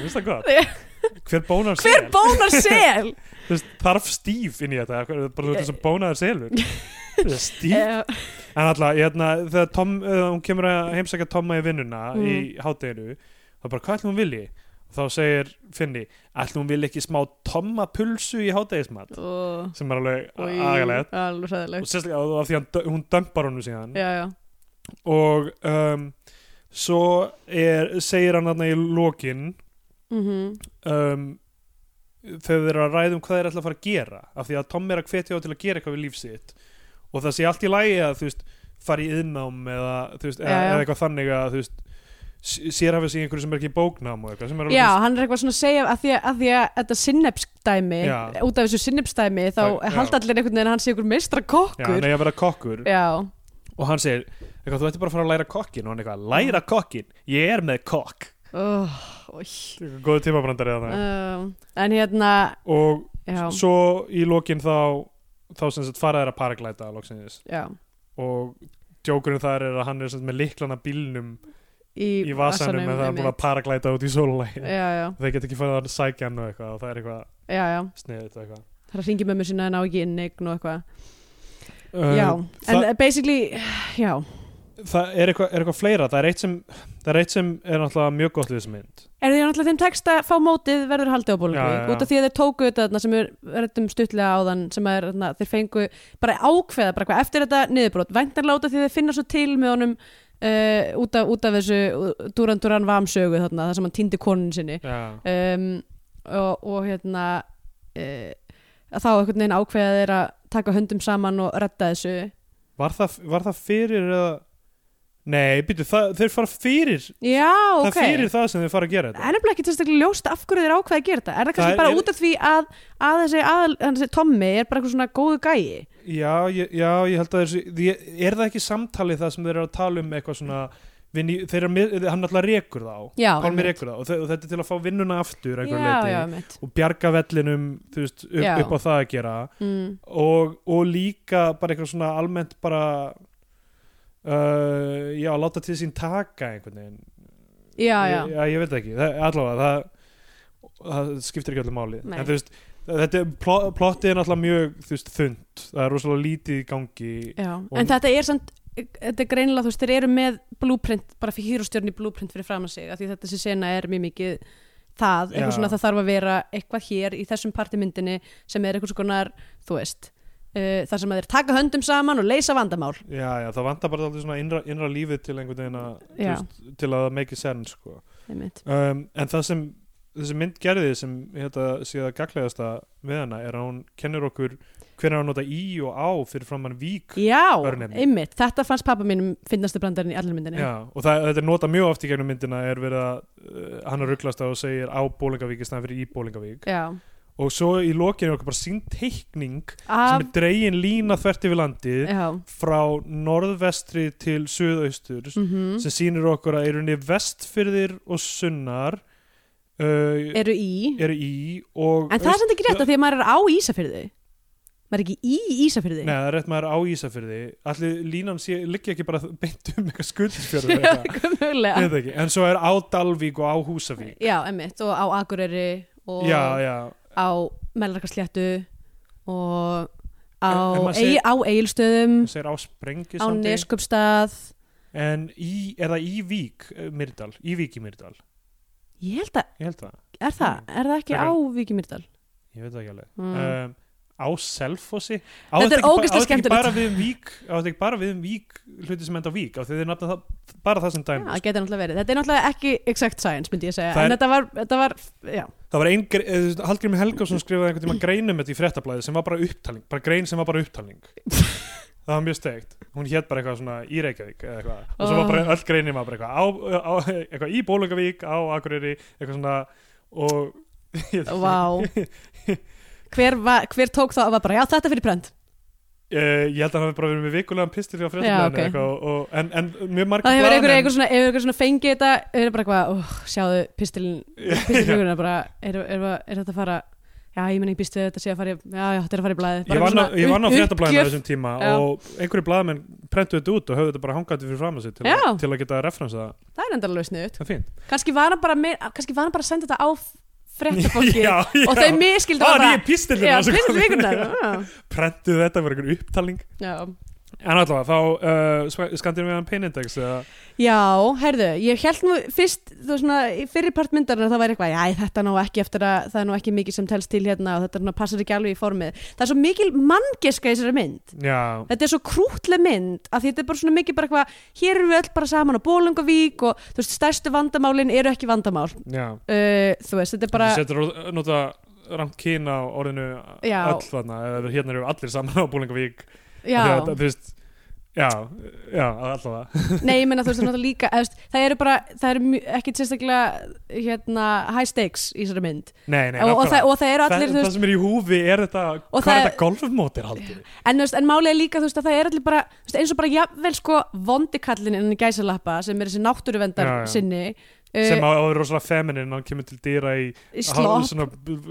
Speaker 3: veist það
Speaker 2: Já.
Speaker 3: hvað hver bónar sel,
Speaker 2: hver bónar
Speaker 3: (laughs)
Speaker 2: sel?
Speaker 3: Þú veist, þarf stíf inn í þetta Hvað er- bara þú
Speaker 2: Eh.
Speaker 3: veist þess að bónaður selur stíf
Speaker 2: Já,
Speaker 3: En alltaf, hérna, þegar Tom, uh, hún kemur að heimsækja Tomma í vinnuna
Speaker 2: Mm.
Speaker 3: í hátteginu, þá bara, hvað ætlum hún vilji? Og þá segir Finni, ætlum hún vilji ekki smá Tomma pulsu í hátegismat?
Speaker 2: og
Speaker 3: Sem er alveg
Speaker 2: og í-
Speaker 3: agalegt.
Speaker 2: alveg
Speaker 3: Og
Speaker 2: sæðilegt
Speaker 3: sérstaklega af- af því hann, dö- hún dömpar honum síðan.
Speaker 2: já, já,
Speaker 3: Og um, svo er, segir hann þarna í lokin,
Speaker 2: mm
Speaker 3: um, þegar þeir eru að ræða um hvað þeir ætla að fara að gera. Af því að Tommi er að hvetja á til að gera eitthvað við líf sitt. Og það sé allt í lagi að, þú veist, fara í yðnám eða, þú veist, eða,
Speaker 2: Já, já.
Speaker 3: eða eitthvað þannig að þú veist, sér hafa sig einhverju sem er ekki í bóknám og eitthvað sem er alveg-
Speaker 2: já, hann er eitthvað svona að segja að því að, að, því að þetta sinnepsdæmi
Speaker 3: Já.
Speaker 2: út af þessu sinnepsdæmi þá
Speaker 3: Það- já.
Speaker 2: halda allir einhvern veginn að hann sé einhver meistra
Speaker 3: já, hann
Speaker 2: kokkur já,
Speaker 3: er að vera kokkur
Speaker 2: já,
Speaker 3: og hann segir, eitthvað, þú ætti bara að fara að læra kokkin og hann eitthvað, læra kokkin, ég er með kokk
Speaker 2: oh, oh,
Speaker 3: góðu tímabrandar eða það
Speaker 2: Um, en hérna
Speaker 3: og
Speaker 2: Uh, já,
Speaker 3: svo í lokin þá þá sem sagt fara þeir að paraglæta loksins
Speaker 2: já
Speaker 3: og djókurinn þar er að hann er sem sagt, með liklana bílnum
Speaker 2: í,
Speaker 3: í vasanum en það er búin að
Speaker 2: einmitt.
Speaker 3: paraglæta út í sólulægi
Speaker 2: já, já,
Speaker 3: þeir get ekki farið að sækja hann og eitthvað og það er eitthvað
Speaker 2: já, já
Speaker 3: sniðið eitthvað
Speaker 2: það er að ringi mömmu sína en á ekki inneign og eitthvað
Speaker 3: Um,
Speaker 2: já, en
Speaker 3: það-
Speaker 2: basically já,
Speaker 3: það er eitthvað, er eitthvað fleira það er eitt sem, það er, eitt sem er náttúrulega mjög gott við þessu mynd
Speaker 2: Er því náttúrulega þeim tekst að fá mótið verður haldið á
Speaker 3: Já, já,
Speaker 2: Bólungavík
Speaker 3: já.
Speaker 2: út af því að þeir tóku þetta þarna sem við rættum stuttlega á þann sem er, þarna, þeir fengu bara ákveða bara hvað eftir þetta niðurbrot væntanlega út af því að þeir finna svo til með honum uh, út, af, út af þessu uh, Duran Duran vamsögu þarna þar sem hann týndi konun sinni
Speaker 3: já,
Speaker 2: um, og, og hérna uh, að þá einhvern veginn ákveða þeir að taka höndum saman og redda þessu
Speaker 3: var, það, var það fyrir eða nei, býtu, það, þeir fara fyrir
Speaker 2: Já, ok
Speaker 3: það fyrir það sem þeir fara að gera þetta
Speaker 2: Það er nefnilega ekki sérstaklega ljóst af hverju þeir ákveða að gera þetta Er það
Speaker 3: Það
Speaker 2: kannski
Speaker 3: er-
Speaker 2: bara
Speaker 3: ég-
Speaker 2: út af því að, að þessi, að, þessi Tommy er bara eitthvað svona góðu gæi
Speaker 3: Já, ég, já, ég held að þessu ég, er það ekki samtalið það sem þeir eru að tala um eitthvað svona vinni, þeir eru, að mið- hann alltaf rekur þá
Speaker 2: Já,
Speaker 3: Pálmi
Speaker 2: einmitt.
Speaker 3: rekur þá og, þe- og þetta er til að fá vinnuna aftur að
Speaker 2: Já,
Speaker 3: einhverju leyti.
Speaker 2: já, mitt
Speaker 3: og bjarga vellinum þú veist, upp,
Speaker 2: Já.
Speaker 3: upp á það að gera
Speaker 2: mm.
Speaker 3: og, og líka bara eitthvað svona almennt bara uh, já, láta til sín taka einhvern veginn
Speaker 2: Já, já,
Speaker 3: Ég, já, ég veit ekki, það, allavega það, það skiptir ekki allir máli
Speaker 2: Nei.
Speaker 3: en þú veist, þetta er- pl- plottið er náttúrulega mjög þú veist, þund, það er rosalega lítið í gangi
Speaker 2: já.
Speaker 3: Og-
Speaker 2: En þetta er samt Þetta er greinilega, þú veist, þeir eru með blúprint bara fyrir hýrustjörn í blúprint fyrir fram að sig af því þetta þessi sena er mjög mikið það, eitthvað
Speaker 3: Já.
Speaker 2: svona það þarf að vera eitthvað hér í þessum partimyndinni sem er eitthvað svona, þú veist uh, þar sem að þeir taka höndum saman og leysa vandamál
Speaker 3: já, já, það vantar bara alltaf svona innra, innra lífið til einhvern veginn að, þú
Speaker 2: Já.
Speaker 3: veist, til að það make sense sko.
Speaker 2: einmitt.
Speaker 3: um, en það sem þessi mynd gerði sem hérna, séða gaglegasta með hana er að hún kennir okkur hvernig á að nota í og á fyrir framann vík
Speaker 2: Já,
Speaker 3: Örnefni.
Speaker 2: einmitt, þetta fannst pappa mínum finnastu brandarinn í allir myndinni
Speaker 3: Já, og það, þetta er nota mjög oft í gegnum myndina er verið að uh, hann að rugglast á og segir á Bólingavík í staðan fyrir í Bólingavík
Speaker 2: Já.
Speaker 3: og svo í lokinu er okkur bara sín teikning
Speaker 2: Af,
Speaker 3: sem er dregin lína þvert yfir landið
Speaker 2: já.
Speaker 3: frá norðvestri til suðaustur
Speaker 2: Mm
Speaker 3: sem sýnir okkur að erunni vestfyrðir og sunnar uh,
Speaker 2: eru í
Speaker 3: eru í og
Speaker 2: En það er
Speaker 3: aust-
Speaker 2: samt ekki rétt að því að maður er á Ísafyrði Maður er ekki í Ísafyrði
Speaker 3: Nei, það er rétt maður á Ísafyrði Allir línan sé, liggja ekki bara beint um eitthvað skuldisfjörður
Speaker 2: (laughs)
Speaker 3: eitthvað
Speaker 2: Eitthvað (laughs)
Speaker 3: Ég
Speaker 2: mögulega
Speaker 3: veit ekki. En svo er á Dalvík og á Húsavík
Speaker 2: Já, einmitt, og á Akureyri og
Speaker 3: Já, já,
Speaker 2: á Mellarkarsléttu og
Speaker 3: En- en
Speaker 2: á,
Speaker 3: maður
Speaker 2: segir,
Speaker 3: segir-
Speaker 2: á Egilstöðum
Speaker 3: það segir á Sprengi
Speaker 2: á Neskupstað
Speaker 3: En í, er það í Vík, eh, Mýrdal, í Vík í Mýrdal
Speaker 2: Ég held að,
Speaker 3: Ég held það,
Speaker 2: er það, er það ekki á
Speaker 3: Frekar-
Speaker 2: Víkimýrdal?
Speaker 3: ég veit það ekki alveg
Speaker 2: Mm.
Speaker 3: um, Á Selfossi Á
Speaker 2: Þetta er
Speaker 3: ekki
Speaker 2: ógeðslega
Speaker 3: ba- á þetta ekki
Speaker 2: skemmtilegt.
Speaker 3: bara við um Vík Á þetta ekki bara við um Vík, hluti sem enda á Vík Á því þið nafna það, bara það sem
Speaker 2: Já,
Speaker 3: dæmi
Speaker 2: það getur náttúrulega verið. Þetta er náttúrulega ekki exact science, myndi ég segja,
Speaker 3: Það
Speaker 2: en
Speaker 3: er-
Speaker 2: þetta var, þetta var,
Speaker 3: (laughs)
Speaker 2: já,
Speaker 3: Það var ein, eh, Hallgrim Helgason skrifaði einhvern tíma greinum þetta í fréttablaði sem var bara upptalning, bara grein sem var bara
Speaker 2: (laughs)
Speaker 3: upptalning það var mjög steikt hún hétt bara eitthvað svona í Reykjavík eða eitthvað, og
Speaker 2: Ah.
Speaker 3: svo var bara öll greinin var bara eitthvað, á, á, eitthvað í Bólungavík, á Akureyri eitthvað svona og (laughs)
Speaker 2: Vá hver, va, hver tók þá að var bara, já þetta er fyrir brönd
Speaker 3: Eh, ég held að hann hafi bara verið með vikulegan pistil hjá
Speaker 2: Já,
Speaker 3: fréttablaðinu
Speaker 2: ok.
Speaker 3: okay. og, en, en mjög margir
Speaker 2: Það hefur einhver,
Speaker 3: blaðamenn-
Speaker 2: einhver, svona, hefur einhver svona fengið þetta er bara eitthvað, oh, sjáðu
Speaker 3: (laughs)
Speaker 2: pistilin pistilflugurinn bara, er, er, er, er þetta að fara já, ég menn ég býst við að þetta sé að fara í, já, já, þetta er að fara í blæði
Speaker 3: Ég vann á- ég vann á fréttablaðinu á þessum tíma
Speaker 2: Já.
Speaker 3: og einhverju blaðamenn prentuðu þetta út og höfðu þetta bara hangandi fyrir fram að sig til,
Speaker 2: Já.
Speaker 3: að- til að geta referensa það
Speaker 2: Það er enda alveg snuðt
Speaker 3: það er fínt
Speaker 2: Kannski var hann bara, meir, kannski var hann bara að senda þetta á fréttafólki
Speaker 3: (laughs) Já, já.
Speaker 2: og þau miskildu
Speaker 3: Það var
Speaker 2: bara
Speaker 3: nýja pistilin
Speaker 2: Já,
Speaker 3: (laughs)
Speaker 2: pistilflugurnar
Speaker 3: Prentuðu sko. þetta var einhver upptalning
Speaker 2: Já,
Speaker 3: En allavega, þá uh, skandir við hann peinindex eða
Speaker 2: Já, heyrðu, ég held nú fyrst, þú veist svona, í fyrri part myndarinnar það væri eitthvað, já, þetta ná ekki eftir að það er nú ekki mikið sem telst til hérna og þetta svona, passar ekki alveg í formið. Það er svo mikil manngeska í þessari mynd.
Speaker 3: Já,
Speaker 2: Þetta er svo krútleg mynd að því þetta er bara svona mikið bara eitthvað, hér eru við öll bara saman á Bólungavík og þú veist, stærstu vandamálin eru ekki vandamál.
Speaker 3: já
Speaker 2: Uh, þú veist, þetta er bara,
Speaker 3: Þú setur orð- nota ramt kín á orðinu
Speaker 2: Já.
Speaker 3: öll þarna eða hérna eru allir saman á Búlingavík
Speaker 2: já,
Speaker 3: Þegar, þú veist, já, já, allavega
Speaker 2: nei, ég meina þú veist, það er náttúrulega líka, eða þú veist, það eru bara, það eru ekki sérstaklega, hérna, high stakes í þessari mynd.
Speaker 3: Nei,
Speaker 2: og, og,
Speaker 3: nei,
Speaker 2: það,
Speaker 3: nákvæmlega.
Speaker 2: og það eru allir,
Speaker 3: það,
Speaker 2: þú
Speaker 3: það sem er í húfi er þetta,
Speaker 2: Og
Speaker 3: hvað er
Speaker 2: það-
Speaker 3: þetta golfmótir haldið?
Speaker 2: En, þú veist, en málega líka þú veist að það er allir bara þú veist, eins og bara jafnvel sko vondikallin innan í gæsalappa sem er þessi náttúruvendar
Speaker 3: Já, já.
Speaker 2: sinni
Speaker 3: Sem
Speaker 2: uh,
Speaker 3: á að vera rosalega feminin, hann kemur til dýra í hálf,
Speaker 2: slopp,
Speaker 3: svona,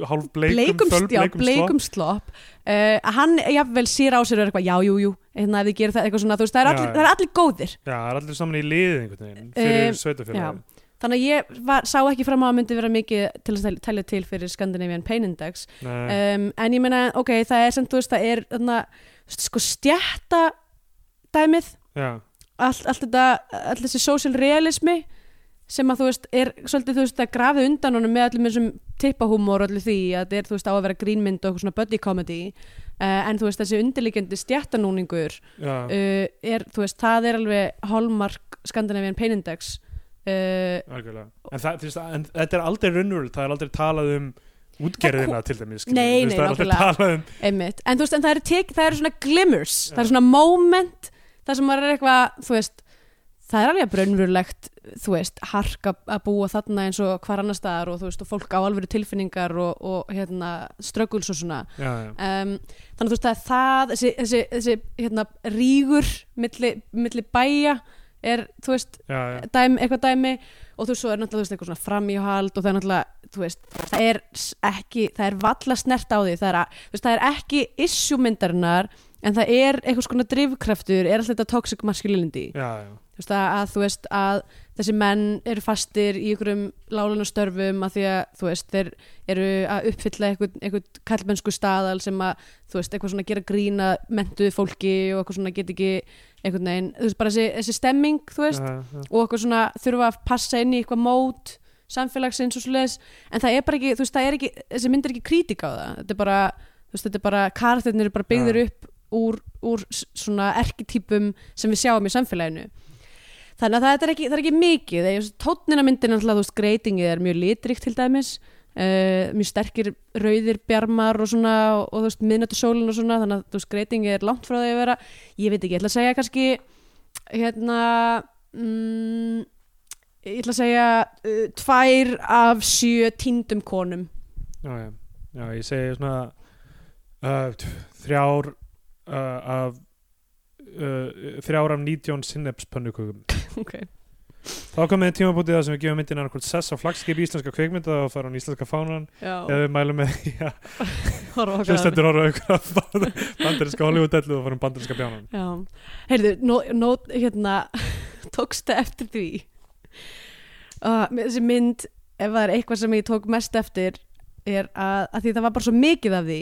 Speaker 3: hálf bleikum,
Speaker 2: bleikum,
Speaker 3: föl-
Speaker 2: já, bleikum slopp uh, hann jafnvel sér á sér og er eitthvað já, jú, jú, hérna ef þið gerir það eitthvað svona þú veist, það er
Speaker 3: Já,
Speaker 2: allir,
Speaker 3: já.
Speaker 2: það er allir góðir
Speaker 3: Já, það er allir saman í liðið einhvern veginn, fyrir
Speaker 2: Eh,
Speaker 3: uh, sveitafélagi.
Speaker 2: þannig að ég var, sá ekki fram á að myndi vera mikið til að tel- telja til fyrir Scandinavian Pain Index
Speaker 3: Nei,
Speaker 2: um, en ég meina, ok, það er sem þú veist, það er þarna, þú veist, sko stjætta dæmið
Speaker 3: já,
Speaker 2: allt, allt þetta, allt þessi social realismi sem að þú veist er svolítið þú veist að grafið undan honum með allum þessum tippahúmor og allir því að þetta er þú veist á að vera grínmynd og eitthvað svona buddy comedy uh, en þú veist þessi undirliggjandi stjættanúningur
Speaker 3: já,
Speaker 2: uh, er, þú veist, það er alveg hallmark Scandinavian Pain Index uh,
Speaker 3: algjörlega en, það, þú veist, en þetta er aldrei raunverulega, það er aldrei talað um útgerðina til dæmis skilur við,
Speaker 2: Nei,
Speaker 3: þú veist,
Speaker 2: nei,
Speaker 3: það er aldrei
Speaker 2: nákvæmlega.
Speaker 3: talað um
Speaker 2: einmitt, en þú veist, en það eru tek, það eru svona glimmers, það eru svona moment það sem maður er eitthvað, þú veist það er alveg braunverulegt, þú veist hark að, að búa þarna eins og hvar annar staðar og þú veist, og fólk á alvöru tilfinningar og, og hérna, struggles og svona
Speaker 3: já, já,
Speaker 2: um, þannig að þú veist, það er það þessi, þessi, þessi hérna, rígur milli, milli bæja er, þú veist,
Speaker 3: já, já.
Speaker 2: dæmi, eitthvað dæmi og þú veist, svo er náttúrulega þú veist, eitthvað svona framíhald og það er náttúrulega, þú veist, það er s- ekki, það er valla snert á því það er, að, þú veist, það er ekki issue myndarinnar en það er eitthvað skona drifkraftur er alltaf þetta toxic masculinity
Speaker 3: já, já.
Speaker 2: þú veist, að, að þú veist að þessi menn eru fastir í einhverjum lálunastörfum að því að þú veist, þeir eru að uppfylla einhvern, einhvern kallmennsku staðal sem að þú veist, eitthvað svona gera grína mentuð fólki og eitthvað svona get ekki einhvern veginn, þú veist, bara þessi, þessi stemming þú veist,
Speaker 3: já, já.
Speaker 2: og okkur svona þurfa að passa inn í eitthvað mót samfélagsins og svoleiðis en það er bara ekki, þú veist, það er ekki þessi mynd er ekki kritik á það, þetta er bara þú veist, þetta er bara, karakterinn eru bara byggðir
Speaker 3: Ja.
Speaker 2: upp úr, úr s- svona erkitýpum sem við sjáum í samfélaginu þannig að það er ekki, það er ekki mikið tónina myndin alltaf, þú veist, greitingið er mjög litrikt til dæmis Uh, mjög sterkir rauðir bjarmar og svona og, og þú veist miðnættusólin og svona þannig að þú veist greitingið er langt frá því að vera ég veit ekki, ég ætla að segja kannski hérna mm, ég ætla að segja uh, tvær af sjö týndum konum
Speaker 3: já, já. já, ég segi svona uh, t- þrjár uh, af uh, þrjár af 19 sinneps
Speaker 2: (laughs)
Speaker 3: pönnukökum
Speaker 2: okay.
Speaker 3: þá komið tímabútið það sem við gefum myndin annarkvöld sess á flagskip íslenska kvikmynda og fara á íslenska fánan
Speaker 2: já,
Speaker 3: eða við mælum með (laughs) því að
Speaker 2: horfa okkar að-
Speaker 3: hlustendur horfa á einhverja bandarinska Hollywood-dellu og fara um bandarinska bjánan
Speaker 2: já, heyrðu, nó, nó, hérna (laughs) tókstu eftir því uh, þessi mynd ef það er eitthvað sem ég tók mest eftir er að, að því það var bara svo mikið af því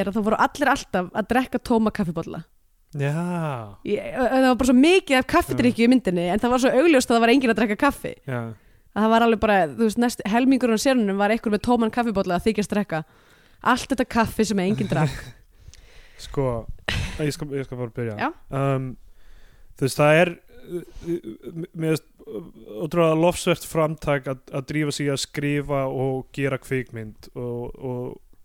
Speaker 2: er að það voru allir alltaf að drekka tóma kaffibólla
Speaker 3: já,
Speaker 2: Ég- það var bara svo mikið af kaffidrykju í myndinni en það var svo augljóst að það var enginn að drekka kaffi
Speaker 3: já,
Speaker 2: að það var alveg bara, þú veist, næst, helmingurinn á sérunum var einhver með tóman kaffibólla að þykja strekka allt þetta kaffi sem enginn drakk (laughs)
Speaker 3: sko ég skal, ég skal bara
Speaker 2: Já.
Speaker 3: byrja um, þú veist, það er uh, uh, mér veist ótrúlega lofsvert framtak að, að drífa sig í að skrifa og gera kvikmynd og, og,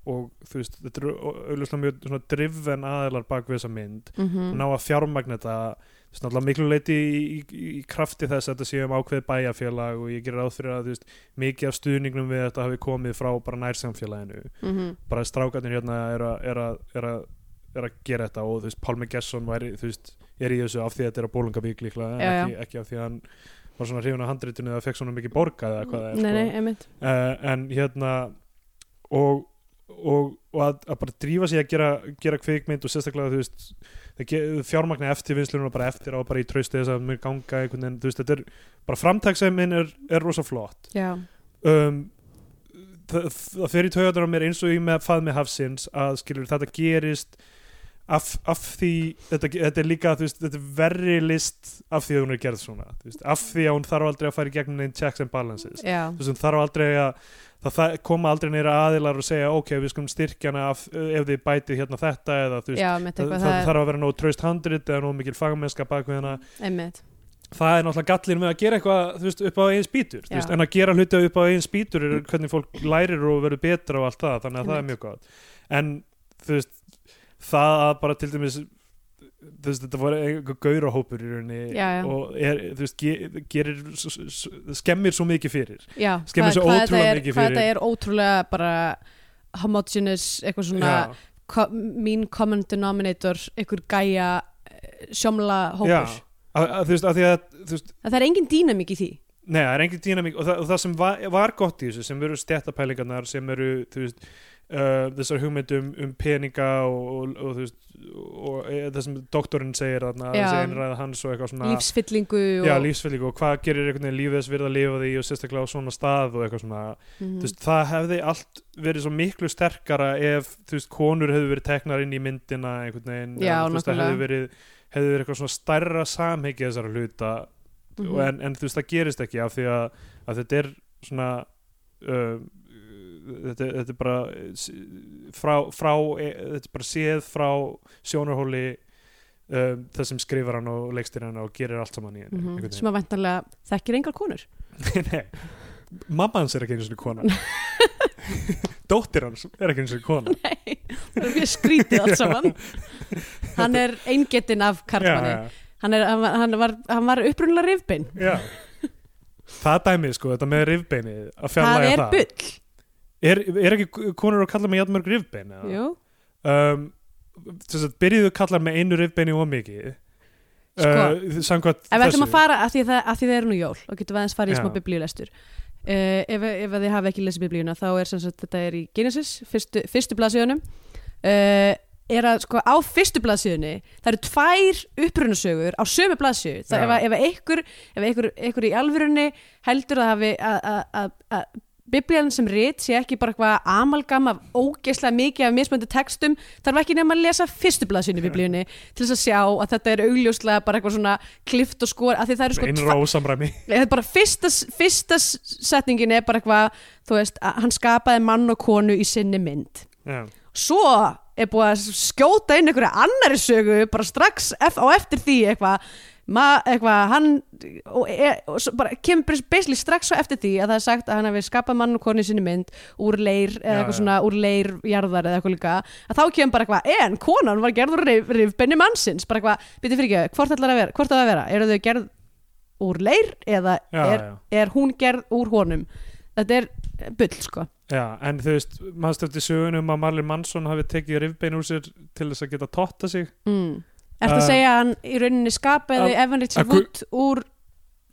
Speaker 3: og þú veist, þetta eru auðvitað mjög svona drifven aðilar bak við þessa mynd
Speaker 2: mm
Speaker 3: ná að fjármagna þetta þú veist, náttúrulega miklu leiti í, í, í krafti þess að þetta sé um ákveði bæjarfélag og ég gerir ráð fyrir að þú veist, mikið af stuðningnum við þetta hafi komið frá bara nærsamfélaginu
Speaker 2: Mhm.
Speaker 3: bara strákarnir hérna er að, er að, er að, er að gera þetta og þú veist, Pálmi Gesson væri, þú veist, er í þessu af því að þetta er að bólungavík líklega
Speaker 2: Já, já.
Speaker 3: en ekki, ekki af því að hann var svona hrifun á handritinu eða fekk svona mikið borgað eða hvað það er
Speaker 2: Mm. nei,
Speaker 3: sko
Speaker 2: nei, einmitt
Speaker 3: uh, en hérna og, og, og að, að bara drífa sig að gera, gera kvikmynd og sérstaklega þú veist það ge- fjármagna eftirvinnslunum bara eftir á bara í trausti þess að mér ganga einhvern veginn þú veist þetta er bara framtaksæmin er, er rosa flott
Speaker 2: já,
Speaker 3: um, það, það fer í taugarnar á mér eins og ég með fað með hafsins að skilur þetta gerist af, af því þetta, þetta er líka þú veist, þetta er verri list af því að hún er gerð svona þú veist, af því að hún þarf aldrei að fara í gegnum neinn checks and balances
Speaker 2: já,
Speaker 3: þú veist, þarf aldrei að það, það koma aldrei neyra aðilar og segja ok, við skulum styrkjana af, ef þið bætið hérna þetta eða þú veist,
Speaker 2: já, einmitt
Speaker 3: það,
Speaker 2: eitthvað
Speaker 3: það
Speaker 2: það,
Speaker 3: þarf að vera nóg tröst handrit eða nóg mikil fagmennska bak við hana
Speaker 2: einmitt
Speaker 3: það er náttúrulega gallin með að gera eitthvað þú veist, upp á eigin spýtur
Speaker 2: Já.
Speaker 3: þú
Speaker 2: Mm.
Speaker 3: veist, en að gera hluti upp á eigin spýtur er hvernig fólk lærir og verður betra og allt það þannig að það er
Speaker 2: Einmitt.
Speaker 3: mjög gott en þú veist, það að bara til dæmis þú veist, þetta var einhver gaurahópur í rauninni
Speaker 2: Já, já.
Speaker 3: og er, þú veist, ge, gerir s- s- s- skemmir svo mikið fyrir
Speaker 2: já,
Speaker 3: Skemmir svo
Speaker 2: hvað þetta
Speaker 3: ótrúlega
Speaker 2: er,
Speaker 3: mikið
Speaker 2: hvað
Speaker 3: fyrir-
Speaker 2: þetta er ótrúlega bara homogenous, eitthvað svona
Speaker 3: Já.
Speaker 2: co mean common denominator einhver gæja eh, sjómla hópur
Speaker 3: Já, að, að, þú veist, að því að þú veist,
Speaker 2: að það er engin dýnamík í því
Speaker 3: Nei, það er engin dýnamík og það, og það sem var, var gott í þessu sem eru stjættapælingarnar sem eru þú veist, uh, þessar hugmyndum um peninga og, og, og, þú veist, og e, það sem doktorinn segir þarna,
Speaker 2: Já.
Speaker 3: þessi einræða hans og eitthvað svona
Speaker 2: lífsfyllingu og,
Speaker 3: Já, lífsfyllingu og hvað gerir einhvern veginn lífið þess virða að lifa því og sérstaklega á svona stað og eitthvað svona
Speaker 2: Mhm.
Speaker 3: þú veist, það hefði allt verið svo miklu sterkara ef þú veist, konur hefðu verið teknar inn í myndina einhvern veginn
Speaker 2: Já,
Speaker 3: eða, þú veist, það
Speaker 2: nákvæmlega.
Speaker 3: hefði verið hefði verið eitthvað svona stærra samhengi þessara hluta mm
Speaker 2: Mhm.
Speaker 3: en, en þú veist það gerist ekki af því að, að þetta er svona uh, þetta, þetta er bara eh, s- frá, frá e, þetta er bara séð frá sjónarhóli um, þar sem skrifar hann og leikstir hann og gerir allt saman í henni
Speaker 2: Mhm.
Speaker 3: einhvern
Speaker 2: sem að væntanlega þekkir engar konur
Speaker 3: veginn. (laughs) Nei, mamma hans er ekki einu
Speaker 2: (laughs)
Speaker 3: svona kona dóttir hans er ekki einu svona kona
Speaker 2: Nei, það er mjög skrítið allt saman hann er eingetinn af karlmanni
Speaker 3: já,
Speaker 2: hann, er, hann, var- hann var, hann var upprunlega rifbein
Speaker 3: já, já. það dæmið sko, þetta með rifbeinið að
Speaker 2: það
Speaker 3: fjarlæga
Speaker 2: er
Speaker 3: það
Speaker 2: bull
Speaker 3: er, er ekki konur að kalla með játmörg rifbein eða?
Speaker 2: Jú.
Speaker 3: um, þess að byrjuðu kallar með einu rifbeini og mikið
Speaker 2: Sko.
Speaker 3: uh,
Speaker 2: ef
Speaker 3: samkvæmt
Speaker 2: við ætlum að
Speaker 3: þessu
Speaker 2: fara að því það, að því það eru nú jól og getum við aðeins farið í
Speaker 3: Já.
Speaker 2: smá biblíulestur uh, ef, ef að þið hafi ekki lesið biblíuna þá er sem sagt þetta er í Genesis fyrstu, fyrstu blaðsíðunum uh, er að sko á fyrstu blaðsíðunni það eru tvær upprunasögur á sömu blaðsíðu
Speaker 3: Já.
Speaker 2: það, ef, að- ef, að einhver, ef einhver, einhver í alvörunni heldur að hafi að- að- að að biblían sem rit sé ekki bara eitthvað amalgam af ógeislega mikið af mismöndu textum þarf ekki nefn að lesa fyrstu blaðsíðunni í biblíunni til þess að sjá að þetta er augljóslega bara eitthvað svona klift og skor að því það eru sko
Speaker 3: einra
Speaker 2: (laughs)
Speaker 3: ósamræmi
Speaker 2: það er bara fyrsta, fyrsta s- setningin er bara eitthvað þú veist, að hann skapaði mann og konu í sinni mynd
Speaker 3: Já.
Speaker 2: svo er búið að skjóta inn einhverja annari sögu bara strax ef, á eftir því eitthvað ma- eitthvað, hann og, e, og svo bara kemur bara basically strax á eftir því að það er sagt að hann hefði skapað mann og konu í sinni mynd úr leir eða
Speaker 3: Já,
Speaker 2: eitthvað
Speaker 3: já.
Speaker 2: svona úr leir jarðar eða eitthvað líka að þá kemur bara eitthvað en konan var gerður rif, rifbenni mannsins bara eitthvað, byrju fyrir ekki, hvort ætlar að vera hvort á það að vera, eru þau gerð úr leir eða
Speaker 3: Já,
Speaker 2: er, er hún gerð úr honum þetta er eh, bull sko
Speaker 3: Já, en þú veist, maður stöfti sögunum að Marlin Mansson hafi tekið rifbein úr sér til þess að geta totta sig (laughs)
Speaker 2: Mm. Ertu að
Speaker 3: Uh,
Speaker 2: segja að hann í rauninni skapaði
Speaker 3: að-
Speaker 2: Evan Richard
Speaker 3: að gu-
Speaker 2: Wood úr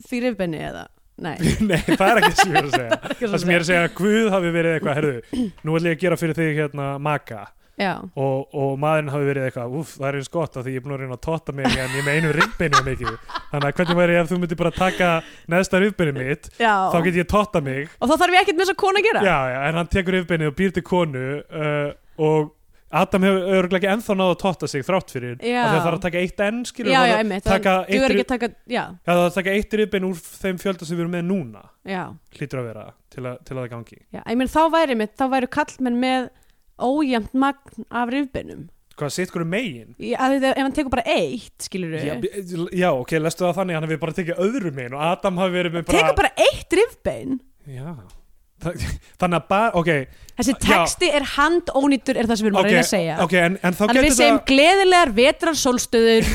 Speaker 2: því rifbenni eða? Nei,
Speaker 3: Nei, það er ekki það sem ég
Speaker 2: (laughs)
Speaker 3: er að segja
Speaker 2: ekki
Speaker 3: (laughs) Það sem ég er að segja að Guð hafi verið eitthvað Herðu, nú ætlum ég að gera fyrir þig hérna maka
Speaker 2: Já,
Speaker 3: og, og maðurinn hafi verið eitthvað Úff, það er eins gott af því ég er búin að reyna að totta mig en ég er með einu rifbeinu og mikið Þannig að hvernig væri ef þú myndir bara taka neðsta rifbeinu mitt
Speaker 2: já.
Speaker 3: þá get ég totta mig
Speaker 2: og þá þarf ég ekkert með þess að kona að gera
Speaker 3: já, já, en hann tekur yfirbeinið og býr til konu uh, og Adam hefur örgulega ekki ennþá náðu að totta sig þrátt fyrir
Speaker 2: Já.
Speaker 3: af því að það þarf að taka eitt enn skilur
Speaker 2: já,
Speaker 3: það
Speaker 2: já
Speaker 3: þarf að
Speaker 2: einmitt,
Speaker 3: taka
Speaker 2: það
Speaker 3: eitt
Speaker 2: duður
Speaker 3: rif-
Speaker 2: ekki að taka, já,
Speaker 3: Já, það þarf að taka eitt rifbein úr þeim fjölda sem við erum með núna
Speaker 2: já,
Speaker 3: hlýtur að vera til að, til að það gangi
Speaker 2: já, ég meina þá væri mitt, þá væri kallmenn með ójæmt magn af rifbennum.
Speaker 3: hvað sitt hverju megin
Speaker 2: Ég- af því að Ef hann tekur bara eitt, skilur
Speaker 3: já,
Speaker 2: við,
Speaker 3: b- já, ok, lestu það þannig hann hefur bara tekið öðru megin og Adam hafi verið með bara,
Speaker 2: tekur bara eitt rifbenn.
Speaker 3: Já, Þa- (laughs) þannig að bara, ok,
Speaker 2: Þessi
Speaker 3: Já.
Speaker 2: texti er handónýtur, er það sem við erum að
Speaker 3: ok,
Speaker 2: reyna að segja.
Speaker 3: ok en, en þá
Speaker 2: Þannig að
Speaker 3: getur
Speaker 2: við segjum gleðilegar vetrar sólstöður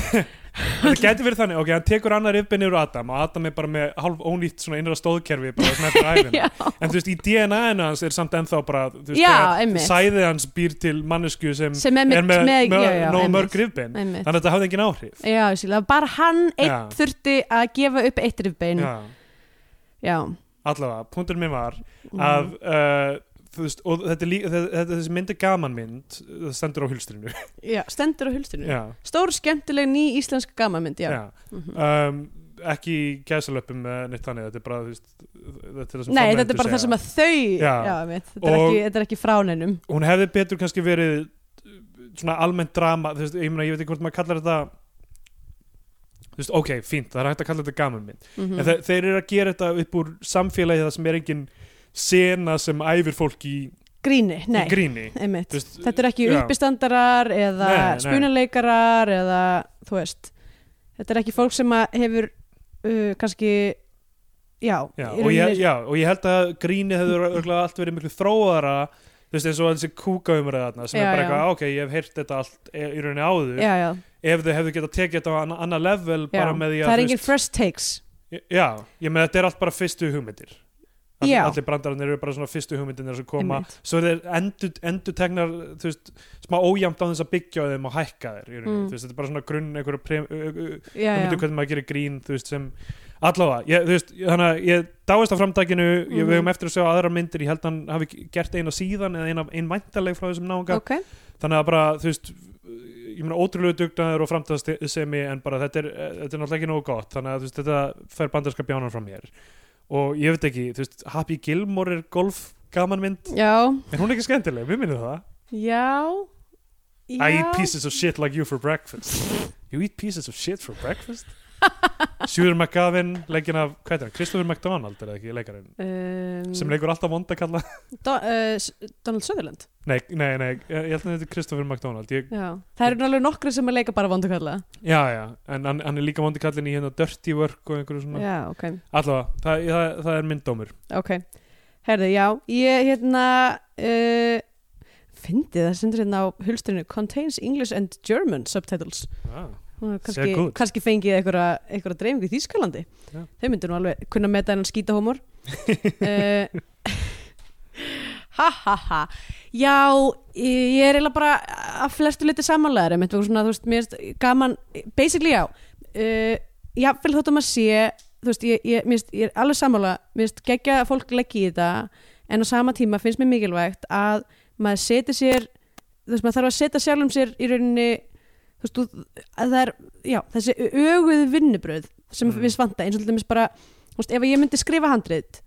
Speaker 3: Þetta getur verið þannig, ok, hann tekur annar uppinni úr Adam og Adam er bara með hálf ónýtt svona innra stóðkerfi bara
Speaker 2: (laughs)
Speaker 3: svona eftir æfina en þú veist, í DNA-inu hans er samt ennþá bara þú veist,
Speaker 2: Já,
Speaker 3: þegar
Speaker 2: einmitt.
Speaker 3: sæði hans býr til mannesku sem,
Speaker 2: Sem er með-
Speaker 3: Mm. með,
Speaker 2: með-
Speaker 3: með
Speaker 2: já, já,
Speaker 3: nóg
Speaker 2: einmitt.
Speaker 3: mörg rifbein
Speaker 2: Einmitt.
Speaker 3: þannig að þetta hafði engin áhrif
Speaker 2: Já, ég skil, það var bara hann einn
Speaker 3: Já.
Speaker 2: þurfti að gefa upp eitt rifbein Já,
Speaker 3: já, allavega, punktur minn var
Speaker 2: Mm.
Speaker 3: að uh, þú veist, og þetta, er lí, þetta, þetta þessi mynd er gaman mynd það stendur á
Speaker 2: (laughs)
Speaker 3: hulstrinu
Speaker 2: Já, stendur á hulstinu
Speaker 3: já,
Speaker 2: Stór skemmtileg ný íslensk gamamynd Já, Mhm.
Speaker 3: um, ekki gæsalöpum með neitt þannig, þetta er bara þú veist, þetta er það sem
Speaker 2: Nei,
Speaker 3: framleiðendur
Speaker 2: þetta er bara það
Speaker 3: segja.
Speaker 2: sem að þau Já,
Speaker 3: Já.
Speaker 2: einmitt, þetta, er
Speaker 3: Og-
Speaker 2: ekki, þetta er ekki frá neinum
Speaker 3: hún hefði betur kannski verið uh, svona almennt drama þú veist, ég, meina, ég veit ekki hvort maður kallar þetta þú veist, ok, fínt, það er hægt að kalla þetta gaman minn
Speaker 2: mm
Speaker 3: en þe þeir eru að gera þetta upp úr samfélagi það sem er engin sena sem æfir fólk í,
Speaker 2: Gríni,
Speaker 3: í
Speaker 2: nei,
Speaker 3: gríni
Speaker 2: (laughs) einmitt
Speaker 3: Þú veist,
Speaker 2: Þetta er ekki
Speaker 3: já.
Speaker 2: uppistandarar eða
Speaker 3: Nei, nei.
Speaker 2: spunaleikarar eða, þú veist Þetta er ekki fólk sem að hefur uh, kannski Já,
Speaker 3: já,
Speaker 2: í
Speaker 3: og, ég,
Speaker 2: rauninni-
Speaker 3: já, og ég held að gríni hefur örugglega allt verið miklu þróaðara þú veist, eins og þessi kúkaumræða þarna
Speaker 2: Já,
Speaker 3: sem er bara
Speaker 2: já.
Speaker 3: eitthvað, ok, ég hef heyrt þetta allt e- í rauninni áður
Speaker 2: já, já,
Speaker 3: ef þau hefðu getað tekið þetta á anna- annað level
Speaker 2: já.
Speaker 3: bara með því að
Speaker 2: Það er
Speaker 3: þú
Speaker 2: engin first takes
Speaker 3: Já, ég meina þetta er allt bara fyrstu hugmyndir Allir,
Speaker 2: Já.
Speaker 3: allir brandararnir eru bara svona fyrstu hugmyndirnir sem koma,
Speaker 2: Einmitt.
Speaker 3: svo er þeir endur, endur tegnar, þú veist, smá ójæmt á þess að byggja á þeim og hækka þeir mm.
Speaker 2: Mm.
Speaker 3: þú veist, þetta er bara svona grunn einhverju prem- ö- ö- ö-
Speaker 2: Já, já,
Speaker 3: hugmyndir hvernig maður gerir grín, þú veist, sem allavega, ég, þú veist, þannig að ég dáist á framtakinu, ég
Speaker 2: Mhm.
Speaker 3: við höfum eftir að sjá aðra myndir, ég held hann hafi gert eina síðan eða eina, ein væntaleg frá þessum náunga
Speaker 2: ok
Speaker 3: þannig að bara, þú veist ég meina ótrúlegu dugnaður og framtæðsemi en bara þetta er, eh, þetta er náttúrulega ekki nógu gott þannig að þú veist, þetta fer bandarska bjánan fram mér og ég veit ekki, þú veist Happy Gilmore er golf gaman mynd
Speaker 2: Já,
Speaker 3: en hún er ekki skemmtileg, við minnum það
Speaker 2: já
Speaker 3: I
Speaker 2: já.
Speaker 3: eat pieces of shit like you for breakfast You eat pieces of shit for breakfast Sjúður McGavin leikinn af, hvað heitir hann, Christopher McDonald er það ekki leikarinn,
Speaker 2: um,
Speaker 3: sem leikur alltaf vondakalla
Speaker 2: Do, uh, S- Donald Sutherland
Speaker 3: (laughs) nei, nei, nei, ég held að þetta er Christopher McDonald ég,
Speaker 2: já. það eru alveg nokkri sem að leika bara vondukalla
Speaker 3: já, já, en hann, hann er líka vondakallin í hérna Dirty Work og einhverju svona
Speaker 2: já, ok,
Speaker 3: allavega, það, það, það er myndómur
Speaker 2: ok herðu, já, ég hérna uh, fyndi það sendur hérna á hulsturinu contains English and German subtitles
Speaker 3: ah.
Speaker 2: Nú,
Speaker 3: Sehr
Speaker 2: kannski,
Speaker 3: gut.
Speaker 2: kannski fengið einhverja, einhverja dreifingu í Þýskalandi
Speaker 3: Já.
Speaker 2: þau myndir nú alveg kunna meta hennan
Speaker 3: (laughs)
Speaker 2: skítahómor uh, (laughs) ha ha ha já, ég er eiginlega bara að flestu liti samanlegar einmitt, og svona, þú veist, mér er gaman basically já uh, já, fyrir þótt að maður sé þú veist, ég, ég, mér, finnst- ég er alveg sammála mér finnst geggja að fólk leggja í þetta en á sama tíma finnst mér mikilvægt að maður seti sér þú veist, maður þarf að setja sjálfum sér í rauninni þú veist, þú- að það er já, þessi öguð vinnubröð sem
Speaker 3: Mm.
Speaker 2: mm. við svanta, eins og til dæmis bara þú veist, ef ég myndi skrifa handrit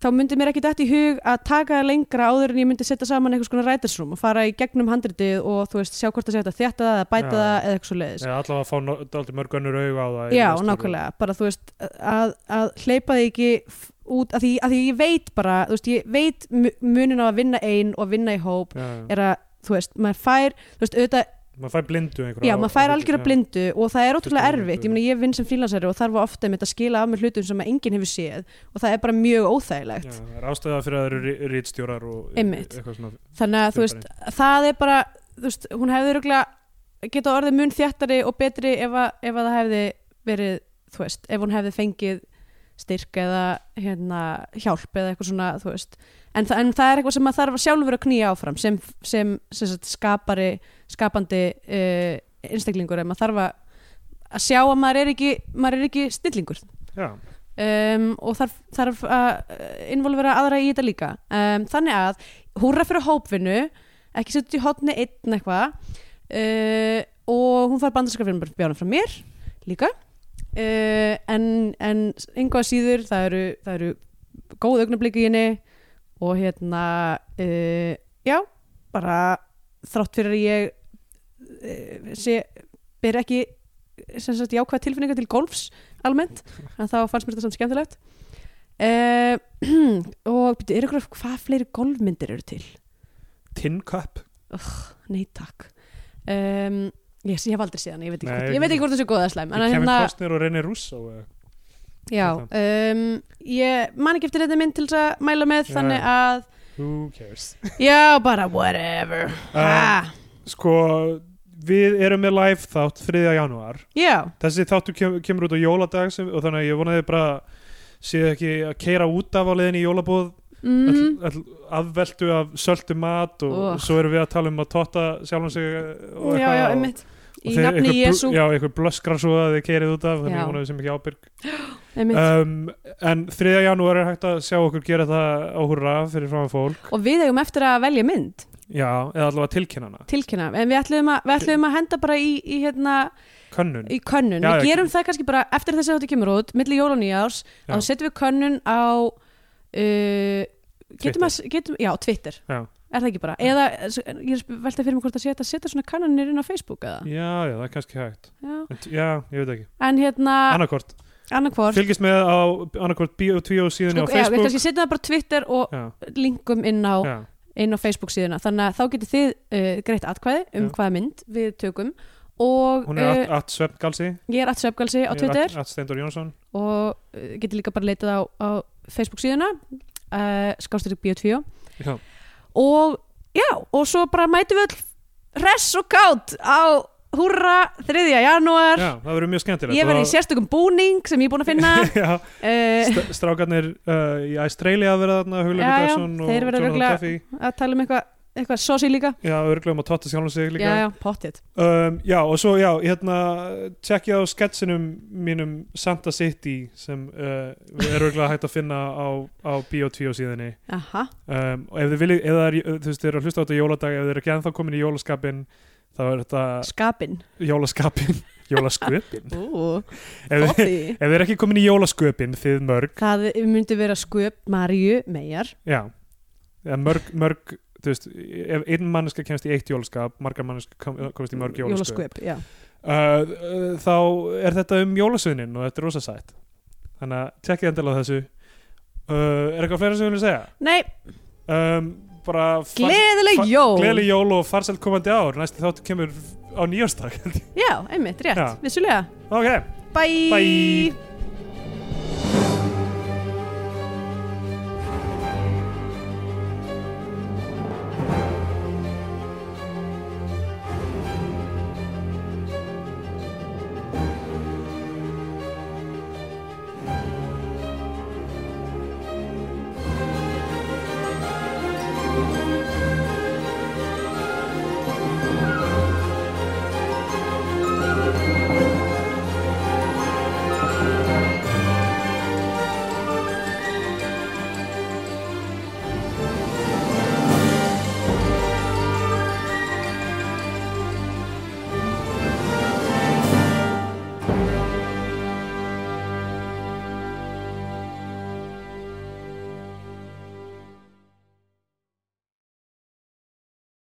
Speaker 2: þá myndi mér ekki dætt í hug að taka það lengra áður en ég myndi setja saman einhvers konar rætarsrúm og fara í gegnum handritið og þú veist, sjá hvort það sé hægt að þetta þétta það, eða bæta
Speaker 3: Já.
Speaker 2: það eða eitthvað svo leiðis
Speaker 3: eða allavega að fá no- dálítið mörg önnur auga á það í
Speaker 2: Já,
Speaker 3: næstu viku.
Speaker 2: nákvæmlega, bara þú veist að, að hleypa því ekki f- út að því, að því ég veit bara, þú veist, ég veit mu- munin á að vinna ein og vinna í hóp
Speaker 3: já, já.
Speaker 2: er að, þú veist, maður fær þú veist, auðvitað,
Speaker 3: maður fær blindu einhverja
Speaker 2: já,
Speaker 3: á-
Speaker 2: maður
Speaker 3: á
Speaker 2: fær
Speaker 3: hluti,
Speaker 2: algjöra
Speaker 3: já.
Speaker 2: blindu og það er ótrúlega
Speaker 3: Tuttugu
Speaker 2: erfitt,
Speaker 3: mínútur.
Speaker 2: ég meina ég vinn sem frílansari og þarf ofta með að skila af mér hlutum sem að enginn hefur séð og það er bara mjög óþægilegt
Speaker 3: Já, það er ástæða fyrir að það eru rítstjórar og
Speaker 2: Einmitt.
Speaker 3: eitthvað svona
Speaker 2: þannig að þú veist,
Speaker 3: Fjölbreytt.
Speaker 2: það er bara þú veist, hún hefði röglega geta orðið mun þjættari og betri ef að, ef að það hefði verið, þú veist ef hún hefði fengið styrk eða hérna, hjálp eða eitthvað svona þú veist, en, þa en það er eitthvað sem maður þarf að sjálfur að knýja áfram sem, sem, sem sagt, skapari, skapandi uh, einstaklingur en maður þarf að að sjá að maður er ekki, maður er ekki stillingur
Speaker 3: já,
Speaker 2: um, og þarf, þarf að eh, involvera aðra í þetta líka um, þannig að húrra fyrir hópvinnu ekki setja út í hotni einn eitthvað uh, og hún fær bandarskafinu bjánum frá mér líka uh, en, en einhvað síður það eru, það eru góð augnablík í henni og hérna uh, já, bara þrátt fyrir að ég uh, sé, ber ekki sem sagt jákvæð tilfinninga til golfs almennt, en þá fannst mér þetta samt skemmtilegt uh, (clears throat) og byrju, er ykkur hvað fleiri golfmyndir eru til?
Speaker 3: tin cup
Speaker 2: Nei takk um, yes, Ég hef aldrei séð hana, ég veit ekki,
Speaker 3: Nei,
Speaker 2: hvort,
Speaker 3: ekki.
Speaker 2: ég veit ekki hvort þessu góða slæm en að hérna-
Speaker 3: Kevin Costner og René Russo eða?
Speaker 2: já, um, Ég man ekki eftir þetta mynd til þess að mæla með
Speaker 3: Já.
Speaker 2: þannig að,
Speaker 3: who cares
Speaker 2: já bara whatever
Speaker 3: Uh,
Speaker 2: ha,
Speaker 3: sko, við erum með live þátt 3. janúar
Speaker 2: Já,
Speaker 3: þessi þáttu kem, kemur út á jóladag sem, og þannig að ég vonaði bara séu ekki að keira út af á leiðin í jólabóð
Speaker 2: mm,
Speaker 3: all, all, afveldu af söltu mat og
Speaker 2: Ugh. svo
Speaker 3: svo erum við að tala um að totta sjálfum sig eh, og
Speaker 2: Oh. já, já, einmitt Í nafni Jésu,
Speaker 3: já, einhver blöskrar svo að þið keirið út af þannig
Speaker 2: Já.
Speaker 3: að hún hefur sem ekki ábyrg
Speaker 2: einmitt
Speaker 3: um, en 3. janúar er hægt að sjá okkur gera það á hurra fyrir fram fólk
Speaker 2: Og við eigum eftir að velja mynd
Speaker 3: já, eða allavega tilkynnana,
Speaker 2: tilkynna, en við ætlum að, við ætlum að henda bara í, í hérna,
Speaker 3: könnun
Speaker 2: í könnun,
Speaker 3: Já,
Speaker 2: við
Speaker 3: já,
Speaker 2: gerum það kannski bara eftir þessi þáttu kemur út, milli jól og nýjárs að
Speaker 3: Já.
Speaker 2: þá setjum við könnun á uh, getum að, getum, já, Twitter
Speaker 3: Já.
Speaker 2: er það ekki bara, eða eh, ég er sp- velta fyrir mig hvort að setja, setja svona kannanir inn á Facebook eða,
Speaker 3: já, já, það er kannski hægt
Speaker 2: já,
Speaker 3: en, t- já, ég veit ekki,
Speaker 2: en hérna
Speaker 3: annarkort
Speaker 2: annarkvort,
Speaker 3: fylgist með á annarkort Bio2
Speaker 2: Sko,
Speaker 3: síðan á
Speaker 2: já, við
Speaker 3: Facebook
Speaker 2: kannski setjum það bara á Twitter og
Speaker 3: já,
Speaker 2: linkum inn á
Speaker 3: já,
Speaker 2: inn á Facebook síðuna þannig að þá getið þið uh, greitt atkvæði um
Speaker 3: Já.
Speaker 2: hvaða mynd við tökum og
Speaker 3: hún er
Speaker 2: uh,
Speaker 3: uh, at svefngalsi
Speaker 2: ég er atsöfgalsi á Twitter
Speaker 3: at Steindor Jónsson
Speaker 2: og uh, getið líka bara leitað á, á Facebook síðuna uh, skástyrk Bio2
Speaker 3: já,
Speaker 2: og já, og svo bara mætum við öll hress og kátt á húrra 3. janúar
Speaker 3: já það verður mjög skemmtilegt
Speaker 2: ég verði í
Speaker 3: Og-
Speaker 2: sérstökum búning sem ég er búin að finna (laughs)
Speaker 3: (laughs) já,
Speaker 2: uh, (laughs)
Speaker 3: st- strákarnir uh, í Australia að vera þarna Hugla
Speaker 2: Já, já,
Speaker 3: Guðarsson og
Speaker 2: þeir verða
Speaker 3: Jonathan
Speaker 2: örugglega-
Speaker 3: Duffy
Speaker 2: að tala um eitthvað eitthvað sósi líka,
Speaker 3: já, örglega um að totta sjálfum sig líka
Speaker 2: já, já, pottið
Speaker 3: Um, já, og svo já, hérna tjekkið á sketsinum mínum Santa City sem uh, er örglega hægt að finna á, á Bio2 síðinni
Speaker 2: aha,
Speaker 3: um, og ef þið viljið, ef það er, uh, þú veist, þið eru að hlusta á þetta á jóladag, ef þið eru ekki ennþá komin í jólaskapin þá er þetta
Speaker 2: skapin
Speaker 3: jólaskapin (laughs)
Speaker 2: (laughs)
Speaker 3: jólasköpin (laughs)
Speaker 2: Ú,
Speaker 3: ef, þið-
Speaker 2: pottið
Speaker 3: ef þið eru ekki komin í jólasköpin þið mörg,
Speaker 2: Það myndi vera sköp Maríu Meijar
Speaker 3: já eða mörg, mörg, þú veist ef einn manneska kemst í eitt jólaskap, margar manneska kom- komast í mörg jólasköp,
Speaker 2: Jólasköp, já.
Speaker 3: uh, uh, þá er þetta um jólasveinin og þetta er rosa sætt þannig að tjekkið endilega á þessu uh, er eitthvað fleira sem við viljum segja
Speaker 2: Nei,
Speaker 3: um, bara fa-
Speaker 2: gleðileg
Speaker 3: fa-
Speaker 2: jól
Speaker 3: gleðileg jól og farsælt komandi ár næstu þáttu kemur á nýjárstak
Speaker 2: Já, einmitt, rétt,
Speaker 3: Já.
Speaker 2: vissulega
Speaker 3: ok
Speaker 2: Bye.
Speaker 3: Bye.